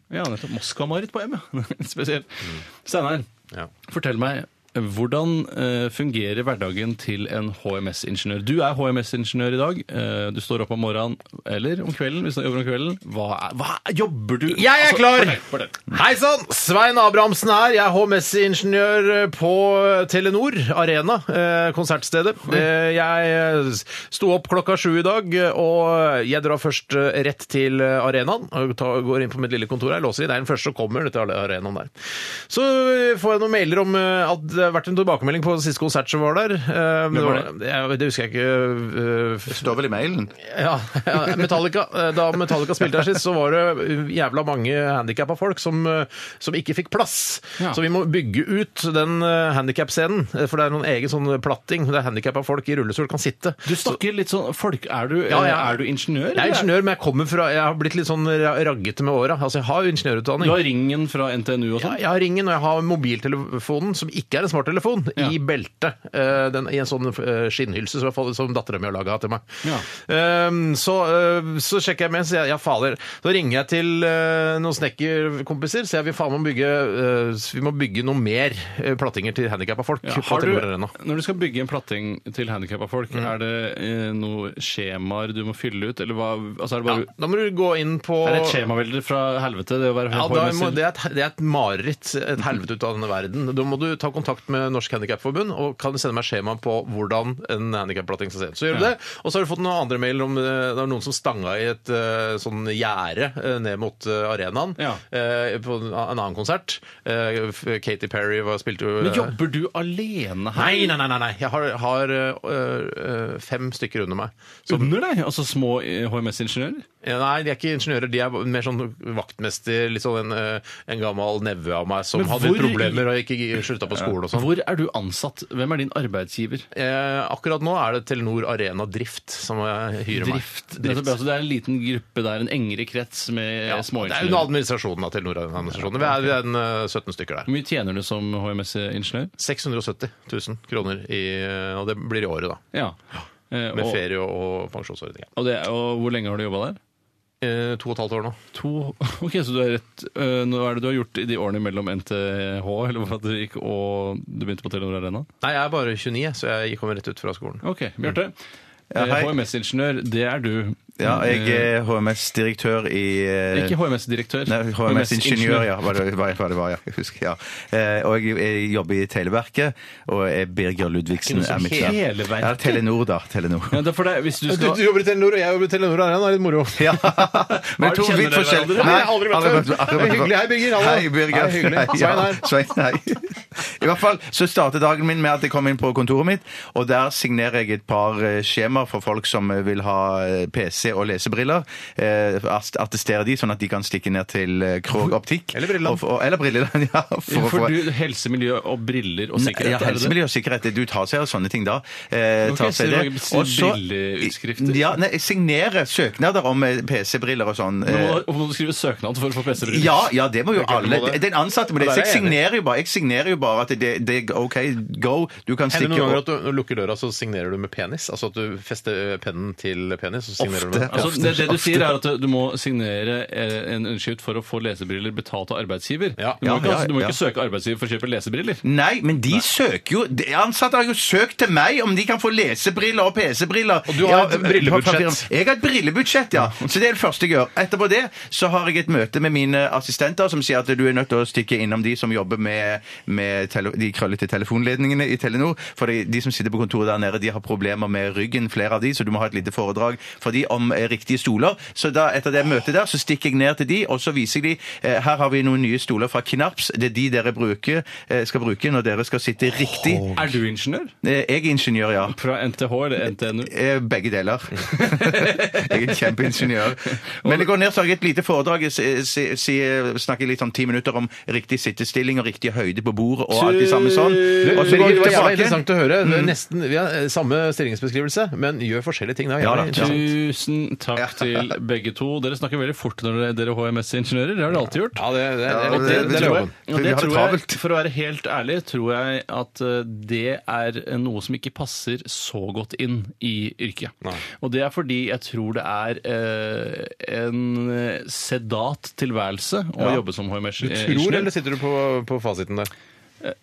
I: Ja, nettopp. Moskva-Marit på M, ja. Spesielt.
H: Mm.
I: Steinar,
G: Ja.
I: fortell meg. Hvordan eh, fungerer hverdagen til en HMS-ingeniør? Du er HMS-ingeniør i dag. Eh, du står opp om morgenen eller om kvelden. hvis du jobber om kvelden. Hva, er, hva er- jobber du
G: Jeg
H: Altså-
G: er klar!
I: fortell, fortell.
G: Hei sann! Svein Abrahamsen her. Jeg er HMS-ingeniør eh, på Telenor Arena, eh, konsertstedet. Eh, Jeg sto opp klokka sju i dag, eh, og jeg drar først eh, rett til eh, arenaen. og ta- Går inn på mitt lille kontor her, låser i. Det er den første som kommer dette er arenaen der. Så får jeg noen mailer om eh, at det har vært en tilbakemelding på siste konsert som var der. Eh,
I: var
G: det? Det husker jeg ikke. eh,
H: Står vel i mailen.
G: ja, ja, Metallica. eh, Da Metallica spilte her sist, så var det uh, jævla mange handikappa folk som, uh, som ikke fikk plass.
I: Ja.
G: Så vi må bygge ut den handikap-scenen, for det er noen egen sånn platting der handikappa folk i rullestol kan sitte.
I: Du snakker litt sånn folk, Er du,
G: Ja, ja.
I: Er du
G: Jeg er
I: ingeniør? eller?
G: ingeniør, men jeg kommer fra Jeg har blitt litt sånn ra- raggete med åra. Altså, jeg har jo ingeniørutdanning.
I: Du har ringen fra NTNU og
G: Ja,
I: sånn?
G: jeg har ringen, og jeg har mobiltelefonen, som ikke er en smarttelefon,
I: Ja.
G: i beltet. Eh, den, I en sånn eh, skinnhylse som, jeg fått- som dattera mi har laga til meg.
I: Ja.
G: Ehm, så, eh, så sjekker jeg med, så jeg, ja, fader. Så ringer jeg til eh, noen snekkerkompiser, så jeg vil faen meg bygge eh, Vi må bygge noe mer eh, plattinger til handikappa folk.
I: Ja,
G: på
I: har du,
G: Telenor Arena.
I: når du skal bygge en platting til handikappa folk,
G: Mm.
I: er det eh, noen skjemaer du må fylle ut? Eller hva, altså er det
G: Ja,
I: bare
G: da må du gå inn på
I: Er det et skjemavelde fra helvete, det å være
G: Ja, da må,
I: HMS-er?
G: det, er et, det er et mareritt, et helvete ut av denne verden. Da må du ta kontakt med Norsk Handikapforbund og kan du sende meg skjema på hvordan en handikapplatting skal se ut. Så gjør du det, og så har du fått noen andre mailer om eh, det var noen som stanga i et eh, sånn gjerde eh, ned mot eh, arenaen
I: Ja.
G: eh, på en en annen konsert. Eh, f- Katy Perry var, spilte jo
I: Men jobber du alene her?
G: Nei, nei, nei, nei, nei. Jeg har, har eh, eh, fem stykker under meg. Som,
I: Under deg? Altså små eh, HMS-ingeniører?
G: ja, Nei, de er ikke ingeniører. De er mer sånn vaktmester, litt sånn en, eh, en gammel nevø av meg som
I: Men
G: hadde
I: hvor-
G: problemer og ikke slutta på skolen og sånn.
I: Hvor er du ansatt? Hvem er din arbeidsgiver?
G: Eh, akkurat nå er det Telenor Arena Drift som eh, hyrer
I: Drift.
G: meg.
I: Nettopp, altså, det er en liten gruppe der, en engere krets med
G: Ja, det er
I: ja,
G: under
I: småingeniører.
G: administrasjonen av Telenor Arena-administrasjonen. Vi er, vi er en, eh, 17 stykker der.
I: Hvor mye tjener du som HMS-ingeniør?
G: 670 000 kroner, i, eh, og det blir i året, da.
I: Ja. Eh,
G: Med
I: og,
G: ferie og, og pensjonsordning.
I: og, det, og hvor lenge har du jobba der?
G: Eh, to og et halvt år nå.
I: To Ok, så du er rett øh, Nå er det du har gjort i de årene mellom NTH eller hva det gikk, og du begynte på Telenor Arena? Mm.
G: Nei, jeg er bare 29, jeg, så jeg kom rett ut fra skolen.
I: Ok, Bjarte.
H: Ja,
I: Eh,
H: hei.
I: HMS-ingeniør, det er du.
H: Ja, jeg
I: Eh,
H: er HMS-direktør i eh,
I: Ikke HMS-direktør.
H: Nei, HMS-ingeniør, ja. Hva det, hva, hva det var, ja. Jeg husker, ja. Eh, og jeg, jeg jobber i Televerket, og jeg, Birger Ludvigsen er mitt navn.
I: Televerket?
H: Ja, Telenor, da. Telenor.
I: Ja, det er for deg, hvis du skal...
G: jobber i Telenor, og jeg jobber i Telenor Arena. Det er litt moro.
H: Ja. Men
I: Har-
H: to
I: kjenner
H: vidt
I: dere
H: forskjellige
I: hverandre?
H: Nei,
G: Nei, aldri møtt
H: aldri
G: hverandre.
H: aldri møtt
G: Hyggelig, hei, Birger, hallo.
H: Hei, Birger.
G: Hei, hyggelig.
H: Hei,
G: Svein
H: ja,
G: her.
H: Svein her. I hvert fall så startet dagen min med at jeg kom inn på kontoret mitt, og der signerer jeg et par eh, skjemaer for folk som eh, vil ha eh, PC og lesebriller. Eh, ast- Attestere de, sånn at de kan stikke ned til eh, Krog optikk.
G: Eller Brilleland.
H: Og- og- Eller Brilleland, ja. For, å
I: For
H: få-
I: du, helse, miljø og briller og sikkerhet,
H: ja,
I: er det
H: helse,
I: det?
H: miljø og sikkerhet. Du tar seg av sånne ting da. Eh,
I: Ok,
H: tar
I: så
H: seg det.
I: du lager
H: Og så-
I: brilleutskrifter?
H: Ja, nei, jeg signerer søknader om eh, PC-briller og sånn.
I: Men
H: eh,
I: må du- må du skrive søknad for å få PC-briller?
H: Ja, ja, det må jo
G: klart du må
H: alle.
G: det.
H: Den ansatte må det.
G: Ja,
H: Så
G: der er
H: jeg
G: jeg enig.
H: signerer jo bare, jeg signerer jo bare at det, det OK, go. Du
G: Hender
H: kan
G: det
H: stikke
G: noen ganger at du lukker døra, så signerer du med penis? Altså at du fester pennen til penis, og så signerer du med
I: Altså, det, det du sier er at du må signere eh, en underskrift for å få lesebriller betalt av arbeidsgiver.
G: Ja.
I: Du må
H: Ja,
I: ikke, altså, du må
H: ja,
I: ikke søke arbeidsgiver for å kjøpe lesebriller.
H: Nei, men de søker jo De ansatte har jo søkt til meg om de kan få lesebriller og PC-briller.
G: Og du har et
H: eh,
G: brillebudsjett.
H: på papiret. Jeg har et brillebudsjett, ja. Så det er det første jeg gjør. Etterpå det så har jeg et møte med mine assistenter som sier at du er nødt til å stikke innom de som jobber med, med tele de krøllete telefonledningene i Telenor. For de, de som sitter på kontoret der nede, de har problemer med ryggen, flere av de, så du må ha et lite foredrag for de om eh, riktige stoler. Så da, etter det møtet der, så stikker jeg ned til de, og så viser jeg de eh, her har vi noen nye stoler fra Knaps. Det er de dere bruker, eh, skal bruke når dere skal sitte riktig.
I: Er du ingeniør?
H: Eh, jeg er ingeniør, ja.
I: Fra NTH eller NTNU?
H: Eh, Begge deler. jeg er en kjempeingeniør. Men det går ned, så har jeg et lite foredrag. Jeg si- si- si- snakker litt sånn ti minutter om riktig sittestilling og riktig høyde på bordet og alt det samme sånn. Og så
G: det
H: går
G: var
H: jeg
G: jævla
H: tilbake.
G: interessant å høre. Det er nesten, vi har eh, samme stillingsbeskrivelse, men gjør forskjellige ting. Det er
H: Ja,
G: jævla
H: da.
G: interessant.
I: Tusen takk til begge to. Dere snakker veldig fort når dere er HMS-ingeniører. Det har dere alltid gjort.
G: Ja, det, det, det,
H: Ja,
G: det,
H: det-
G: det er
H: tror
G: loven.
H: jeg.
I: Og
H: Vi har
I: det
H: det
I: tror jeg,
H: travelt.
I: for å være helt ærlig, tror jeg at eh, det er noe som ikke passer så godt inn i yrket. Og det er fordi jeg tror det er eh, en eh, sedat tilværelse å jobbe som
G: Tror,
I: HMS-ingeniør.
G: eller sitter du på, på fasiten der?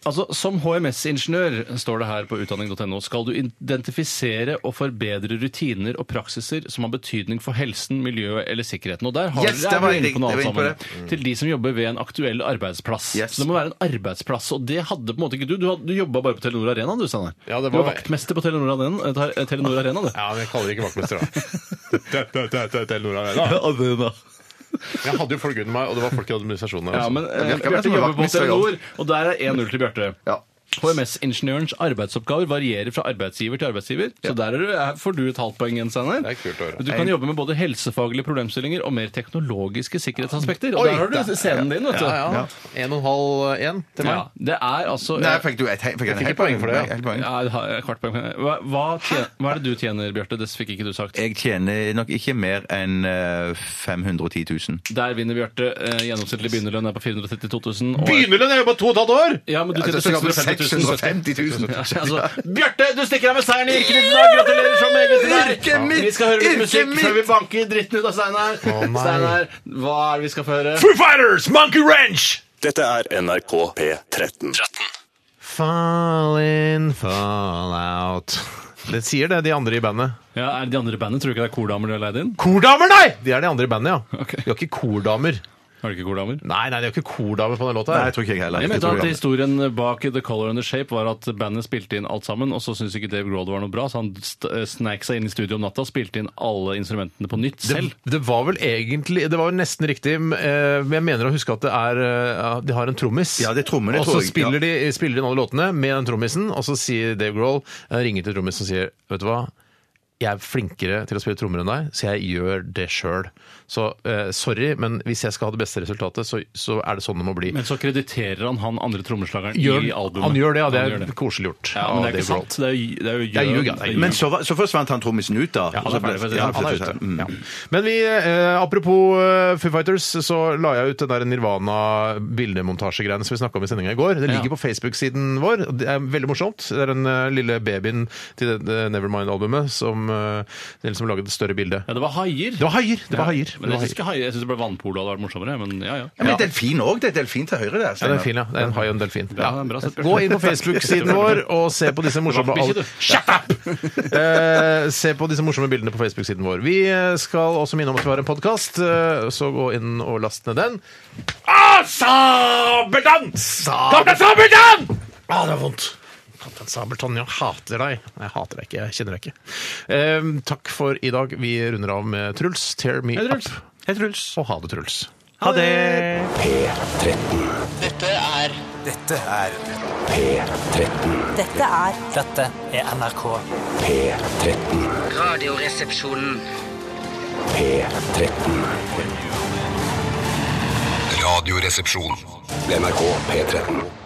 I: Altså, Som HMS-ingeniør står det her på utdanning.no, skal du identifisere og forbedre rutiner og praksiser som har betydning for helsen, miljøet eller sikkerheten. Og der har
H: Yes,
I: dere-
H: det var
I: er
H: jeg-
I: dere inne på noe
H: jeg var
I: annet
H: inne på Mm.
I: sammen. Til de som jobber ved en aktuell arbeidsplass.
H: Yes.
I: Så det må være en arbeidsplass, og det hadde på en måte ikke du. Du, hadde- du jobba bare på Telenor Arena, du, Steinar.
G: Ja, det
I: du var
G: var-
I: vaktmester på Telenor Arena, eh, Telenor Arena du.
G: Ja, men jeg kaller det ikke vaktmester, da.
I: Arena.
G: Jeg hadde jo folk under meg, og det var folk i administrasjonen her.
I: Ja,
G: også.
I: men eh,
H: virker
I: Bjarte
H: som en
I: jobber på
H: vaktmester, ja.
I: Telenor, og der er 1-0 til Bjarte.
H: Ja.
I: HMS-ingeniørens arbeidsoppgaver varierer fra arbeidsgiver til arbeidsgiver. Så der er du, her får du et halvt poeng igjen, Steinar.
G: Det er kult å høre.
I: Du kan jobbe med både helsefaglige problemstillinger og mer teknologiske sikkerhetsaspekter. Og
G: Oi,
I: der har du scenen din, vet du.
G: Ja, ja. En og en halv én til
I: Ja,
G: meg.
I: det er altså
H: Nei, fikk du et he- fikk jeg en
G: fikk
H: hel
G: et poeng for det, ja.
H: Nei, helt poeng.
I: ja, jeg har et kvart poeng. Hva, hva, tjener, hva er det du tjener, Bjarte? Det fikk ikke du sagt.
G: Eh.
H: Jeg tjener nok ikke mer enn eh, 510 000.
I: Der vinner Bjarte. Eh, Gjennomsnittlig begynnerlønn er på 432 000. og-
G: Begynnerlønn! Jeg har jobba to og et halvt år!
I: Ja, men du tjener
H: Altså,
I: 650 000.
H: 650 000.
I: Ja, altså, Bjarte, du stikker av med seieren i yrket ditt i dag! Gratulerer så meget til deg!
H: Yrket mitt!
I: Vi skal høre litt
H: Yrket
I: musikk
H: mitt!
I: før vi banker dritten ut av Steinar.
G: nei.
I: Steinar, hva er det vi skal få høre?
A: Foo Fighters, Monkey Ranch! Dette er NRK P13.
G: Fall in, fall out. Det sier det, de andre i bandet.
I: Ja, er det de andre i bandet? Tror du ikke det er kordamer du har leid inn?
G: Kordamer, nei! De er de andre i bandet, ja.
I: Ok.
G: De har ikke kordamer.
I: Har du ikke kordamer?
G: Nei, nei, de har ikke kordamer på den låta. her.
H: Nei, jeg tror ikke jeg heller.
I: Jeg
H: Jeg
I: mente
H: tror
I: at
H: jeg-
I: historien bak The Color and the Shape var at bandet spilte inn alt sammen, og så syntes ikke Dave Grohl det var noe bra, så han st- eh, snek seg inn i studio om natta og spilte inn alle instrumentene på nytt
G: Det,
I: selv.
G: det var vel egentlig Det var vel nesten riktig, men eh, men jeg mener å huske at det er eh, ja, De har en trommis.
H: Ja, det er trommene,
G: Og
H: tror
G: så
H: jeg,
G: spiller de spiller inn alle låtene med den trommisen, og så sier Dave Grohl eh, ringer til trommisen og sier Vet du hva? Jeg er flinkere til å spille trommer enn deg, så jeg gjør det sjøl. Så eh, sorry, men hvis jeg skal ha det beste resultatet, så, så er det sånn det må bli.
I: Men så krediterer han han andre trommeslageren
G: Gjør,
I: i albumet.
G: han gjør det, ja. Det
I: Han
G: er
I: gjør det.
G: koselig gjort.
I: Ja, men
G: av
I: det er ikke
G: Dave Grohl.
I: sant. Det er, jo- det er jo
G: er ljug, ja.
I: det er ljug.
H: Men så, var- så forsvant han trommisen ut, da.
I: Ja, han er ferdig, for å si det.
H: Ja,
G: Han er ute.
H: Mm.
G: Ja. Men vi, eh, apropos eh, Foo Fighters, så la jeg ut den der Nirvana-bildemontasjegreiene som vi snakka om i sendinga i går. Det
I: Ja.
G: ligger på Facebook-siden vår. og Det er veldig morsomt. Det er den eh, lille babyen til det, det Nevermind-albumet som, eh, den som laget det større bildet.
I: Ja, det var haier.
G: Det var haier! Det var haier.
I: Men
G: Det var
I: jeg syns
G: haier.
I: ikke haier- jeg synes det ble vannpolo hadde vært morsommere. Men ja, ja.
H: Ja, men delfin òg. Det er delfin til høyre
G: Ja,
H: der.
G: det
H: Steinar.
G: er en fin, ja. Det er en hai og en delfin.
I: Bra, bra sett, Bjørn.
G: Gå inn på Facebook-siden vår og se på disse morsomme
I: Det var bikkje, du.
G: Shut up! Eh, se på disse morsomme bildene på Facebook-siden vår. Vi eh, skal også minne om at vi har en podkast, eh, så gå inn og last ned den. Ah, Sabeltann! Kaptein Sabeltann! Ah, det er vondt. Kaptein Sabeltann, jeg hater deg. Nei, Jeg hater deg ikke, jeg kjenner deg ikke. Eh, takk for i dag. Vi runder av med Truls. Tear me
I: Hei, Truls.
G: up. Og ha det, Truls.
H: Ha det!
B: Dette er
F: Dette er P13.
K: Dette er
B: Dette er NRK.
F: P13.
K: Radioresepsjonen.
F: P13. Radioresepsjon. NRK P13.